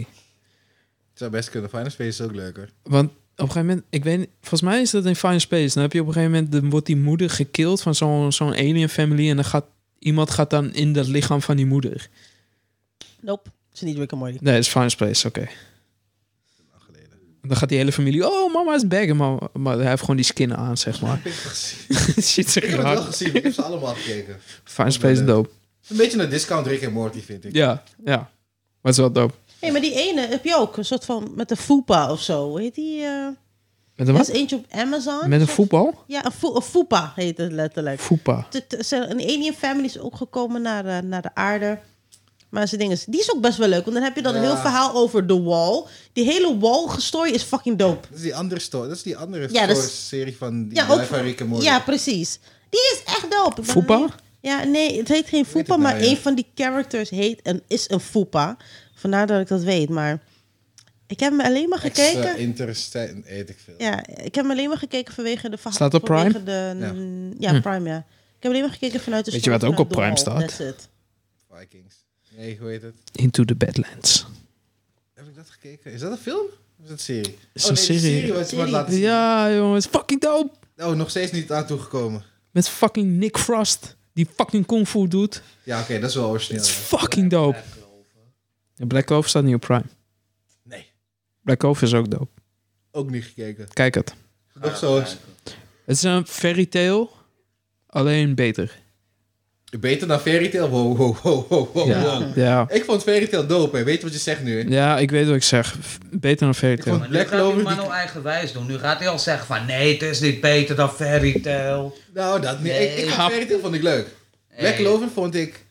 Het zou best kunnen. Final Space is ook leuker.
Want op een gegeven moment, ik weet niet, volgens mij is dat in Final Space. Dan heb je op een gegeven moment, dan wordt die moeder gekild van zo'n zo'n alien family en dan gaat iemand gaat dan in dat lichaam van die moeder.
creepy. Nope. Het is niet Rick en Morty.
Nee, het is Final Space, oké. Dan gaat die hele familie, oh, mama is back. En mama- maar hij heeft gewoon die skin aan,
<laughs>
zeg maar.
Ik heb het gezien.
<laughs> Ziet ze
Ik heb het wel
graag.
gezien. Ik heb ze allemaal gekeken.
Final Space is dope.
Een beetje een discount Rick en Morty, vind ik.
Ja, ja. Maar het is wel dope.
hey, maar die ene heb je ook. Een soort van met een foepa of zo. Hoe heet die? eh?
Met een
Er is
wat?
eentje op Amazon.
Met een voetbal?
Ja, een, fo- een foepa heet het letterlijk.
Voetbal.
T- t- ze- Een Alien Family is ook gekomen naar, eh, naar de aarde. Maar ze dingen, die is ook best wel leuk. Want dan heb je dan een
Ja.
heel verhaal over The Wall. Die hele Wall-story is fucking dope.
Dat is die andere story. Dat is die andere
Ja, dat
story,
is-
serie van die
Ja,
guy
ook-
van Rick en Morty.
Ja, precies. Die is echt dope. Ik ben
Foepa?
alleen- Ja, nee, het heet geen Foepa,
het
maar
nou, ja.
een van die characters heet en is een Foepa. Vandaar dat ik dat weet, maar ik heb me alleen maar
Extra
gekeken.
interest- eet ik veel.
ja, ik heb me alleen maar gekeken vanwege de verhaal.
Staat op Prime? Hm.
vanwege De, mm, ja, Prime, ja. Ik heb alleen maar gekeken vanuit de
Weet je wat
story
ook op
vanuit
Prime
The Wall.
staat?
That's it.
Vikings. Nee, hoe heet het?
Into the
Oh,
Badlands.
Heb ik dat gekeken? Is dat een film? Of is dat een serie?
Is
oh, nee,
een
de
serie.
serie. wat ze maar
Serie.
laten zien.
Ja, jongens. Fucking dope.
Oh, nog steeds niet aan toegekomen.
Met fucking Nick Frost. Die fucking kung fu doet.
Ja, oké, dat is wel origineel.
It's
ja.
fucking dope. En Black Clover staat niet op Prime.
Nee,
Black Clover is ook dope.
ook niet gekeken.
Kijk het.
Nog zo eens.
Het is een fairy tale. Alleen beter.
Beter dan Fairy Tail? Wow, wow, wow, wow, wow, wow.
Ja.
Ik vond Fairy Tail dope, hè. Weet je wat je zegt nu, hè?
Ja, ik weet wat ik zeg. F- Beter dan fairy
Ik
tale.
vond-
Maar nu
Black
gaat die
Clover,
man
die-
al eigenwijs doen. Nu gaat hij al zeggen van nee, het is niet beter dan Fairy Tail.
Nou, dat niet. Ik, ik
Nee.
vond Fairy Tail vond ik leuk. Black
Nee.
Clover vond ik,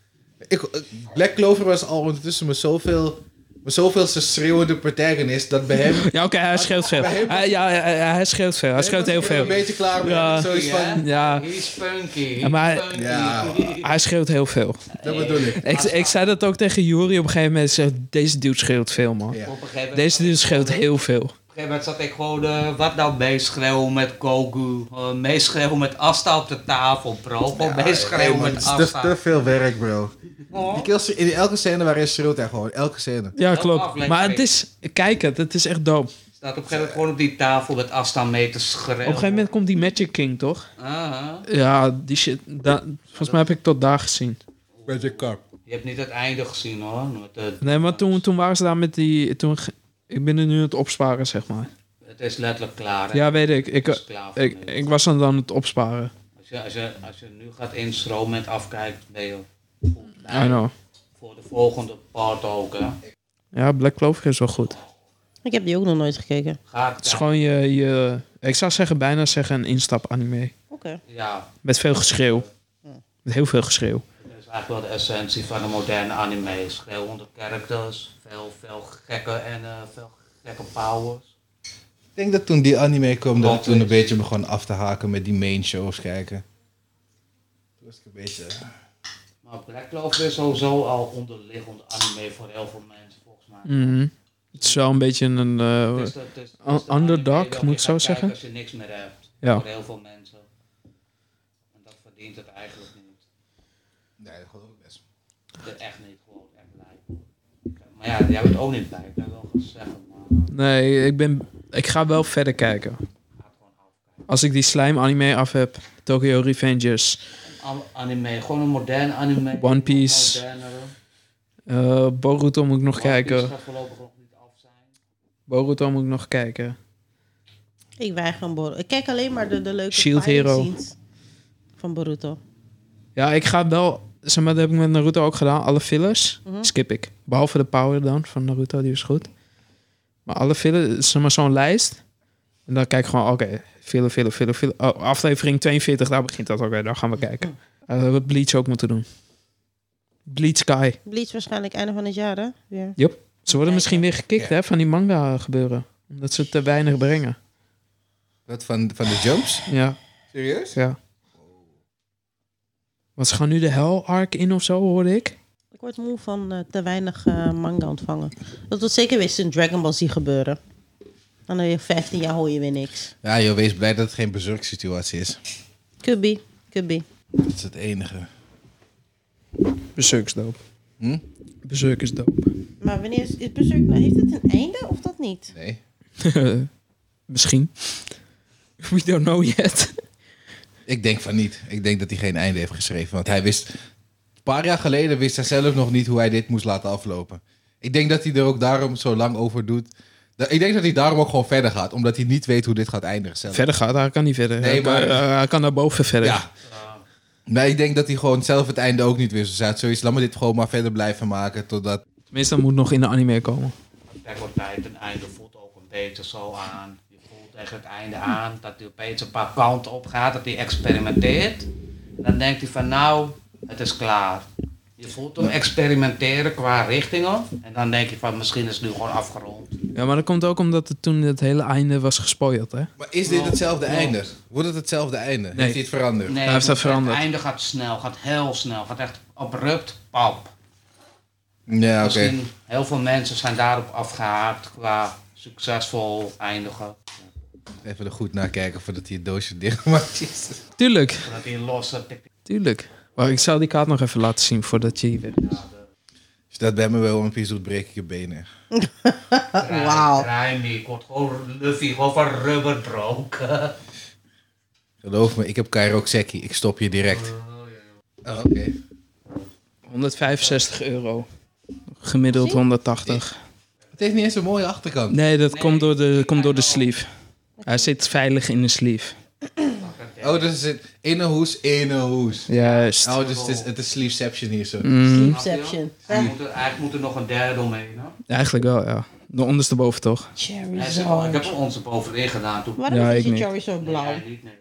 ik... eh, Black Clover was al ondertussen me zoveel... Me zoveel schreeuwende protagonist dat bij
<laughs>
hem...
Ja, oké, hij scheelt veel.
Bij hem-
Hij, ja, hij, hij scheelt veel. Hij scheelt heel
Ik ben
veel.
Een beetje klaar met
Ja.
zoiets
Ja.
van...
Ja,
He's funky.
Ja, maar-
he's funky.
Ja,
hij scheelt heel veel.
dat bedoel ik.
Ik, ik zei dat ook tegen Juri op een gegeven moment. Ik zeg, deze dude scheelt veel, man.
Ja.
Op een gegeven moment,
Deze dude scheelt heel veel.
op een gegeven moment zat ik gewoon, eh, wat nou meeschreeuwen met Goku? Eh meeschreeuwen met Asta op de tafel, bro. Gewoon meeschreeuwen
man,
met
het is
Asta.
te, te veel werk, bro.
Oh.
Die kills- in elke scène waarin schreeuwt hij gewoon. Elke scène.
Ja,
Elke
klopt.
aflevering.
Maar het is, kijk het, het is echt dope. Op
Staat op een gegeven moment gewoon op die tafel met Asta mee te schreeuwen.
een gegeven moment komt die Magic King, toch?
Aha.
Ja, die shit. da- volgens mij heb ik tot daar gezien.
Magic Cup.
Je hebt niet het einde gezien hoor. Met de-
Nee, maar toen, toen waren ze daar met die. Toen, ge- ik ben er nu aan het opsparen, zeg maar.
Het is letterlijk klaar. hè.
Ja, weet ik. Ik, eh,
Het is klaar voor
ik,
nu.
ik was dan aan het opsparen.
Als je, als, je, als je nu gaat instromen en afkijkt, ben je
I know.
voor de volgende part ook. Hè.
Ja, Black Clover is wel goed.
Ik heb die ook nog nooit gekeken.
Gaat
Het is gewoon je, je. Ik zou zeggen, bijna zeggen een instap-anime.
Oké.
Ja,
Met veel geschreeuw. Met heel veel geschreeuw.
dat is eigenlijk wel de essentie van een moderne anime. Schreeuwende characters, veel, veel gekke en eh, veel gekke powers.
Ik denk dat toen die anime kwam, dat ik
Plot
toen een
twist.
beetje begon af te haken met die main shows kijken. Toen was ik een beetje...
Maar Black Clover is sowieso al onderliggende anime voor heel veel mensen volgens mij.
Mhm. Het is wel een beetje een. eh,
Het is de- het is- het is
Un-
de anime
underdog,
waar dus je
moet ik zo
gaat kijken
zeggen?
Als je niks meer hebt.
Ja.
Voor heel veel mensen. En dat verdient het eigenlijk niet.
Nee, dat geloof ik best.
Dat echt niet gewoon echt blij. Maar ja, jij bent ook niet blij. Ik ben wel gezegd, maar
nee, ik ben. Ik ga wel verder kijken.
gaat gewoon afkijken.
Als ik die slime anime af heb, Tokyo Revengers,
Am- Anime, gewoon een moderne anime.
One Piece.
Modernere.
eh Boruto moet ik nog
One Piece
kijken.
gaat voorlopig nog niet af zijn.
Boruto moet ik nog kijken.
Ik weiger een Boruto. Ik kijk alleen maar de, de leuke
Shield
fighting
Hero.
scenes van Boruto.
Ja, ik ga wel. Zeg maar, dat heb ik met Naruto ook gedaan. Alle fillers skip ik. Behalve de power dan van Naruto, die is goed. Maar alle fillers, zeg maar zo'n lijst. En dan kijk ik gewoon, oké, filler, filler, filler, filler. Oh, aflevering 42, daar begint dat ook weer. Dan gaan we kijken. Eh, Dat we Bleach ook moeten doen. Bleach Sky.
Bleach waarschijnlijk einde van het jaar, hè? Weer.
Yep. Ze worden misschien weer gekikt hè, van die manga gebeuren. Omdat ze te weinig brengen.
Wat, van, van de jumps?
Ja,
Serieus?
ja. Want ze gaan nu de Hell Arc in of zo, hoorde ik.
Ik word moe van eh, te weinig eh, manga ontvangen. Dat wordt zeker weer in Dragon Ball Z gebeuren. En dan weer 15 jaar hoor je weer niks.
Ja joh, wees blij dat het geen bezurksituatie is.
Could be, could be.
Dat is het enige.
Berserk is dope.
Hm?
Berserk is dope.
Maar wanneer is, is Berserk nou, heeft het een einde of dat niet?
Nee.
<laughs> Misschien. We don't know yet.
Ik denk van niet. Ik denk dat hij geen einde heeft geschreven. Want hij wist... Een paar jaar geleden wist hij zelf nog niet hoe hij dit moest laten aflopen. Ik denk dat hij er ook daarom zo lang over doet. Da- Ik denk dat hij daarom ook gewoon verder gaat. Omdat hij niet weet hoe dit gaat eindigen zelf.
Verder gaat, hij kan niet verder.
Nee,
hij, kan-
maar-
eh, hij kan naar boven verder.
Ja. Maar ik denk dat hij gewoon zelf het einde ook niet weer zo zat. Zoiets, laat me dit gewoon maar verder blijven maken. Totdat...
Tenminste, dat moet nog in de anime komen.
Attack on Titan einde voelt ook een beetje zo aan. Je voelt echt het einde aan dat hij opeens een paar kanten op gaat, dat hij experimenteert. En dan denkt hij van nou, het is klaar. Je voelt hem experimenteren qua richtingen. En dan denk je van misschien is het nu gewoon afgerond.
Ja, maar dat komt ook omdat het toen het hele einde was gespoild, hè?
Maar is dit hetzelfde einde? Wordt het hetzelfde einde? Nee. Heeft hij het veranderd?
Nee,
heeft dat veranderd.
Het einde gaat snel, gaat heel snel, gaat echt abrupt, pap.
Ja, oké.
Misschien heel veel mensen zijn daarop afgehaakt qua succesvol eindigen.
Even er goed naar kijken voordat hij het doosje dicht maakt. Jezus.
Tuurlijk,
Zodat hij losse tik- tik-
tuurlijk. Maar ik zal die kaart nog even laten zien voordat je hier weer...
Als je dat bij me bij One Piece doet, breek ik je benen.
draai-
Wauw.
draai niet. Ik word gewoon Luffy, gewoon van rubber broken.
Geloof me, ik heb Kairokzeki. Ik stop je direct. Oh, oké.
165 euro. Gemiddeld 180.
Het heeft niet eens een mooie achterkant.
Nee, dat komt, door de, komt door de sleeve. Hij zit veilig in de sleeve.
Oh, dus het zit ene hoes, ene hoes.
Juist. Mhm.
Oh, dus het is, het is sleepception hier zo.
Mm.
Sleepception.
Hij moet er, eigenlijk moet er nog een derde omheen. Hè?
Eigenlijk wel, ja. De ondersteboven toch?
Hij zegt, oh, ik
Charizard.
heb er onze bovenin gedaan toen.
Waarom
Ja,
is
ik
je
niet.
Charizard blauw?
Nee, niet, nee.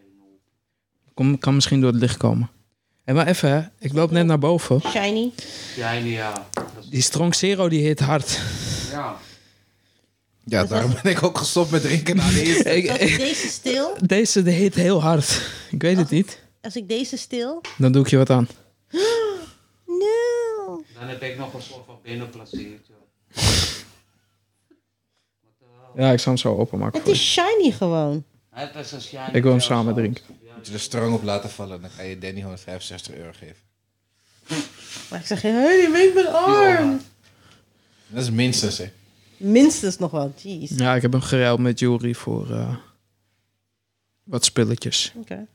Kom, kan misschien door het licht komen. En maar even, hè. ik loop net naar boven. <laughs>
Shiny.
Jij niet, ja. Dat is-
Die Strong Zero die hit hard. <laughs>
ja.
Ja, <laughs> daarom ben ik ook gestopt met drinken na deze.
Ik-
Als ik deze stil,
Deze die hit heel hard. Ik weet het niet.
als ik deze stil...
Dan doe ik je wat aan.
No.
Dan heb ik nog een soort van binnenplaciertje.
Ja, ik zal hem zo openmaken
Het
voor je.
is shiny gewoon.
Het is een shiny
Ik wil hem
Charizard.
samen drinken.
Als je er strang op laten vallen, dan ga je Danny 165 euro geven.
Maar ik zeg, hé, hey, je weet mijn arm.
Dat is minstens, hè.
Minstens nog wel. Jeez.
Ja, ik heb hem geruild met Jury voor eh, wat spulletjes.
Oké.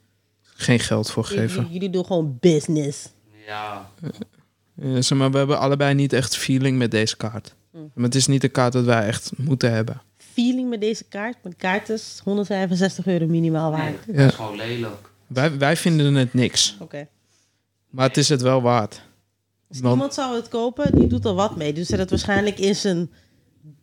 Geen geld voor
J- j-
geven.
Jullie doen gewoon business.
Ja.
Eh, zeg maar, we hebben allebei niet echt feeling met deze kaart.
Hm.
Maar het is niet de kaart dat wij echt moeten hebben.
Feeling met deze kaart. Mijn kaart is 165 euro minimaal
Nee,
waard.
dat is gewoon lelijk.
Wij, wij vinden het niks.
Oké.
Maar het is het wel waard.
Als
Want-
iemand zou het kopen, die doet er wat mee. Dus zet het waarschijnlijk in zijn,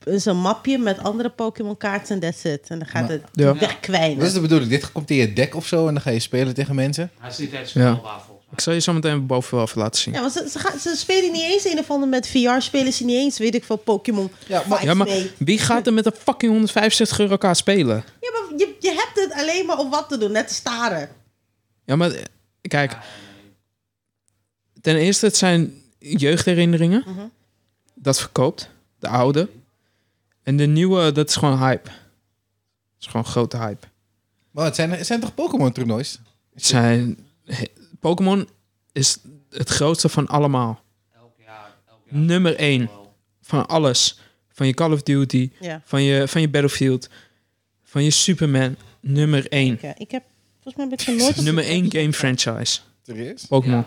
in zijn mapje met andere Pokémon kaarten en that's it. En dan gaat het
Ja.
Dat
wegkwijnen.
is de bedoeling. Dit komt in je deck of zo en dan ga je spelen tegen mensen.
Hij is niet echt
Ja.
speelbaar volgens mij.
Ik zal je zo meteen boven wel even laten zien.
Ja, want ze, ze, gaan, ze spelen niet eens een of ander met VR. Spelen ze niet eens, weet ik veel, Pokémon
Ja,
ja,
maar-
maar,
Ja, maar
mee.
wie gaat er met een fucking 165 euro kaart spelen?
Ja, maar je, je hebt het alleen maar om wat te doen. Net te staren.
Ja, maar eh, kijk. Ten eerste, het zijn jeugdherinneringen. Dat verkoopt. De oude. En de nieuwe, dat is gewoon hype. Dat is gewoon grote hype.
Maar het zijn, het zijn toch Pokémon-toernoois?
Het zijn... he- Pokémon is het grootste van allemaal.
Elk jaar, elk jaar.
Nummer 1
wel.
van alles. Van je Call of Duty,
Ja.
van je, van je Battlefield, van je Superman. Nummer 1.
Oké, Ik heb volgens mij heb ik er nooit op-
<laughs> Nummer 1 game franchise.
Serieus?
Pokémon.
Ja.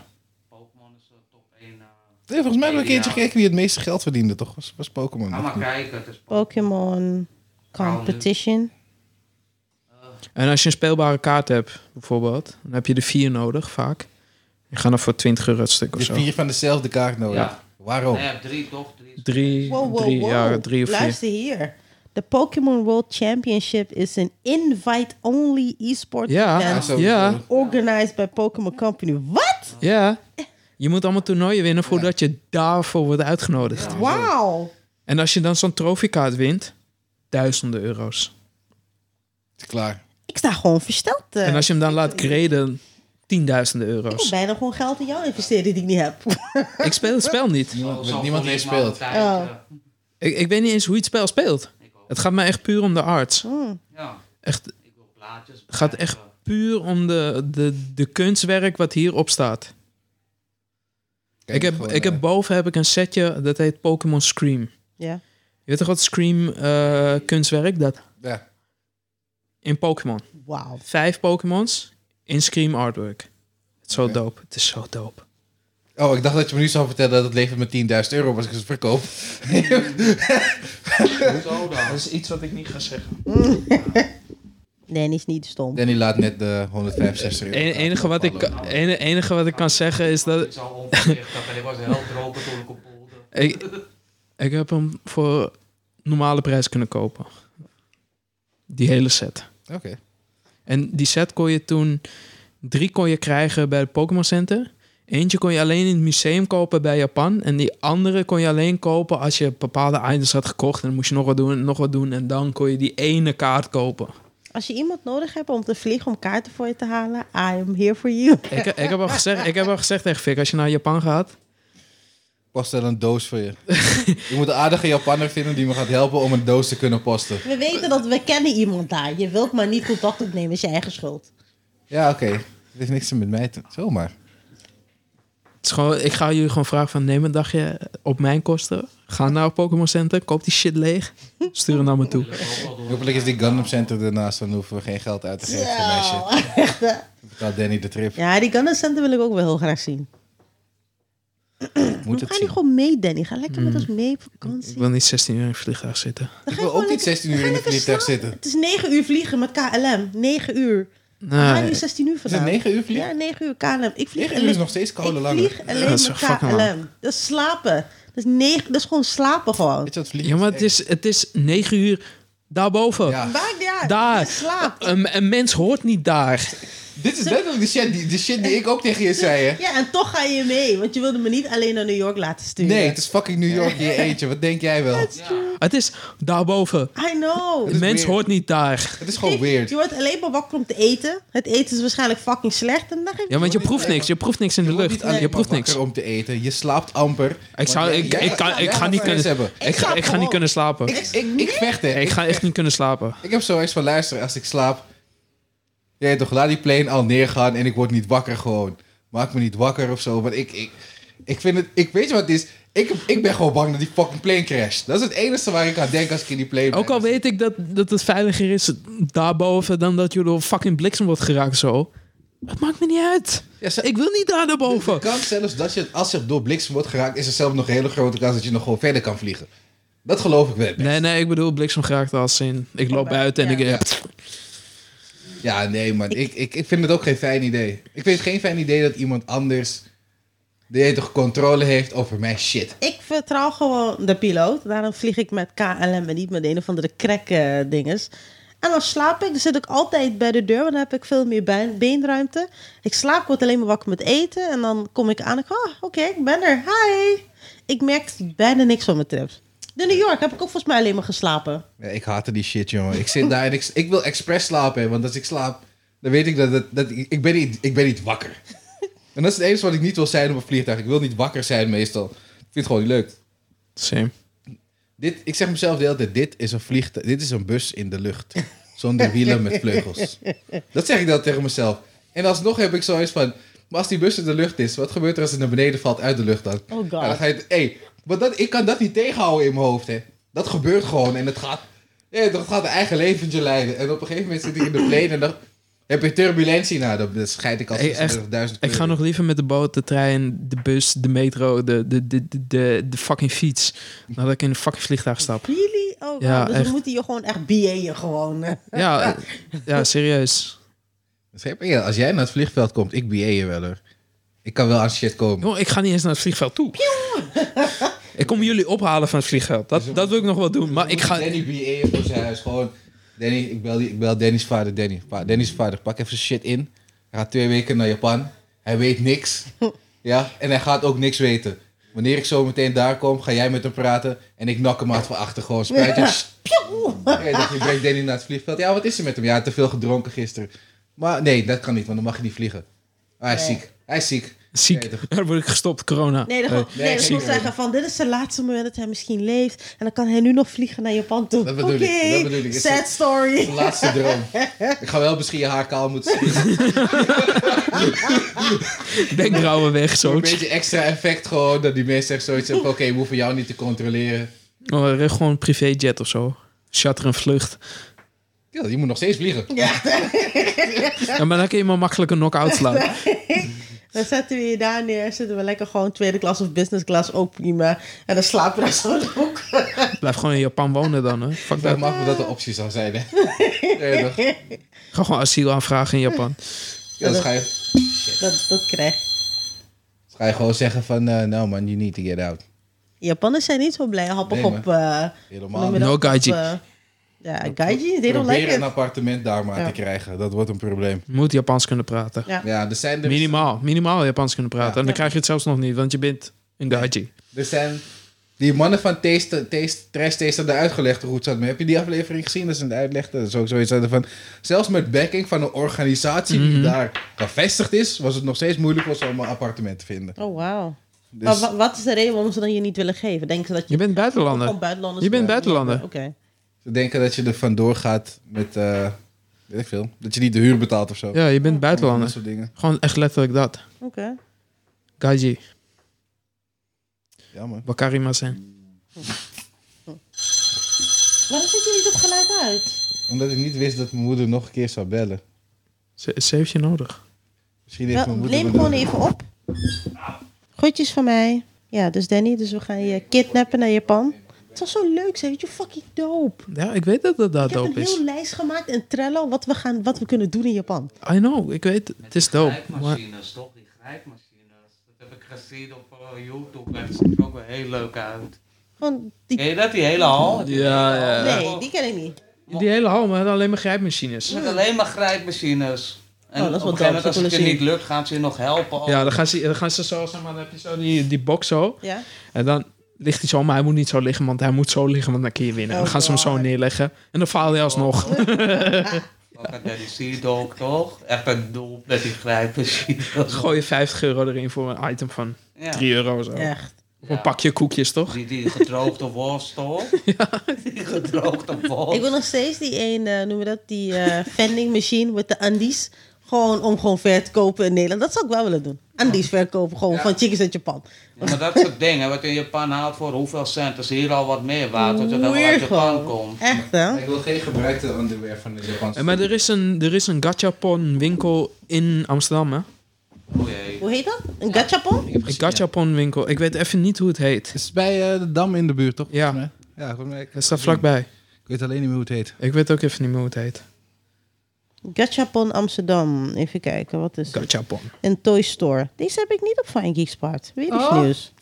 Pokémon is de top 1. eh.
Nee, volgens mij hebben we een keertje
Ja.
gekeken wie het meeste geld verdiende, toch? Was, was Pokémon.
Ga
of
maar
niet?
kijken, het is
Pokémon Competition.
En als je een speelbare kaart hebt, bijvoorbeeld, dan heb je de vier nodig vaak. Je gaat dan voor 20 euro het stuk of
Je
zo.
hebt vier van dezelfde kaart nodig.
Ja.
Waarom?
Nee, je hebt drie toch? Drie.
Drie,
Wow, wow,
drie,
wow.
Ja, drie of vier.
Luister hier. De Pokémon World Championship is an invite-only esports
Ja.
Ja,
event
zo-
Ja.
organized by Pokémon Company. Wat?
Ja, je moet allemaal toernooien winnen voordat je daarvoor wordt uitgenodigd.
Wauw.
En als je dan zo'n trofiekaart wint, duizenden euro's.
Klaar.
Ik sta gewoon versteld. eh.
En als je hem dan laat graden, tienduizenden
Ik wil
euro's.
bijna gewoon geld in jou investeren die ik niet
<laughs>
heb.
Ik speel het spel niet.
Zo-
Niemand,
Oh, zo
niemand die
vond
het
ik maar
speelt.
altijd, eh,
Ik, ik weet niet eens hoe je het spel speelt.
ik ook.
Het gaat mij echt puur om de arts.
Ja,
Echt,
ik wil plaatjes.
het gaat echt
bekijken.
puur om de, de, de kunstwerk wat hierop staat.
Kijk,
ik heb,
gewoon,
ik
eh,
heb boven heb ik een setje dat heet Pokémon Scream.
ja.
Je weet toch wat Scream eh, kunstwerk dat?
eh, ja.
In Pokémon.
Wauw.
Vijf Pokémons in Scream artwork. Het is zo
Oké.
dope. Het is zo dope.
Oh, ik dacht dat je me nu zou vertellen dat het levert me 10.000 euro als ik het verkoop.
<laughs>
Zo
Dat
dan.
is iets wat ik niet ga zeggen.
Danny is niet stom.
Danny laat net de 165 euro.
Het E- enige, wat ik,
vallen.
ene- enige wat ik kan zeggen is dat
Ik zou onvoorzichtig en ik was heel dronken toen ik op poelde.
ik, ik heb hem voor normale prijs kunnen kopen. Die hele set.
Oké.
En die set kon je toen... Drie kon je krijgen bij het Pokémon Center. Eentje kon je alleen in het museum kopen bij Japan. En die andere kon je alleen kopen als je bepaalde items had gekocht. En dan moest je nog wat doen en nog wat doen. En dan kon je die ene kaart kopen.
Als je iemand nodig hebt om te vliegen om kaarten voor je te halen, I am here for you.
Ik, ik, heb, al gezegd, ik heb al gezegd tegen Fik, als je naar Japan gaat...
Posten een doos
<laughs>
voor je. je moet een aardige Japanner vinden die me gaat helpen om een doos te kunnen posten.
We weten dat we kennen iemand daar. Je wilt maar niet contact opnemen, is je eigen schuld.
Ja, oké. Het heeft niks met mij te... Zomaar.
Het is gewoon, ik ga jullie gewoon vragen van neem een dagje op mijn kosten. Ga naar Pokémon Center, koop die shit leeg. Stuur hem naar me toe.
Hopelijk is die Gundam Center ernaast, dan hoeven we geen geld uit te geven voor mijn shit.
Zo.
Dan betaalt Danny de trip.
Ja, die Gundam Center wil ik ook wel heel graag zien.
Moet
Ga
het
nu
zien. Mm.
gewoon mee, Danny. Ga lekker met ons mee op vakantie.
Ik wil niet 16 uur in het vliegtuig zitten.
Ik wil ook niet 16 uur in de vliegtuig zitten.
Het is 9 uur vliegen met KLM. 9 uur. We gaan nu
Nee,
16 uur
Ah, Is het
Nou.
vandaag.
9 uur vliegen?
Ja, 9 uur KLM. Ik vlieg
9 uur is
alleen-
nog steeds koude
Ik
langer.
vlieg alleen
dat is
met
fucking lang.
KLM. Dat is slapen. Dat is, negen, dat is gewoon slapen gewoon.
Weet je wat vliegen?
ja, maar het is, het is 9 uur daarboven.
Ja.
Maakt niet uit.
Daar.
Het is slaap.
Een, een mens hoort niet daar.
Dit is letterlijk de shit, die, de shit die ik ook tegen je zei, hè?
Ja, en toch ga je mee. Want je wilde me niet alleen naar New York laten sturen.
Nee, het is fucking New York in je eentje. Wat denk jij wel?
Het is daarboven.
I know.
Een mens
weird.
hoort niet daar.
Het is gewoon
Kijk,
weird.
Je wordt alleen maar wakker om te eten. Het eten is waarschijnlijk fucking slecht. En dan geef
Ja, want je proeft niks. Je proeft niks in de
wordt
lucht.
alleen
Je proeft
maar
niks.
wakker om te eten. Je slaapt amper.
Ik, zou,
Want
ik,
jij-
ik, kan,
jij
ik ga
gaat
niet
stress
kunnen,
hebben.
ik ga, ik ga niet kunnen slapen.
Ik, ik, ik vecht, hè.
Ik
Ik,
ga echt niet kunnen slapen.
ik heb zoiets van, luister, als ik slaap... Jij toch, laat die plane al neergaan en ik word niet wakker gewoon. Maak me niet wakker of zo. Want ik, ik, ik vind het... Ik weet je wat het is? Ik, ik ben gewoon bang dat die fucking plane crasht. Dat is het enige waar ik aan denk als ik in die plane ben.
Ook al weet ik dat, dat het veiliger is daarboven dan dat je door fucking bliksem wordt geraakt zo. Het maakt me niet uit.
Ja, ze-
Ik wil niet daar naar
De
boven.
kans zelfs dat je, als je door bliksem wordt geraakt, is er zelf nog een hele grote kans dat je nog gewoon verder kan vliegen. Dat geloof ik wel.
Nee, nee, ik bedoel bliksem geraakt als in. Ik loop buiten en ik...
Ja.
pff,
Ja, nee, man. Ik, ik, ik vind het ook geen fijn idee. Ik vind het geen fijn idee dat iemand anders de hele toch controle heeft over mijn shit.
Ik vertrouw gewoon de piloot. Daarom vlieg ik met KLM en niet met een of andere crack eh, dinges. En dan slaap ik. Dan zit ik altijd bij de deur. Want dan heb ik veel meer been- beenruimte. Ik slaap, ik word alleen maar wakker met eten. En dan kom ik aan. Ik oh, oké, ik ben er. Hi. Ik merk bijna niks van mijn trips. In New York heb ik ook volgens mij alleen maar geslapen.
Ja, ik haatte die shit, jongen. Ik zit daar en ik, ik wil expres slapen, hè, want als ik slaap, dan weet ik dat, dat, dat ik, ik ben niet, ik ben niet wakker. En dat is het enige wat ik niet wil zijn op een vliegtuig. Ik wil niet wakker zijn meestal. Ik vind het gewoon niet leuk.
Same.
Dit, ik zeg mezelf de hele tijd, dit is een vliegtuig, dit is een bus in de lucht. Zonder wielen met vleugels. Dat zeg ik dan tegen mezelf. En alsnog heb ik zoiets van, maar als die bus in de lucht is, wat gebeurt er als het naar beneden valt uit de lucht dan?
Oh god.
Ja, dan ga je, hey, maar dat, ik kan dat niet tegenhouden in mijn hoofd, hè. Dat gebeurt gewoon en het gaat, ja, dat gaat een eigen leventje leiden. En op een gegeven moment zit ik in de plane en dan heb je turbulentie. Nou, dan, dan scheid ik als
Hey, echt,
36.000
Ik ga
kleuren.
nog liever met de boot, de trein, de bus, de metro, de, de, de, de, de, de fucking fiets. Nadat ik in een fucking vliegtuig stap.
Really? Oh,
Ja,
dus
echt.
we moeten je gewoon echt BA'en gewoon. eh.
Ja, ja serieus.
Schep, ja, Als jij naar het vliegveld komt, ik BA je wel, hoor. Ik kan wel aan shit komen.
Jongen, ik ga niet eens naar het vliegveld toe. Ik kom jullie ophalen van het vliegveld. Dat, dat wil ik nog wel doen. Maar ik ga...
Danny BA voor zijn huis. Gewoon, Danny, ik bel, die, ik bel Danny's vader. Danny, pa, Danny's vader, pak even zijn shit in. Hij gaat twee weken naar Japan. Hij weet
<laughs>
niks. Ja, en hij gaat ook niks weten. Wanneer ik zo meteen daar kom, ga jij met hem praten. En ik nak hem uit van achter. Gewoon spuitje. Hey, dat je brengt Danny naar het vliegveld. Ja, wat is er met hem? Ja, te veel gedronken gisteren. Maar nee, dat kan niet, want dan mag je niet vliegen. Ah, hij is ziek. Hij is ziek.
Ziek.
Nee,
<laughs> Daar word ik gestopt, corona.
Nee, dan, gewoon- nee,
nee,
dan
ik
gewoon
zie het.
zeggen van dit is het laatste moment dat hij misschien leeft. En dan kan hij nu nog vliegen naar Japan toe.
Dat
Oké,
bedoel ik, dat bedoel ik. Is
sad
het-
story.
Mijn laatste droom. Ik ga wel misschien je haar kaal moeten zien.
Eh, Wenkbrauwen weg,
Een
zo.
beetje extra effect gewoon. Dat die mensen echt zoiets hebben. van, Oké, we hoeven jou niet te controleren.
Oh, eh, gewoon een privéjet of zo. Charter een vlucht.
Kill, je moet nog steeds vliegen.
Ja, maar dan kun je maar makkelijk een knock-out slaan.
Dan zetten we je daar neer, zitten we lekker gewoon tweede klas of business class, ook prima. En dan slapen we daar zo in de hoek.
Blijf gewoon in Japan wonen dan, hè. Fuck
Dat
dat.
mag me dat een optie zou zijn, hè? Ja, toch?
Ga gewoon asiel aanvragen in Japan.
Ja, dan ga je,
Dat, dat krijg
dan ga je gewoon zeggen van, eh nou man, you need to get out.
Japanners zijn niet zo blij, happig
Nee,
op... eh,
Helemaal
noem
niet.
je dat?
No
Op,
gaiji.
eh, Ja, gaiji, they don't
Proberen
like
een
it.
appartement daar maar
Ja.
te krijgen, dat wordt een probleem.
Je moet Japans kunnen praten.
Ja.
Ja, er zijn
Dus-
er,
Minimaal. Minimaal Japans kunnen praten.
Ja.
En dan krijg je het zelfs nog niet, want je bent een gaiji.
er zijn die mannen van Taste, Taste, Trash Taste hadden uitgelegd hoe het zat. Maar heb je die aflevering gezien? Dat ze het uitlegden. Dat is ook zoiets hadden van, zelfs met backing van een organisatie
Mhm.
die daar gevestigd is, was het nog steeds moeilijk voor ze om een appartement te vinden.
Oh, wauw.
Dus,
Maar wa- wat is de reden waarom ze dan je niet willen geven? Denken ze dat je...
Je bent
Gewoon
buitenlander.
buitenlander.
Je bent buitenlander.
Oké.
Ze denken dat je er vandoor gaat met, eh, weet ik veel, dat je niet de huur betaalt of zo.
Ja, je bent
Dat
buitenlander.
soort dingen.
Gewoon echt letterlijk dat.
Oké.
Gaiji.
Ja, man.
Wakari zijn.
Waarom zit je niet op geluid uit?
Omdat ik niet wist dat mijn moeder nog een keer zou bellen.
Ze, ze heeft je nodig.
Misschien heeft
Wel,
mijn moeder...
neem
me
gewoon
nodig.
even op. Groetjes van mij. Ja, dus Danny, dus we gaan je kidnappen naar Japan. Het was zo leuk, ze weet je, fucking dope.
Ja, ik weet dat dat, dat
Ik heb
dope
een
is.
heel lijst gemaakt in Trello wat we, gaan, wat we kunnen doen in Japan.
I know, ik weet het. Het is dope. Maar
Grijpmachines, toch? Die grijpmachines. Dat heb ik gezien op eh, YouTube. En dat ziet er ook wel heel leuk uit.
Gewoon
Ken
die...
je dat? Die hele hal? Die
Ja,
hele hal.
ja.
Nee, die ken ik niet.
die hele hal, maar alleen maar grijpmachines.
Met alleen maar grijpmachines. En
Oh, dat is
op
wel
een gegeven moment,
dope,
als
dat
het je
wil ik
niet lukt, gaan ze je nog helpen.
Ja, dan gaan ze, dan gaan ze zo, zeg maar, dan heb je zo die, die box zo.
Ja?
En dan ligt hij zo, maar hij moet niet zo liggen, want hij moet zo liggen, want dan kun je winnen. En dan gaan ze hem zo neerleggen. En dan faal je alsnog. <laughs>
Ook aan Danny Seedog, toch? Echt een doel met die grijpmachines.
Gooi je 50 euro erin voor een item van
Ja.
3 euro zo.
Echt.
Of
Ja.
een pakje koekjes, toch?
Die, die gedroogde
<laughs>
worst, toch? Die gedroogde worst.
Ik wil nog steeds die een, eh noemen we dat, die eh, vending machine met de Andes. Gewoon om gewoon ver te kopen in Nederland. Dat zou ik wel willen doen. Andes verkopen, gewoon van chickens uit Japan.
Ja, maar dat soort dingen, wat je in Japan haalt voor hoeveel cent, is hier al wat meer waard, dat je dan wel uit Japan komt.
Echt, hè?
Ik wil geen gebruikte underwear van de Japanse...
Eh, maar er is een, er is een gachapon winkel in Amsterdam, hè?
Oh jee.
Hoe heet dat? Een gachapon?
Een gachapon winkel. Ik weet even niet hoe het heet.
Het is bij eh, de Dam in de buurt, toch?
Ja.
Volgens mij. Ja, volgens mij. Ik
Dat staat vlakbij.
ik weet alleen niet meer hoe het heet.
Ik weet ook even niet meer hoe het heet.
Gachapon Amsterdam. Even kijken, wat is het?
Gachapon.
Een Toy Store. Deze heb ik niet op Fine Geeks Part. Weer iets
Oh.
nieuws.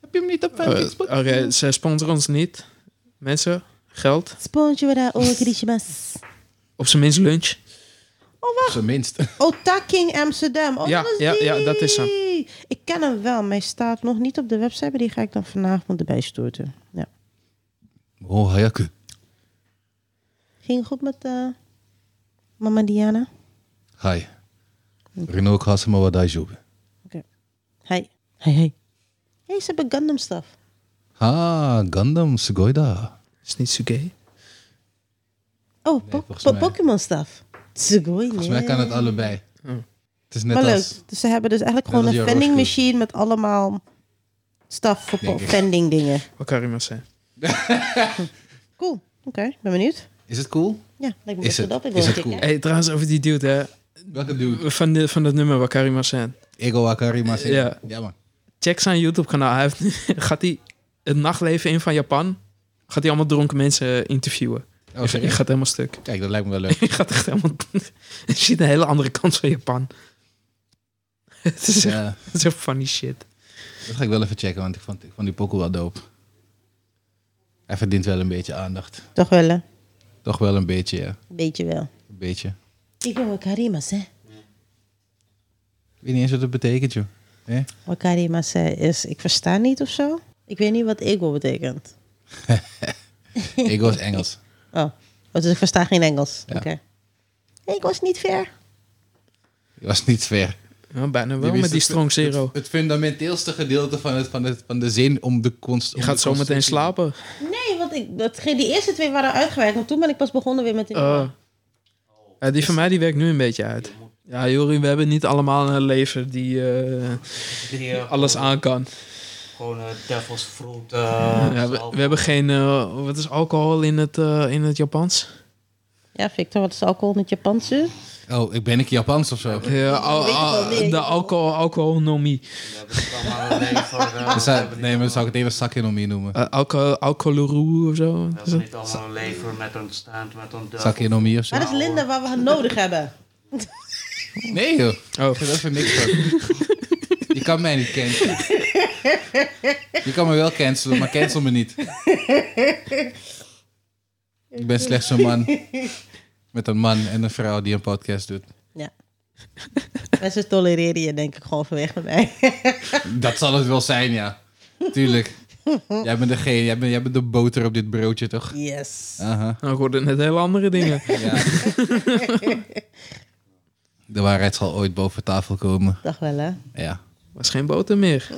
Heb je hem niet op
Eh,
Facebook?
Oké, ze sponsoren ons niet. Mensen, geld.
Sponsor daar okrishimas.
Op zijn minst lunch.
Op zijn minst.
Otaking Oh, Amsterdam. Oh,
Ja,
dat is
ja,
die.
ja, dat is hem.
Ik ken hem wel, maar hij staat nog niet op de website. Maar die ga ik dan vanavond erbij storten. Ja.
Oh, Hayaku.
Ging het goed met eh, mama Diana?
Hi.
Hm.
Renault Kasama wa daijoubu.
Hi. Hey, hey. Hey, ze hebben Gundam stuff.
Ah, Gundam sugoi da.
Is niet Sugei.
Oh, po-
volgens
po-
mij-
Pokémon stuff. Tsugoi,
Volgens mij kan het allebei.
Hm.
Het is net
maar leuk.
als...
Dus ze hebben dus eigenlijk
Net
gewoon
als
een
jouw
vending
horoscoop.
machine met allemaal stuff voor
Denk
po-
ik.
vending dingen.
Wat kan iemand zijn?
Cool. Oké, ben benieuwd.
Is het cool?
Ja, lijkt me
Is
best wel
het-
dat. Ik
is
wil
het
het
cool?
Hey, trouwens, over die dude, hè.
Welke dude?
Van, de, van dat nummer, Wakari zijn.
Ego Akari Masen.
Ja.
ja, man.
Check zijn YouTube-kanaal. Hij heeft- <laughs> gaat hij het nachtleven in van Japan? Gaat hij allemaal dronken mensen interviewen?
Oh,
ik, ik
serieus?
ga het helemaal stuk.
Kijk, dat lijkt me wel leuk.
<laughs> Ik gaat echt helemaal... Je ziet een hele andere kant van Japan. <laughs> het, is echt, <laughs>
Ja,
het is echt funny shit.
dat ga ik wel even checken, want ik vond, ik vond die pokoe wel dope. Hij verdient wel een beetje aandacht.
Toch wel, hè? Een
Toch wel een beetje, ja.
beetje wel.
Een beetje.
Ik ben Wakarimas, hè?
Ik weet niet eens wat het betekent, joh.
<laughs>
Eh?
Wakarimas hè, is ik versta niet of zo. Ik weet niet wat ego betekent.
Ego is Engels.
Oh, oh dus ik versta geen Engels.
Ja.
Oké. Ik was niet ver.
Dat was niet ver.
Ja, bijna wel,
Je
met
wist
die
het-
strong zero.
Het, het fundamenteelste gedeelte van, het, van, het, van de zin om de konst...
Je gaat zo meteen slapen.
Nee, want ik, dat, die eerste twee waren uitgewerkt. Want toen ben ik pas begonnen weer met... die-
Eh, ja, die van mij die werkt nu een beetje uit. Ja, Jori, we hebben niet allemaal een lever die eh,
Die, eh,
alles aan kan.
Gewoon eh, devil's fruit. eh,
Ja, we,
zo.
we hebben geen... eh, wat is alcohol in het, eh, in het Japans?
Ja, Victor, wat is alcohol in het Japanse?
Oh, ik ben ik Japans of zo?
Ja, al-
Weet je wel,
al-
weet je
de
wel.
alcohol, alcoholnomie.
We hebben het allemaal alleen voor... eh,
Dan
we
zou-
hebben
nee,
niet
maar dan zou ik het even sakinomie noemen.
Eh, alcohol, alcoholroe of zo.
allemaal- We hebben niet allemaal een lever met een stand, met een duivel.
Sakinomie of zo?
Waar is Linda waar we haar nodig hebben?
Nee joh,
Oh,
dat is voor niks van. Je kan mij niet cancelen. Je kan me wel cancelen, maar cancel me niet. Ik ben slechts een man. Met een man en een vrouw die een podcast doet.
Ja. <laughs> Mensen tolereren je denk ik gewoon vanwege mij. <laughs>
Dat zal het wel zijn, ja. Tuurlijk. Jij bent degene, jij bent, jij bent de boter op dit broodje, toch?
Yes.
Aha,
<laughs> nou, ik hoorde net hele andere dingen.
ja. De waarheid zal ooit boven tafel komen.
Dag wel hè.
Ja.
Was geen boter meer.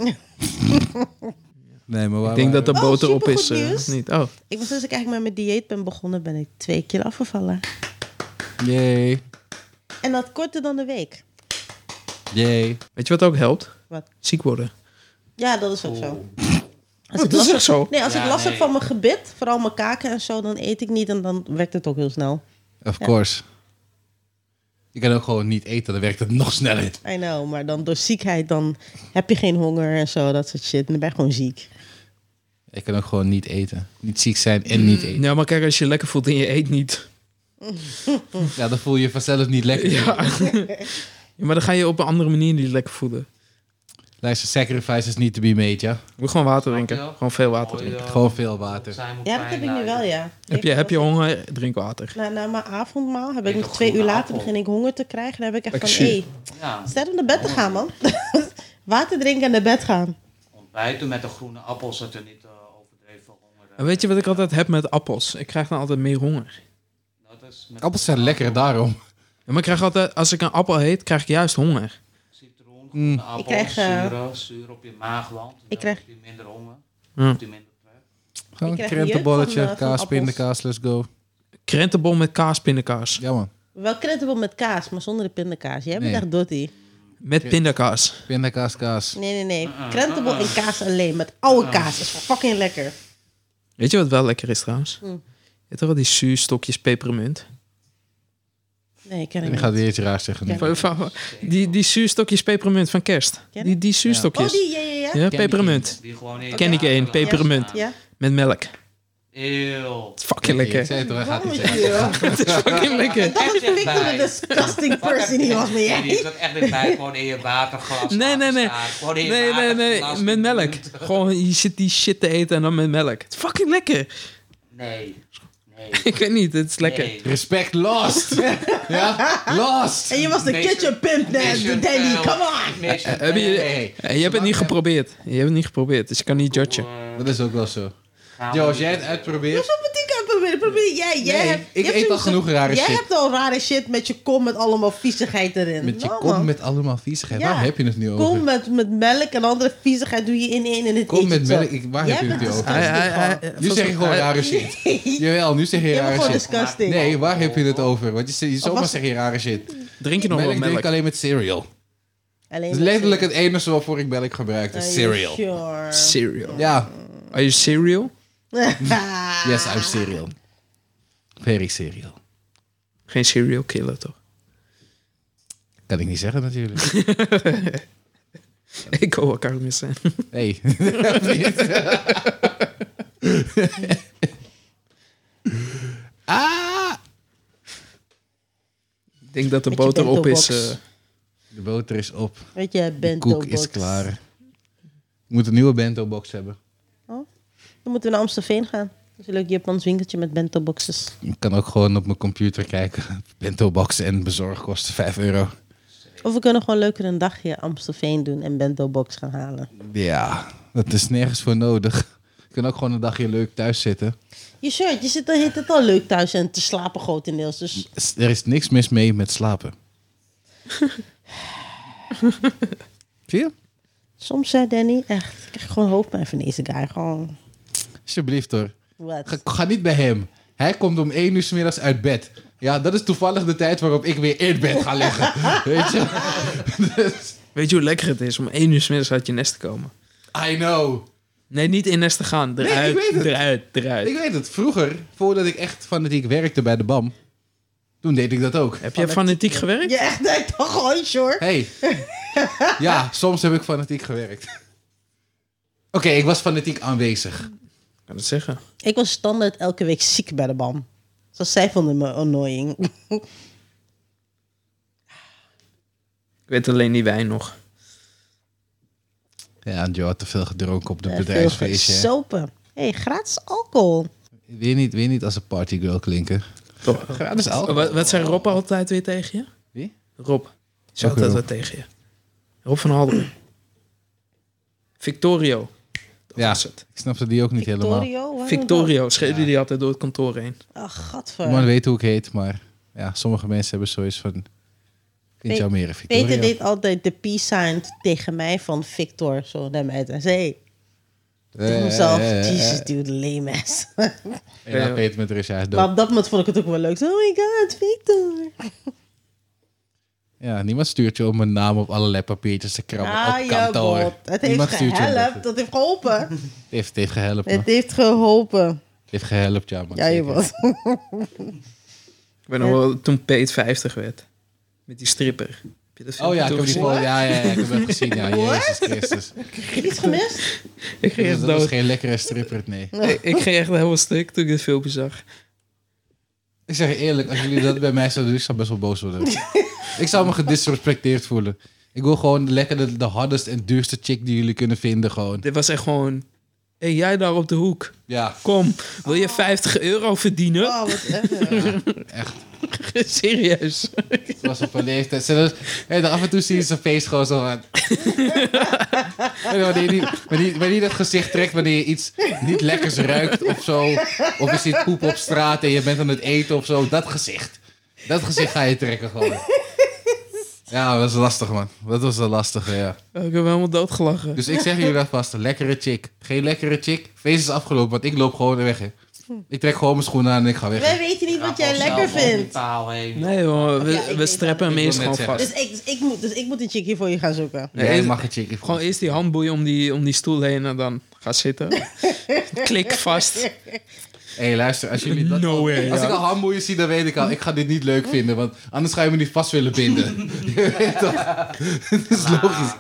Nee, maar waar,
Ik denk dat de
Oh,
boter op
supergoed
is, eh,
nieuws.
of niet? Oh,
Ik was sinds ik eigenlijk met mijn dieet ben begonnen, ben ik twee kilo afgevallen.
Yay,
En dat korter dan een week.
yay.
weet je wat ook helpt?
Wat?
Ziek worden.
Ja, dat is ook zo. Als
Oh. Dat
ik
is
last
echt zo.
Nee, als
Ja,
ik last heb
nee.
van mijn gebit, vooral mijn kaken en zo, dan eet ik niet en dan werkt het ook heel snel.
Of course. Je kan ook gewoon niet eten, dan werkt het nog sneller.
I know, maar dan door ziekheid, dan heb je geen honger en zo, dat soort shit. En dan ben je gewoon ziek.
Je kan ook gewoon niet eten. Niet ziek zijn en niet eten.
Nou, maar kijk, als je lekker voelt en je eet niet.
Ja, dan voel je je vanzelf niet lekker.
Ja. Ja, maar dan ga je op een andere manier niet lekker voelen.
Luister, sacrifice is niet to be made, ja.
Je moet gewoon water drinken.
Snap je?
Gewoon veel water
Mooie-
drinken.
Gewoon veel water.
Zij moet
Ja, dat heb ik nu
pijn
wel,
lijden.
ja.
Heb je, heb je honger? Drink water.
Na, na mijn avondmaal heb ik
Eet
nog
een
twee uur
groene
later
appel.
begin ik honger te krijgen. Dan heb ik echt
Lekker
van, hé,
zuur.
hey,
Ja,
stel om naar bed te gaan, man. <laughs> Water drinken en naar bed gaan.
ontbijten met de groene appels, dat je niet eh, overdreven honger
En weet je wat ik altijd heb met appels? Ik krijg dan altijd meer honger.
Dat is met
Appels zijn lekker daarom.
Ja, maar ik krijg altijd, als ik een appel eet, krijg ik juist honger.
Citroen,
Mm.
groene appels,
Ik krijg, eh,
zuren, zuur op je maagwand. Ik
krijg-
krijg... je minder honger,
Ja.
heb je minder trek.
<laughs>
krijg
Gewoon een
jeuk van,
krentenbolletje,
eh, van
kaas,
appels.
pindakaas, let's go.
Krentenbol met kaas, pindakaas.
Ja man,
Wel krentenbol met kaas, maar zonder de pindakaas. Jij bent
Nee.
echt dotty.
Met pindakaas.
pindakaas, kaas.
Nee, nee, nee.
Ah,
Krentenbol en kaas alleen. Met oude kaas is fucking lekker.
Weet je wat wel lekker is
Hm.
trouwens? Je hebt toch wel die zuurstokjes pepermunt?
Nee, ken ik
En ik
niet.
ga het weer iets raars zeggen nu.
Ja.
Van- van- Die, die zuurstokjes pepermunt van kerst.
Ken
Die, die
Oh,
zuurstokjes.
die, ja, ja, ja.
Ja, pepermunt.
Die gewoon in
Ken ik één, pepermunt.
Ja.
Met melk. Het
Eeuw.
is fucking
Ik
lekker.
zei het, hij gaat
Waarom
niet
is
zeggen.
die, <laughs> joh?
Het is fucking lekker.
En dat Oh, is de disgusting person die was, maar
Nee, die
jij.
zat echt in bij, gewoon in je waterglas.
Nee, nee, nee.
aangestaan. Gewoon in je
Nee, nee, nee.
waterglas.
Met melk. Gewoon, je zit die shit te eten en dan met melk. Het is fucking lekker. <laughs>
Nee, nee.
Ik weet niet, het is lekker.
Nee.
Respect
<laughs>
lost! ja, lost!
En je was de
Nation-
kitchen pimp,
Nation
Danny. Danny,
Bell.
come on.
Nation
Heb je,
Bell.
Hey.
Eh, je hebt het niet geprobeerd. Je hebt het niet geprobeerd, dus je kan niet judgen.
Eh,
Dat is ook wel zo.
gaan we
Jo, als jij
niet
Wat
het
doen.
uitprobeert...
voor boutique aan het proberen? Probeer jij. jij
Nee,
hebt,
ik
je hebt
eet al
zo'n-
genoeg rare
jij
shit.
hebt al rare shit met je kom met allemaal viezigheid erin.
Met je
Nou,
kom
man.
met allemaal viezigheid.
Ja.
Waar heb je het nu
Kom
over?
met, met melk en andere viezigheid doe je in één en het
Kom
eet je
met
het op.
melk. Ik- waar
Jij
heb je het
bent
nu over?
Hij- hij- hij-
disgusting,
Nu zeg je gewoon
hij-
rare shit.
<laughs>
Jawel, nu zeg je
Je bent
rare
gewoon
shit.
disgusting. Oh.
Nee, waar heb je het over? Want je, zegt- je zomaar
was-
zeg je rare shit.
Drink je nog wel
Melk drink
melk?
ik alleen met cereal.
Alleen met
Dat is letterlijk het enige waarvoor ik melk gebruik.
Are
Is
you
cereal.
sure?
Cereal.
Ja,
Are you cereal?
Ah,
yes, I'm cereal. Very cereal.
Geen cereal killer, toch? <laughs>
Kan ik niet zeggen natuurlijk.
<laughs>
Ik hoor elkaar missen.
Hey. <laughs> ah!
Ik denk dat de
Met je
boter op is.
bento box.
eh,
De boter is op.
Weet je,
De
bento
koek is klaar. Ik moet een nieuwe bento box hebben.
Dan moeten we naar Amstelveen gaan. Dat is een leuk Japans winkeltje met bento boxes.
Ik kan ook gewoon op mijn computer kijken. <laughs> Bento boxen en bezorg kosten 5 euro.
Of we kunnen gewoon leuker een dagje Amstelveen doen en bento box gaan halen.
Ja, dat is nergens voor nodig. Je kan ook gewoon een dagje leuk thuis zitten.
Je shirt, je zit dan heet het al leuk thuis en te slapen grotendeels. Dus
S- Er is niks mis mee met slapen. Zie je?
soms zei Danny echt, ik krijg gewoon hoofdpijn van deze guy. Gewoon,
Alsjeblieft hoor. Ga,
wat?
ga niet bij hem. Hij komt om 1 uur 's middags uit bed. Ja, dat is toevallig de tijd waarop ik weer in bed ga liggen. <laughs> Weet je? <laughs> Dus,
Weet je hoe lekker het is om één uur 's middags uit je nest te komen?
I know.
Nee, niet in nest te gaan.
ik
Eruit,
weet het.
eruit, eruit.
Ik weet het, vroeger, voordat ik echt fanatiek werkte bij de BAM, toen Toen deed ik dat ook.
Heb je fanatiek gewerkt?
Je echt denkt <laughs> toch gewoon, sure.
Hey. ja, soms heb ik fanatiek gewerkt. Oké, ik was fanatiek aanwezig.
Ik kan het zeggen.
Ik was standaard elke week ziek bij de BAM. Dus zij vonden me annoying.
Ik weet alleen die wijn nog.
Ja, en Joe had te veel gedronken op de
Veel
bedrijfsfeestje. hè.
sopen. hey, gratis alcohol.
Weer niet, weer niet als een partygirl klinken.
Toch.
Gratis al.
Wat, wat zei Rob altijd weer tegen je?
Wie?
Rob. Zei
Welke
altijd wat tegen je. Rob van Halderen. Victorio. Dat
Ja.
was het.
Ik snapte die ook niet helemaal.
Victorio? waarom
Victorio schreeuwde die altijd door het kantoor heen.
dan? Ach,
De Man
gadver.
weet hoe ik heet, maar ja, sommige mensen hebben zoiets van... Vind jou meer een
Peter
Victoria?
deed altijd de peace-sign tegen mij van Victor. Zo naar mij. Hij zei, hey,
Eh,
tegen mezelf. Jesus, dude, lame
<laughs>
ass.
En dan Peter eh, met Rusja is dood.
maar op dat moment vond ik het ook wel leuk. Oh my god, Victor.
Ja, niemand stuurt je om mijn naam op alle papiertjes te krabben
Ah,
op
ja,
kantoor.
god. Het heeft
Niemand stuurt je om dat.
gehelpt. Dat heeft
<laughs>
geholpen.
Het heeft, het heeft gehelpen.
Het heeft geholpen.
Het heeft gehelpt, ja. Man,
Ja, je
zeker. <laughs>
was.
Ik weet nog wel toen Peet 50 werd. Met die stripper. Heb je dat
Oh
filmpje
ja, ik
toen
heb die
gezien?
gewoon... Ja, ja, ja, ik heb hem gezien.
<laughs>
Ja, Jezus Christus.
Heb je iets gemist?
Ik ging
Dus
echt
dat is
dood.
geen lekkere stripper, nee.
Ik, ik ging echt helemaal stuk toen ik dit filmpje zag.
Ik zeg je eerlijk, als jullie dat bij mij zouden doen, ik zou best wel
<laughs>
boos worden. ik zou me gedisrespecteerd voelen. Ik wil gewoon lekker de, de hardest en duurste chick die jullie kunnen vinden, gewoon.
Dit was echt gewoon... Hé, hey, jij daar op de hoek.
Ja,
Kom, wil je 50 euro verdienen?
Oh, wat erg.
echt.
<laughs> Serieus.
Het was op een leeftijd. Ze was- en dan af en toe zie je zijn face gewoon zo aan. En <laughs> wanneer, je die, wanneer, je- wanneer je dat gezicht trekt, wanneer je iets niet lekkers ruikt of zo. Of je ziet poep op straat en je bent aan het eten of zo. Dat gezicht. Dat gezicht ga je trekken gewoon. Ja, dat was lastig man. Dat was wel lastig, ja.
Oh, Ik heb helemaal doodgelachen.
Dus ik zeg jullie dat vast. een Lekkere chick. Geen lekkere chick. Feest is afgelopen, want ik loop gewoon weg. Hè. Ik trek gewoon mijn schoenen aan en ik ga weg. hè.
Wij weten niet wat jij
Trap al snel
nou,
lekker
om die
vindt.
paal heen.
Nee hoor, we,
Ja, ik
we
weet
streppen
dat.
hem
Ik
eerst
wil
gewoon
net
vast.
Dus ik, dus ik moet, dus ik moet een chickie voor je gaan zoeken.
Nee,
Jij
is-
mag een chick. Ik
Gewoon eerst die handboeien om die, om die stoel heen en dan ga
<laughs>
zitten. Klik vast.
Hé, hey, luister, als jullie dat...
No
al-
way,
als
ja.
ik al handboeien zie, dan weet ik al, ik ga dit niet leuk vinden. Want anders ga je me niet vast willen binden. Je weet toch? <laughs> Het is logisch.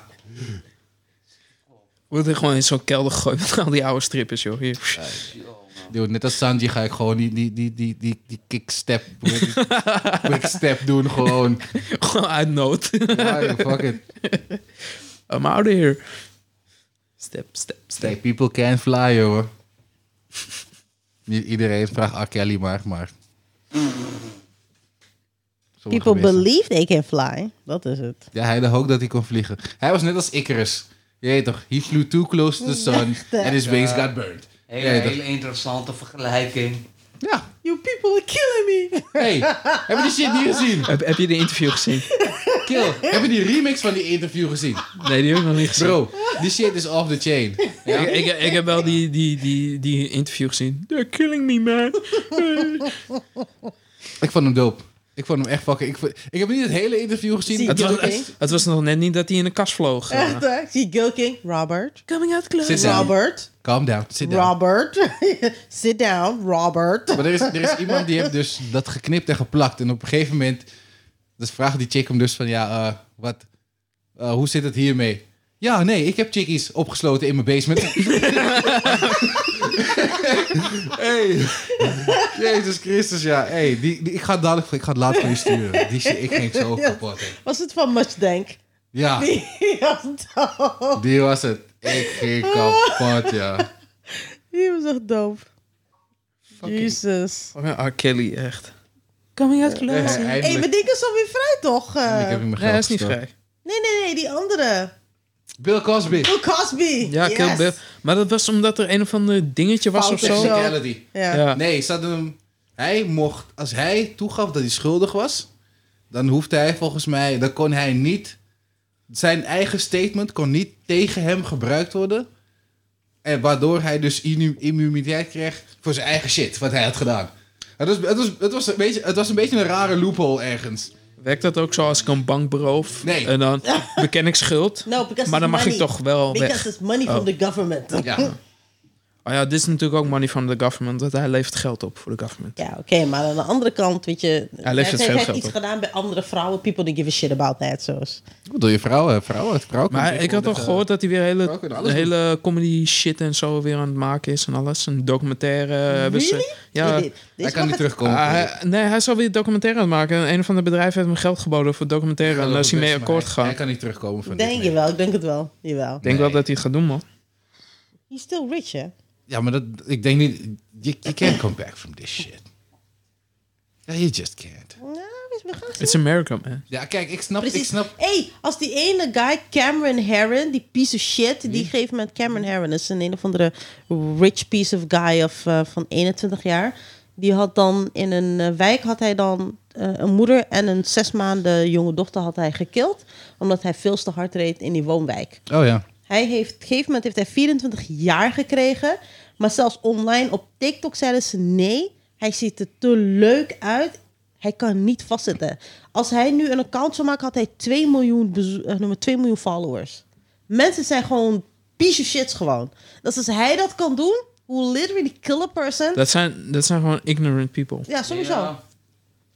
Wordt er gewoon in zo'n kelder gegooid met al die oude strippers, joh. Hier.
Dude, net als Sanji ga ik gewoon die, die, die, die, die, die kickstep... hoe heet <laughs> die? Quickstep doen, gewoon.
Gewoon uit nood. <laughs>
Ja, joh, fuck it.
I'm out of here. Step, step, step.
Hey, people can fly, joh. Niet iedereen vraagt R. Kelly maar, maar... Sommige
People
mensen-
believe they can fly. Dat is het.
Ja, hij dacht ook dat hij kon vliegen. Hij was net als Icarus. Je weet toch, he flew too close to the sun and his wings got burned.
Hele,
Ja, dat-
hele interessante vergelijking.
Ja,
You people are killing me.
hey, heb je die shit niet gezien?
Heb, heb je de interview gezien?
Kill, heb je die remix van die interview gezien?
Nee, die heb ik nog niet gezien.
Bro, die shit is off the chain.
Ja, ik, ik, ik heb wel die, die, die, die interview gezien. They're killing me, man.
<laughs>
Ik vond hem dope. Ik vond hem echt fucking... Ik, vond- ik heb niet het hele interview gezien.
Zie-
Het
Het was,
Oké.
het, het was nog net niet dat hij in een kast vloog. eh.
Echt, hè? Ik <laughs> Zie Gil King. Robert.
Coming out
Zit
close.
down.
Robert.
Calm down, sit down.
Robert. <laughs> Sit down, Robert.
Maar er is, er is iemand die heeft dus dat geknipt en geplakt. En op een gegeven moment dus vraagt die chick hem dus van... Ja, eh, wat, eh, hoe zit het hiermee? Ja, nee, ik heb chickies opgesloten in mijn basement. <laughs> hey. Jezus Christus, ja. Hey, die, die, ik ga het dadelijk, ik ga het later voor je sturen. Die shit, ik ging zo kapot. hè.
Was het van Much Denk? <laughs>
Ja,
Die was doof.
die was het. Ik ging kapot, ja.
Die was echt doof. Jesus.
Fucking "Oh R. Kelly, echt. Coming out
Eh,
close.
Hé, hey, maar
Eindelijk,
die is alweer vrij, toch? Eh,
ik heb hem
Nee, hij
geld
is niet
gestolen.
vrij.
Nee, nee, nee, die andere.
Bill Cosby.
Bill Cosby.
Ja,
yes.
Kill Bill. Maar dat was omdat er een of ander dingetje was
Fout
of
is
zo.
zo.
Technicality.
Ja.
Ja.
Nee, ze hadden hem, hij mocht, als hij toegaf dat hij schuldig was, dan hoefde hij volgens mij, dan kon hij niet, zijn eigen statement kon niet tegen hem gebruikt worden. En waardoor hij dus immu- immuniteit kreeg voor zijn eigen shit, wat hij had gedaan. Het was, het was, het was, een, beetje, het was een beetje een rare loophole ergens.
Werkt dat ook zo als ik een bank beroof?
Nee.
En dan beken ik schuld.
No, because
maar dan
it's
mag ik
money.
toch wel
Because
weg.
it's money from the government.
Ja.
Oh ja, dit is natuurlijk ook money from the government. Want hij levert geld op voor de government.
Ja, oké, maar aan de andere kant, weet je...
Hij levert
heeft-
veel
heeft
geld
iets
op.
gedaan bij andere vrouwen. People don't give a shit about that, zoals.
<laughs> Ik bedoel, je eh, vrouwen, vrouwen, vrouwen.
Maar
kunnen
ik had al
tegenwoordig,
gehoord dat hij weer hele,
vrouwen kunnen alles
hele comedy shit en zo weer aan het maken is en alles. Een documentaire hebben ze. Ja,
Dit- dit-
eh,
dit
Hij kan niet
mag het-
terugkomen.
Ah, hij- nee, hij zal weer documentaire aan het maken. En een van de bedrijven heeft hem geld geboden voor documentaire. En daar is hij mee
gaan.
akkoord gegaan.
Hij
Ik
kan niet terugkomen van
Denk je
dit.
wel, ik denk het wel. Jawel.
denk wel dat hij het gaat doen, man.
He's still rich, hè?
Ja, maar dat, ik denk niet... You, you can't come back from this shit. Ja, you just can't.
Nou, we gaan
It's America, man.
Ja, kijk, ik snap... Ik
Precies.
snap
hey, als die ene guy, Cameron Heron, die piece of shit, die
Hm.
geeft met Cameron Heron, is een een of andere rich piece of guy of, eh, van 21 jaar. Die had dan in een eh, wijk had hij dan eh, een moeder en een zes maanden jonge dochter had hij gekild. Omdat hij veel te hard reed in die woonwijk.
Oh ja.
Hij heeft, op een gegeven moment heeft hij 24 jaar gekregen. Maar zelfs online op TikTok zeiden ze nee. Hij ziet er te leuk uit. Hij kan niet vastzitten. Als hij nu een account zou maken, had hij 2 miljoen, bezo- eh, noem het, 2 miljoen followers. Mensen zijn gewoon piece of shits gewoon. Dus als hij dat kan doen, who literally kill a person.
Dat zijn, dat zijn gewoon ignorant people.
ja, sowieso.
Ja.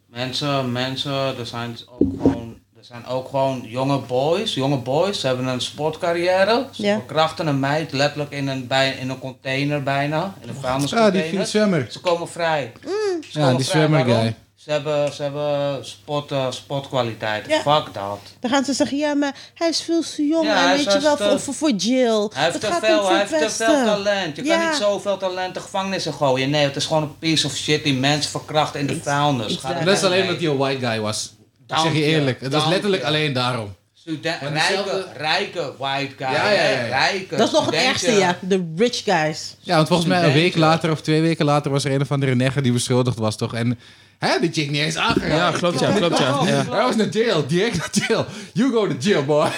Mensen, mensen, er zijn ook gewoon, er zijn ook gewoon jonge boys. Jonge boys ze hebben een sportcarrière. Ze
Ja.
verkrachten een meid letterlijk in een, bij, in een container bijna.
Oh,
In een
Ah, die
vuilniscontainer.
viel zwemmer.
Ze komen vrij.
Mm.
Ze
Ja,
komen
die
vrij.
zwemmer
Waarom?
guy.
Ze hebben, ze hebben sport, eh, sportkwaliteit.
Ja.
Fuck dat.
Dan gaan ze zeggen, ja, maar hij is veel te jong.
Ja,
en
hij
weet
is-
je wel,
hij is
voor,
te-
voor, voor Jill.
Hij heeft,
Het
te
gaat
veel,
niet
hij
voor
heeft
het
te veel
beste.
talent. Je
Ja.
kan niet zoveel talent de gevangenis in gooien. Nee, het is gewoon een piece of shit die mensen verkrachten in de vuilnis. Ga
exact.
er
Maar dat is
weg
alleen
mee.
omdat hij een white guy was. Ik
Dank
zeg je
je,
eerlijk. Het was
dank
letterlijk
je.
alleen daarom.
Student,
Maar
rijke,
dezelfde-
rijke white guy.
Ja, ja, ja, ja.
hè, Rijke
Dat is nog het
studentje.
ergste, ja. De rich guys.
Ja, want volgens mij een
Studentje.
week later of twee weken later was er een of andere negger die beschuldigd was, toch? En hè, die chick niet eens aangeraakt.
Ja, klopt ja, klopt ja. ja.
Hij was naar jail, direct naar jail. You go to jail, boy.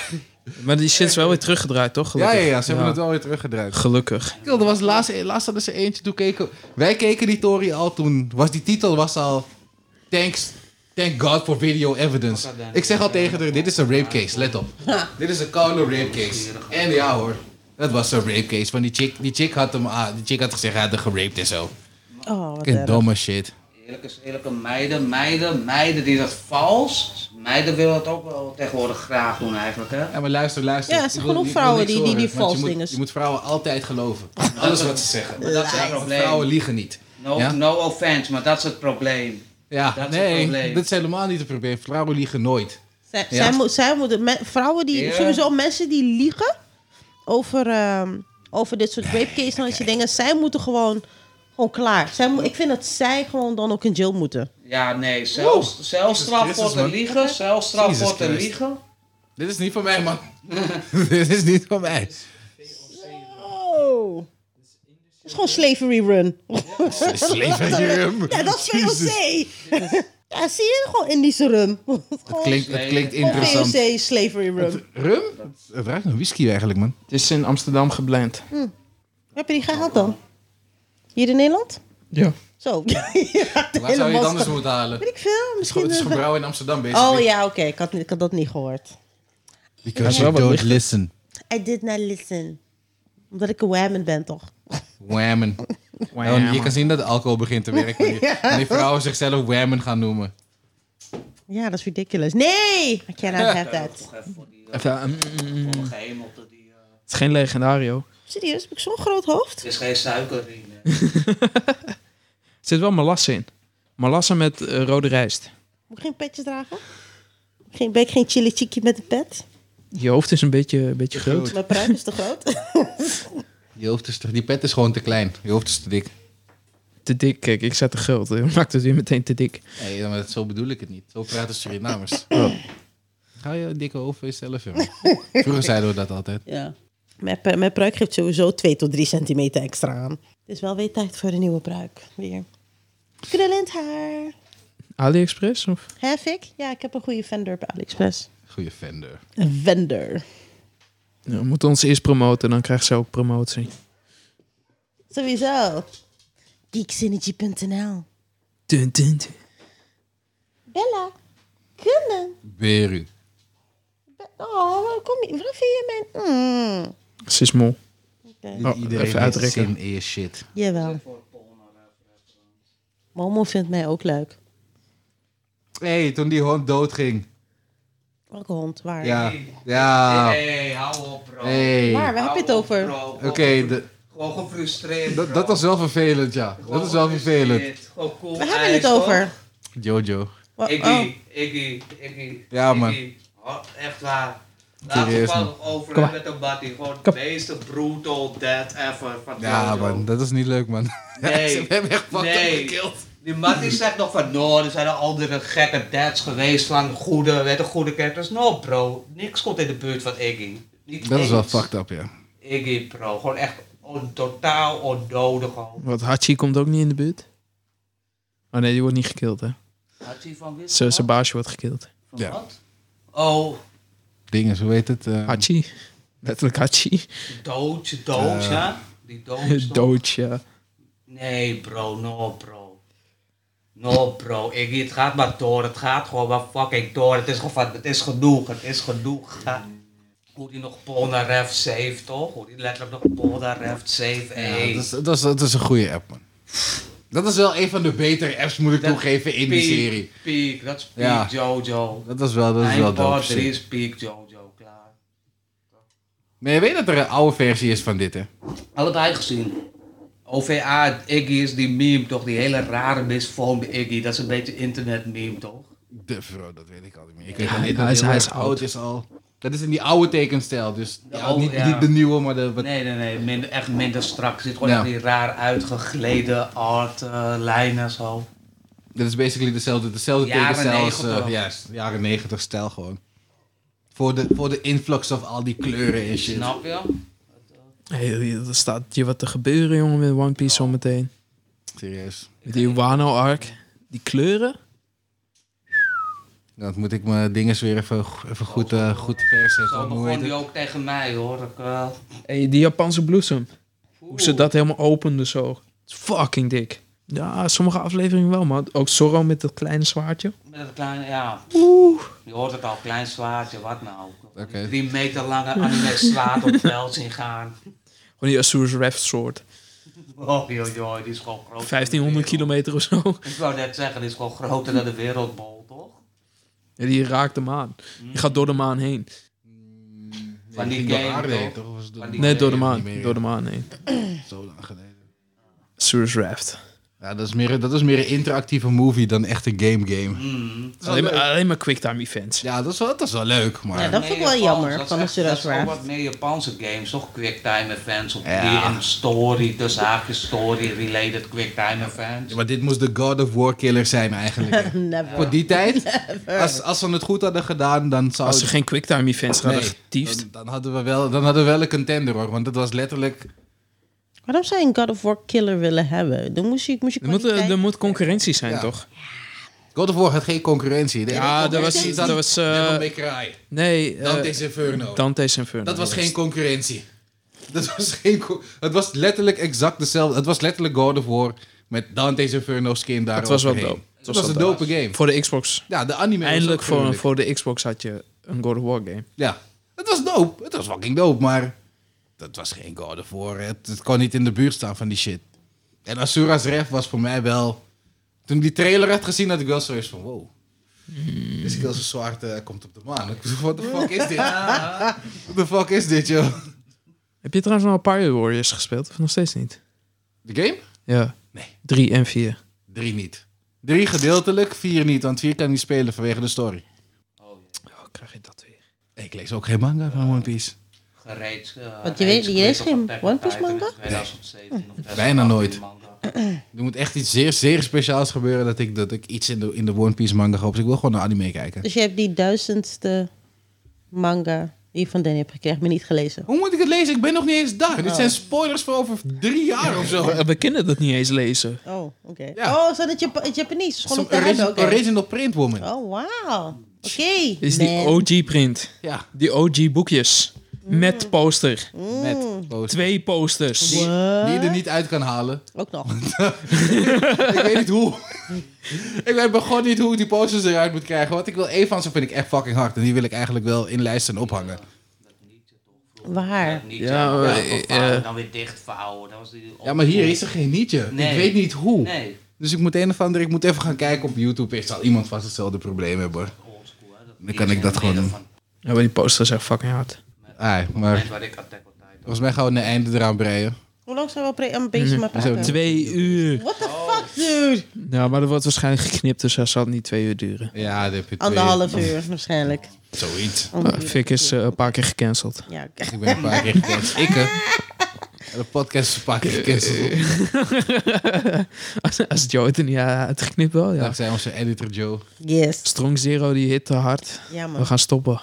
Maar die shit is wel weer teruggedraaid, toch?
Ja,
Gelukkig.
ja, ja, ze hebben het wel weer teruggedraaid.
Gelukkig.
Kill, er was laatst, laatst hadden ze eentje, toen keken... Wij keken die Tory al toen, was die titel was al... Thanks, thank God for video evidence. Ik zeg al tegen haar, dit is een rape case, let
<laughs>
op. Dit is een koude rape case. En ja hoor, dat was een rape case. Want die chick, die chick had hem aan, die chick had gezegd, hij had hem geraped en zo.
Oh, wat
Fucking
erg.
domme shit.
Eerlijke, eerlijke meiden, meiden, meiden die dat vals. Meiden willen dat ook wel tegenwoordig graag doen eigenlijk, hè?
Ja, maar luister, luister.
Ja,
Ik
er zijn
wil-
genoeg
ik wil
vrouwen
niks
die- die- die
horen, want
vals
je moet-
dingen-
Je moet vrouwen altijd
<laughs>
geloven. Alles wat ze zeggen.
Maar dat is het probleem.
Vrouwen liegen niet.
No,
Ja?
no offense, maar dat is het probleem.
Ja,
Dat is het
nee,
probleem.
dat is helemaal niet het probleem. Vrouwen liegen nooit.
Zij,
Ja.
zij, moet- zij moeten, me- vrouwen die,
Ja.
sowieso mensen die liegen over, ehm, over dit soort rape cases en dat je dingen, zij moeten gewoon, gewoon klaar. Zij moet, ik vind dat zij gewoon dan ook in jail moeten.
Ja, nee, zelfs, zelfstraf
Christus,
voor te
man.
liegen, zelfstraf
Jezus
voor te
Christus.
liegen.
Dit is niet van mij, man. <laughs> Dit is niet van mij.
Oh. Dat is gewoon slavery
<laughs>
run.
Slavery rum.
Ja, dat is
Jezus.
VOC. <laughs> Ja, zie je? Gewoon Indische <laughs> rum.
Het klinkt, het klinkt
Gewoon
interessant.
VOC, slavery run.
Rum? Het ruikt naar whisky eigenlijk, man.
Het is in Amsterdam gebland.
Heb je die gehaald dan? Hier in Nederland?
Ja.
Zo. <laughs> Ja, de
Waar zou je
hele
het
massa-
anders moeten halen?
Weet ik veel.
Het is
Misschien
gewoon- het is
een-
gebrouwen in Amsterdam, basically.
Oh ja, oké. Ik, had, ik had dat niet gehoord.
Because
Ja.
you don't listen.
I did not listen. Omdat ik een whammen ben, toch?
Whammen. Ja, want je kan zien dat de alcohol begint te werken. <laughs> wanneer- Wanneer vrouwen zichzelf whammen gaan noemen.
Ja, dat is ridiculous. Nee! I cannot have that.
Toch even voor die, eh,
Even, mm, mm,
voor de gehemelte die... eh,
het is geen legendario.
<laughs> Serieus? Heb ik zo'n groot hoofd?
het is geen suiker in. eh.
Er zit wel molasse in. Molasse met eh, rode rijst.
Moet ik geen petje dragen? Geen, ben ik geen chili chickie met een pet?
Je hoofd is een beetje, een beetje
<laughs>
groot.
Mijn pruik is te groot.
Je hoofd is te- die pet is gewoon te klein. Je hoofd is te dik.
Te dik, kijk, ik zet de guld. Je <laughs> maakt het weer meteen te dik.
Nee, maar dat- zo bedoel ik het niet. Zo praten Surinamers. Ga je dikke hoofd voor jezelf, jongen. Vroeger zeiden we dat altijd.
<laughs> ja. Mijn, pru- mijn pruik geeft sowieso 2 tot 3 centimeter extra aan. Het is wel weer tijd voor een nieuwe pruik. Weer. Krullend haar.
AliExpress? Of?
Heb ik? Ja, ik heb een goede vendor bij AliExpress.
Goeie vender.
Een vendor.
Ja, we moeten ons eerst promoten, dan krijgt ze ook promotie.
Sowieso. Geeksynergy.nl
Dun, dun, dun.
Bella, kunnen.
Beru.
Be- Oh, waarom, kom je, waarom vind je mijn... Mm.
Ze is mol.
Niet
Oh, even
Iedereen heeft
uitrekken.
zin in shit.
Jawel. Momo vindt mij ook leuk.
Hé, hey, toen die hond doodging.
Welke hond? Waar?
Ja, ja.
Hé, hou op, bro.
Ah. Hey.
Waar? Waar heb je het
Hou op,
over?
bro. Gewoon
Oké,
gefru-
de-
Gewoon gefrustreerd.
dat,
bro.
dat was wel vervelend, ja.
Gewoon
Dat is wel vervelend.
gefrustreerd. Gewoon cool
Waar hebben we het
ijs,
over?
Jojo.
Wa-
Iggy,
oh.
Iggy, Iggy.
Ja,
Iggy.
man.
Oh, echt waar. Laten we
Serieus,
het over hebben met een buddy. Gewoon de meeste brutal death ever van
Ja,
Jojo.
man, <laughs> dat is niet leuk, man.
Nee.
Ze hebben echt fucked
Nee.
up gekild.
Die Matty zegt nog van, no, er zijn al andere gekke dads geweest van goede, weet een goede characters. No, bro. Niks komt in de buurt van Iggy. Niet
Dat is wel
eens.
fucked up, ja.
Iggy, bro. Gewoon echt on, totaal onnodig. gewoon.
Want Hachi komt ook niet in de buurt. Oh nee, die wordt niet gekild, hè?
Had hij van wist?
Z- Zijn baasje wordt gekild.
Van
Ja.
wat? Oh,
Dingen, hoe heet het? eh,
Hachi. Letterlijk Hachi.
doodje,
Eh,
doodje. Die
<laughs>
doodje.
Doodje.
Nee, bro, no, bro. No, bro. Ik, het gaat maar door. Het gaat gewoon maar fucking door. Het is, gewoon, het is genoeg. Het is genoeg. <laughs> Ga- Hoe die nog Polnareff save, toch? Hoe die letterlijk nog Polnareff save.
ja,
Hey.
dat, is, dat, is, dat is een goede app, man. Dat is wel een van de betere apps, moet ik
Dat-
toegeven, in die
Peak,
serie.
Peak, dat is peak
Ja.
Jojo.
Dat is wel, dat is wel
Mijn
dope
part
shit.
3 is peak Jojo, klaar.
Maar je weet dat er een oude versie is van dit, hè?
Allebei gezien. OVA, Iggy is die meme, toch? Die hele rare misvormde Iggy. Dat is een beetje internet meme, toch?
De vrouw, dat weet ik al niet meer. Ik
Ja,
weet alleen dat
hij is-
heel
hij is
erg
oud.
is al. Dat is in die oude tekenstijl, dus
De
ja,
oude,
niet,
ja.
niet de nieuwe, maar de... Wat,
Nee, nee, nee. Minder, echt minder strak. Er zit gewoon
Ja.
echt die raar uitgegleden art eh, lijnen zo.
Dit is basically dezelfde, dezelfde
Jaren
tekenstijl als... eh,
90.
juist, jaren negentig stijl gewoon. Voor de, voor de influx of al die kleuren en shit.
Snap je?
Hey, er staat je wat te gebeuren, jongen, met One Piece zometeen.
Serieus.
Met die Wano-arc. Die kleuren.
Dat moet ik mijn dinges weer even, even goed, eh, goed
Zo
verzetten. Hoe heet
begon
het?
die ook tegen mij hoor. Ik, eh,
Hey, die Japanse bloesem. Hoe ze
oeh.
dat helemaal openden zo. Het is fucking dik. Ja, sommige afleveringen wel, man. Ook Zorro met dat kleine zwaardje.
Met dat kleine, ja. Je hoort het al, klein zwaardje, wat nou?
Oké.
Drie meter lange anime zwaard op veld zien gaan.
Gewoon die Asura's Raft soort.
Oh joh, joh, die is gewoon groot.
1500 kilometer of zo.
Ik wou net zeggen, die is gewoon groter dan de wereldbol, toch?
Ja, die raakt de maan.
Mm.
Die gaat door de maan heen.
Van die
ging door
game,
aarde
toch?
heen, toch? Of was het door-
Van die-
Nee, door de
Niet
maan.
meer,
Door de maan heen.
Zo lang geleden.
Asura's Raft.
Ja, dat is, meer, dat is meer een interactieve movie dan echt een game-game.
Mm.
Alleen maar, alleen maar quicktime events.
Ja, dat is wel, dat is wel leuk, maar...
Ja, dat
Meer
vond ik wel
Japans,
jammer
dat
van
is
de
echt- dat is
Surf's
gewoon wat meer Japanse games, toch? Quicktime events op
Ja.
die en story, de zaakjes story related quicktime events.
Ja, maar dit moest de God of War killer zijn
<laughs>
eigenlijk. hè.
oh. Never.
Voor die tijd, als, als ze het goed hadden gedaan, dan zou
Als ze geen quicktime events hadden
Nee,
getiefd.
dan, dan hadden we wel, dan hadden we wel een contender hoor, want dat was letterlijk.
Waarom zou je een God of War killer willen hebben? Dan moest je, moest je
Er moet, eh,
kwaliteit-
er moet concurrentie zijn,
Ja.
toch?
God of War had geen concurrentie. De enige
Ja, dat was...
concurrentie
Dat was eh,
Devil May Cry,
nee, eh,
Dante's Inferno.
Dante's Inferno.
dat was geen concurrentie. Dat was geen. co- Het was letterlijk exact dezelfde. Het was letterlijk God of War met Dante's Inferno skin daar.
Het was wel
overheen.
dope.
Het
Het was
was, een
wel
dope game.
Voor de Xbox.
Ja, de anime. was
Eindelijk
ook
voor,
gruwelijk.
voor de Xbox had je een God of War game.
Ja, het was dope. Het was fucking dope, maar dat was geen God of War. Het, het kon niet in de buurt staan van die shit. En Asura's Ref was voor mij wel... Toen ik die trailer had gezien, had ik wel zoiets van... Wow, is ik heel zo zwaard eh, komt op de maan. Ik bedoel, What the fuck is dit? What the fuck is dit, joh?
Heb je trouwens nog Pirate Warriors gespeeld? Of nog steeds niet?
De game?
Ja.
Nee.
Drie en vier.
Drie niet. Drie gedeeltelijk, vier niet. Want vier kan niet spelen vanwege de story.
Oh, krijg je dat weer.
Ik lees ook geen manga van One Piece.
Gereed. eh,
Want je weet- je leest
gereed op
geen
Attack
One
on
Piece
Titan in
manga? Hm.
2017 of 2018
Bijna nooit.
manga.
Er moet echt iets zeer, zeer speciaals gebeuren dat ik, dat ik iets in de, in de One Piece manga hoop. Dus ik wil gewoon naar anime kijken.
Dus je hebt die duizendste manga die je van Danny hebt gekregen, maar niet gelezen.
Hoe moet ik het lezen? Ik ben nog niet eens daar. Dit zijn spoilers voor over drie jaar of zo.
We kunnen dat niet eens lezen.
Oh, oké.
Ja.
Oh, zijn het Jap het Japanese? Gewoon
Zo'n
op de hebben,
origi-
oké.
original print woman.
Oh, wauw. Oké,
Is die
man.
OG print.
Ja,
Die OG boekjes. Met poster.
Mm.
met post.
Twee posters.
Die, die je er niet uit kan halen.
Ook
<laughs>
nog.
ik weet niet
<laughs>
hoe. ik weet begon niet hoe ik die posters eruit moet krijgen. Want ik wil één van ze vind ik echt fucking hard. En die wil ik eigenlijk wel in lijsten ophangen.
Waar?
Niet
Ja,
ja,
maar, eh,
dan weer dichtvouwen. Dan was die
Ja, maar hier is er geen nietje. Ik
Nee.
weet niet hoe.
Nee,
Dus ik moet een of andere, ik moet even gaan kijken op YouTube. Er zal iemand vast hetzelfde probleem hebben hoor.
oldschool. hè.
Dan kan ik dat gewoon doen.
Van
Ja, maar die poster is echt fucking hard.
Ai,
het
maar
moment waar ik Attack on Titan
volgens mij gaan we een einde eraan breien.
Hoe lang zijn we al pre- een beetje
<laughs>
maar
Zo,
praten?
Twee uur.
What the fuck, dude?
Ja, maar dat wordt waarschijnlijk geknipt, dus dat zal niet twee uur duren.
Ja, dat heb je twee.
Anderhalf uur waarschijnlijk.
Zoiets.
Oh,
Eh, Fik is eh, een paar keer gecanceld. <laughs>
Ja,
Ik ben een paar keer gecanceld. Ik hè. De podcast is een paar keer gecanceld.
als, als Joe het er niet had geknipt wel, ja.
Dankzij onze editor Joe.
yes.
Strong Zero die hit te hard.
Ja,
We
man.
gaan stoppen.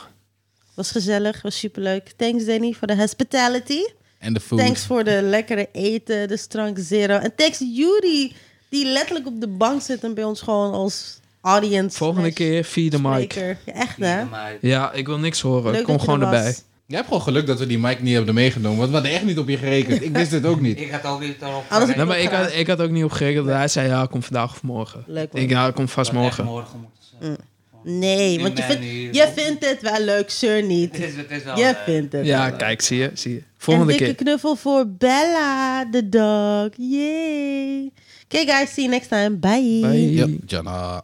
Was gezellig, was superleuk. Thanks, Danny, voor de hospitality.
En de food.
Thanks voor de lekkere eten, de Strank Zero. En thanks Yuri, die letterlijk op de bank zit en bij ons gewoon als audience.
Volgende
slash
keer via de mic.
spreker. Ja, echt, hè?
vierde, maar
Ja, ik wil niks horen.
Leuk
Kom
dat je
gewoon
er was.
erbij.
Jij hebt gewoon geluk dat we die mic niet hebben meegenomen. Want we hadden echt niet op je gerekend. Ik wist dit ook niet.
Ik had ook niet erop
Alles-
gerekend.
Nee, maar ik had, ik had ook niet op gerekend dat hij zei, ja, kom vandaag of morgen.
Leuk, man.
Ik, ja, kom vast
Dat had echt
morgen.
morgen moeten
Hm.
zijn.
Nee,
Die
want je
man
vindt,
hier.
je vindt het wel leuk, sir niet.
<laughs> <laughs> Het is, het is wel...
Je
eh,
vindt het
Ja,
wel leuk.
kijk, zie je, zie je.
En
Volgende
dikke
keer.
knuffel voor Bella, de dog. Yay. Okay, guys, see you next time. Bye.
Bye.
Ja, Jana.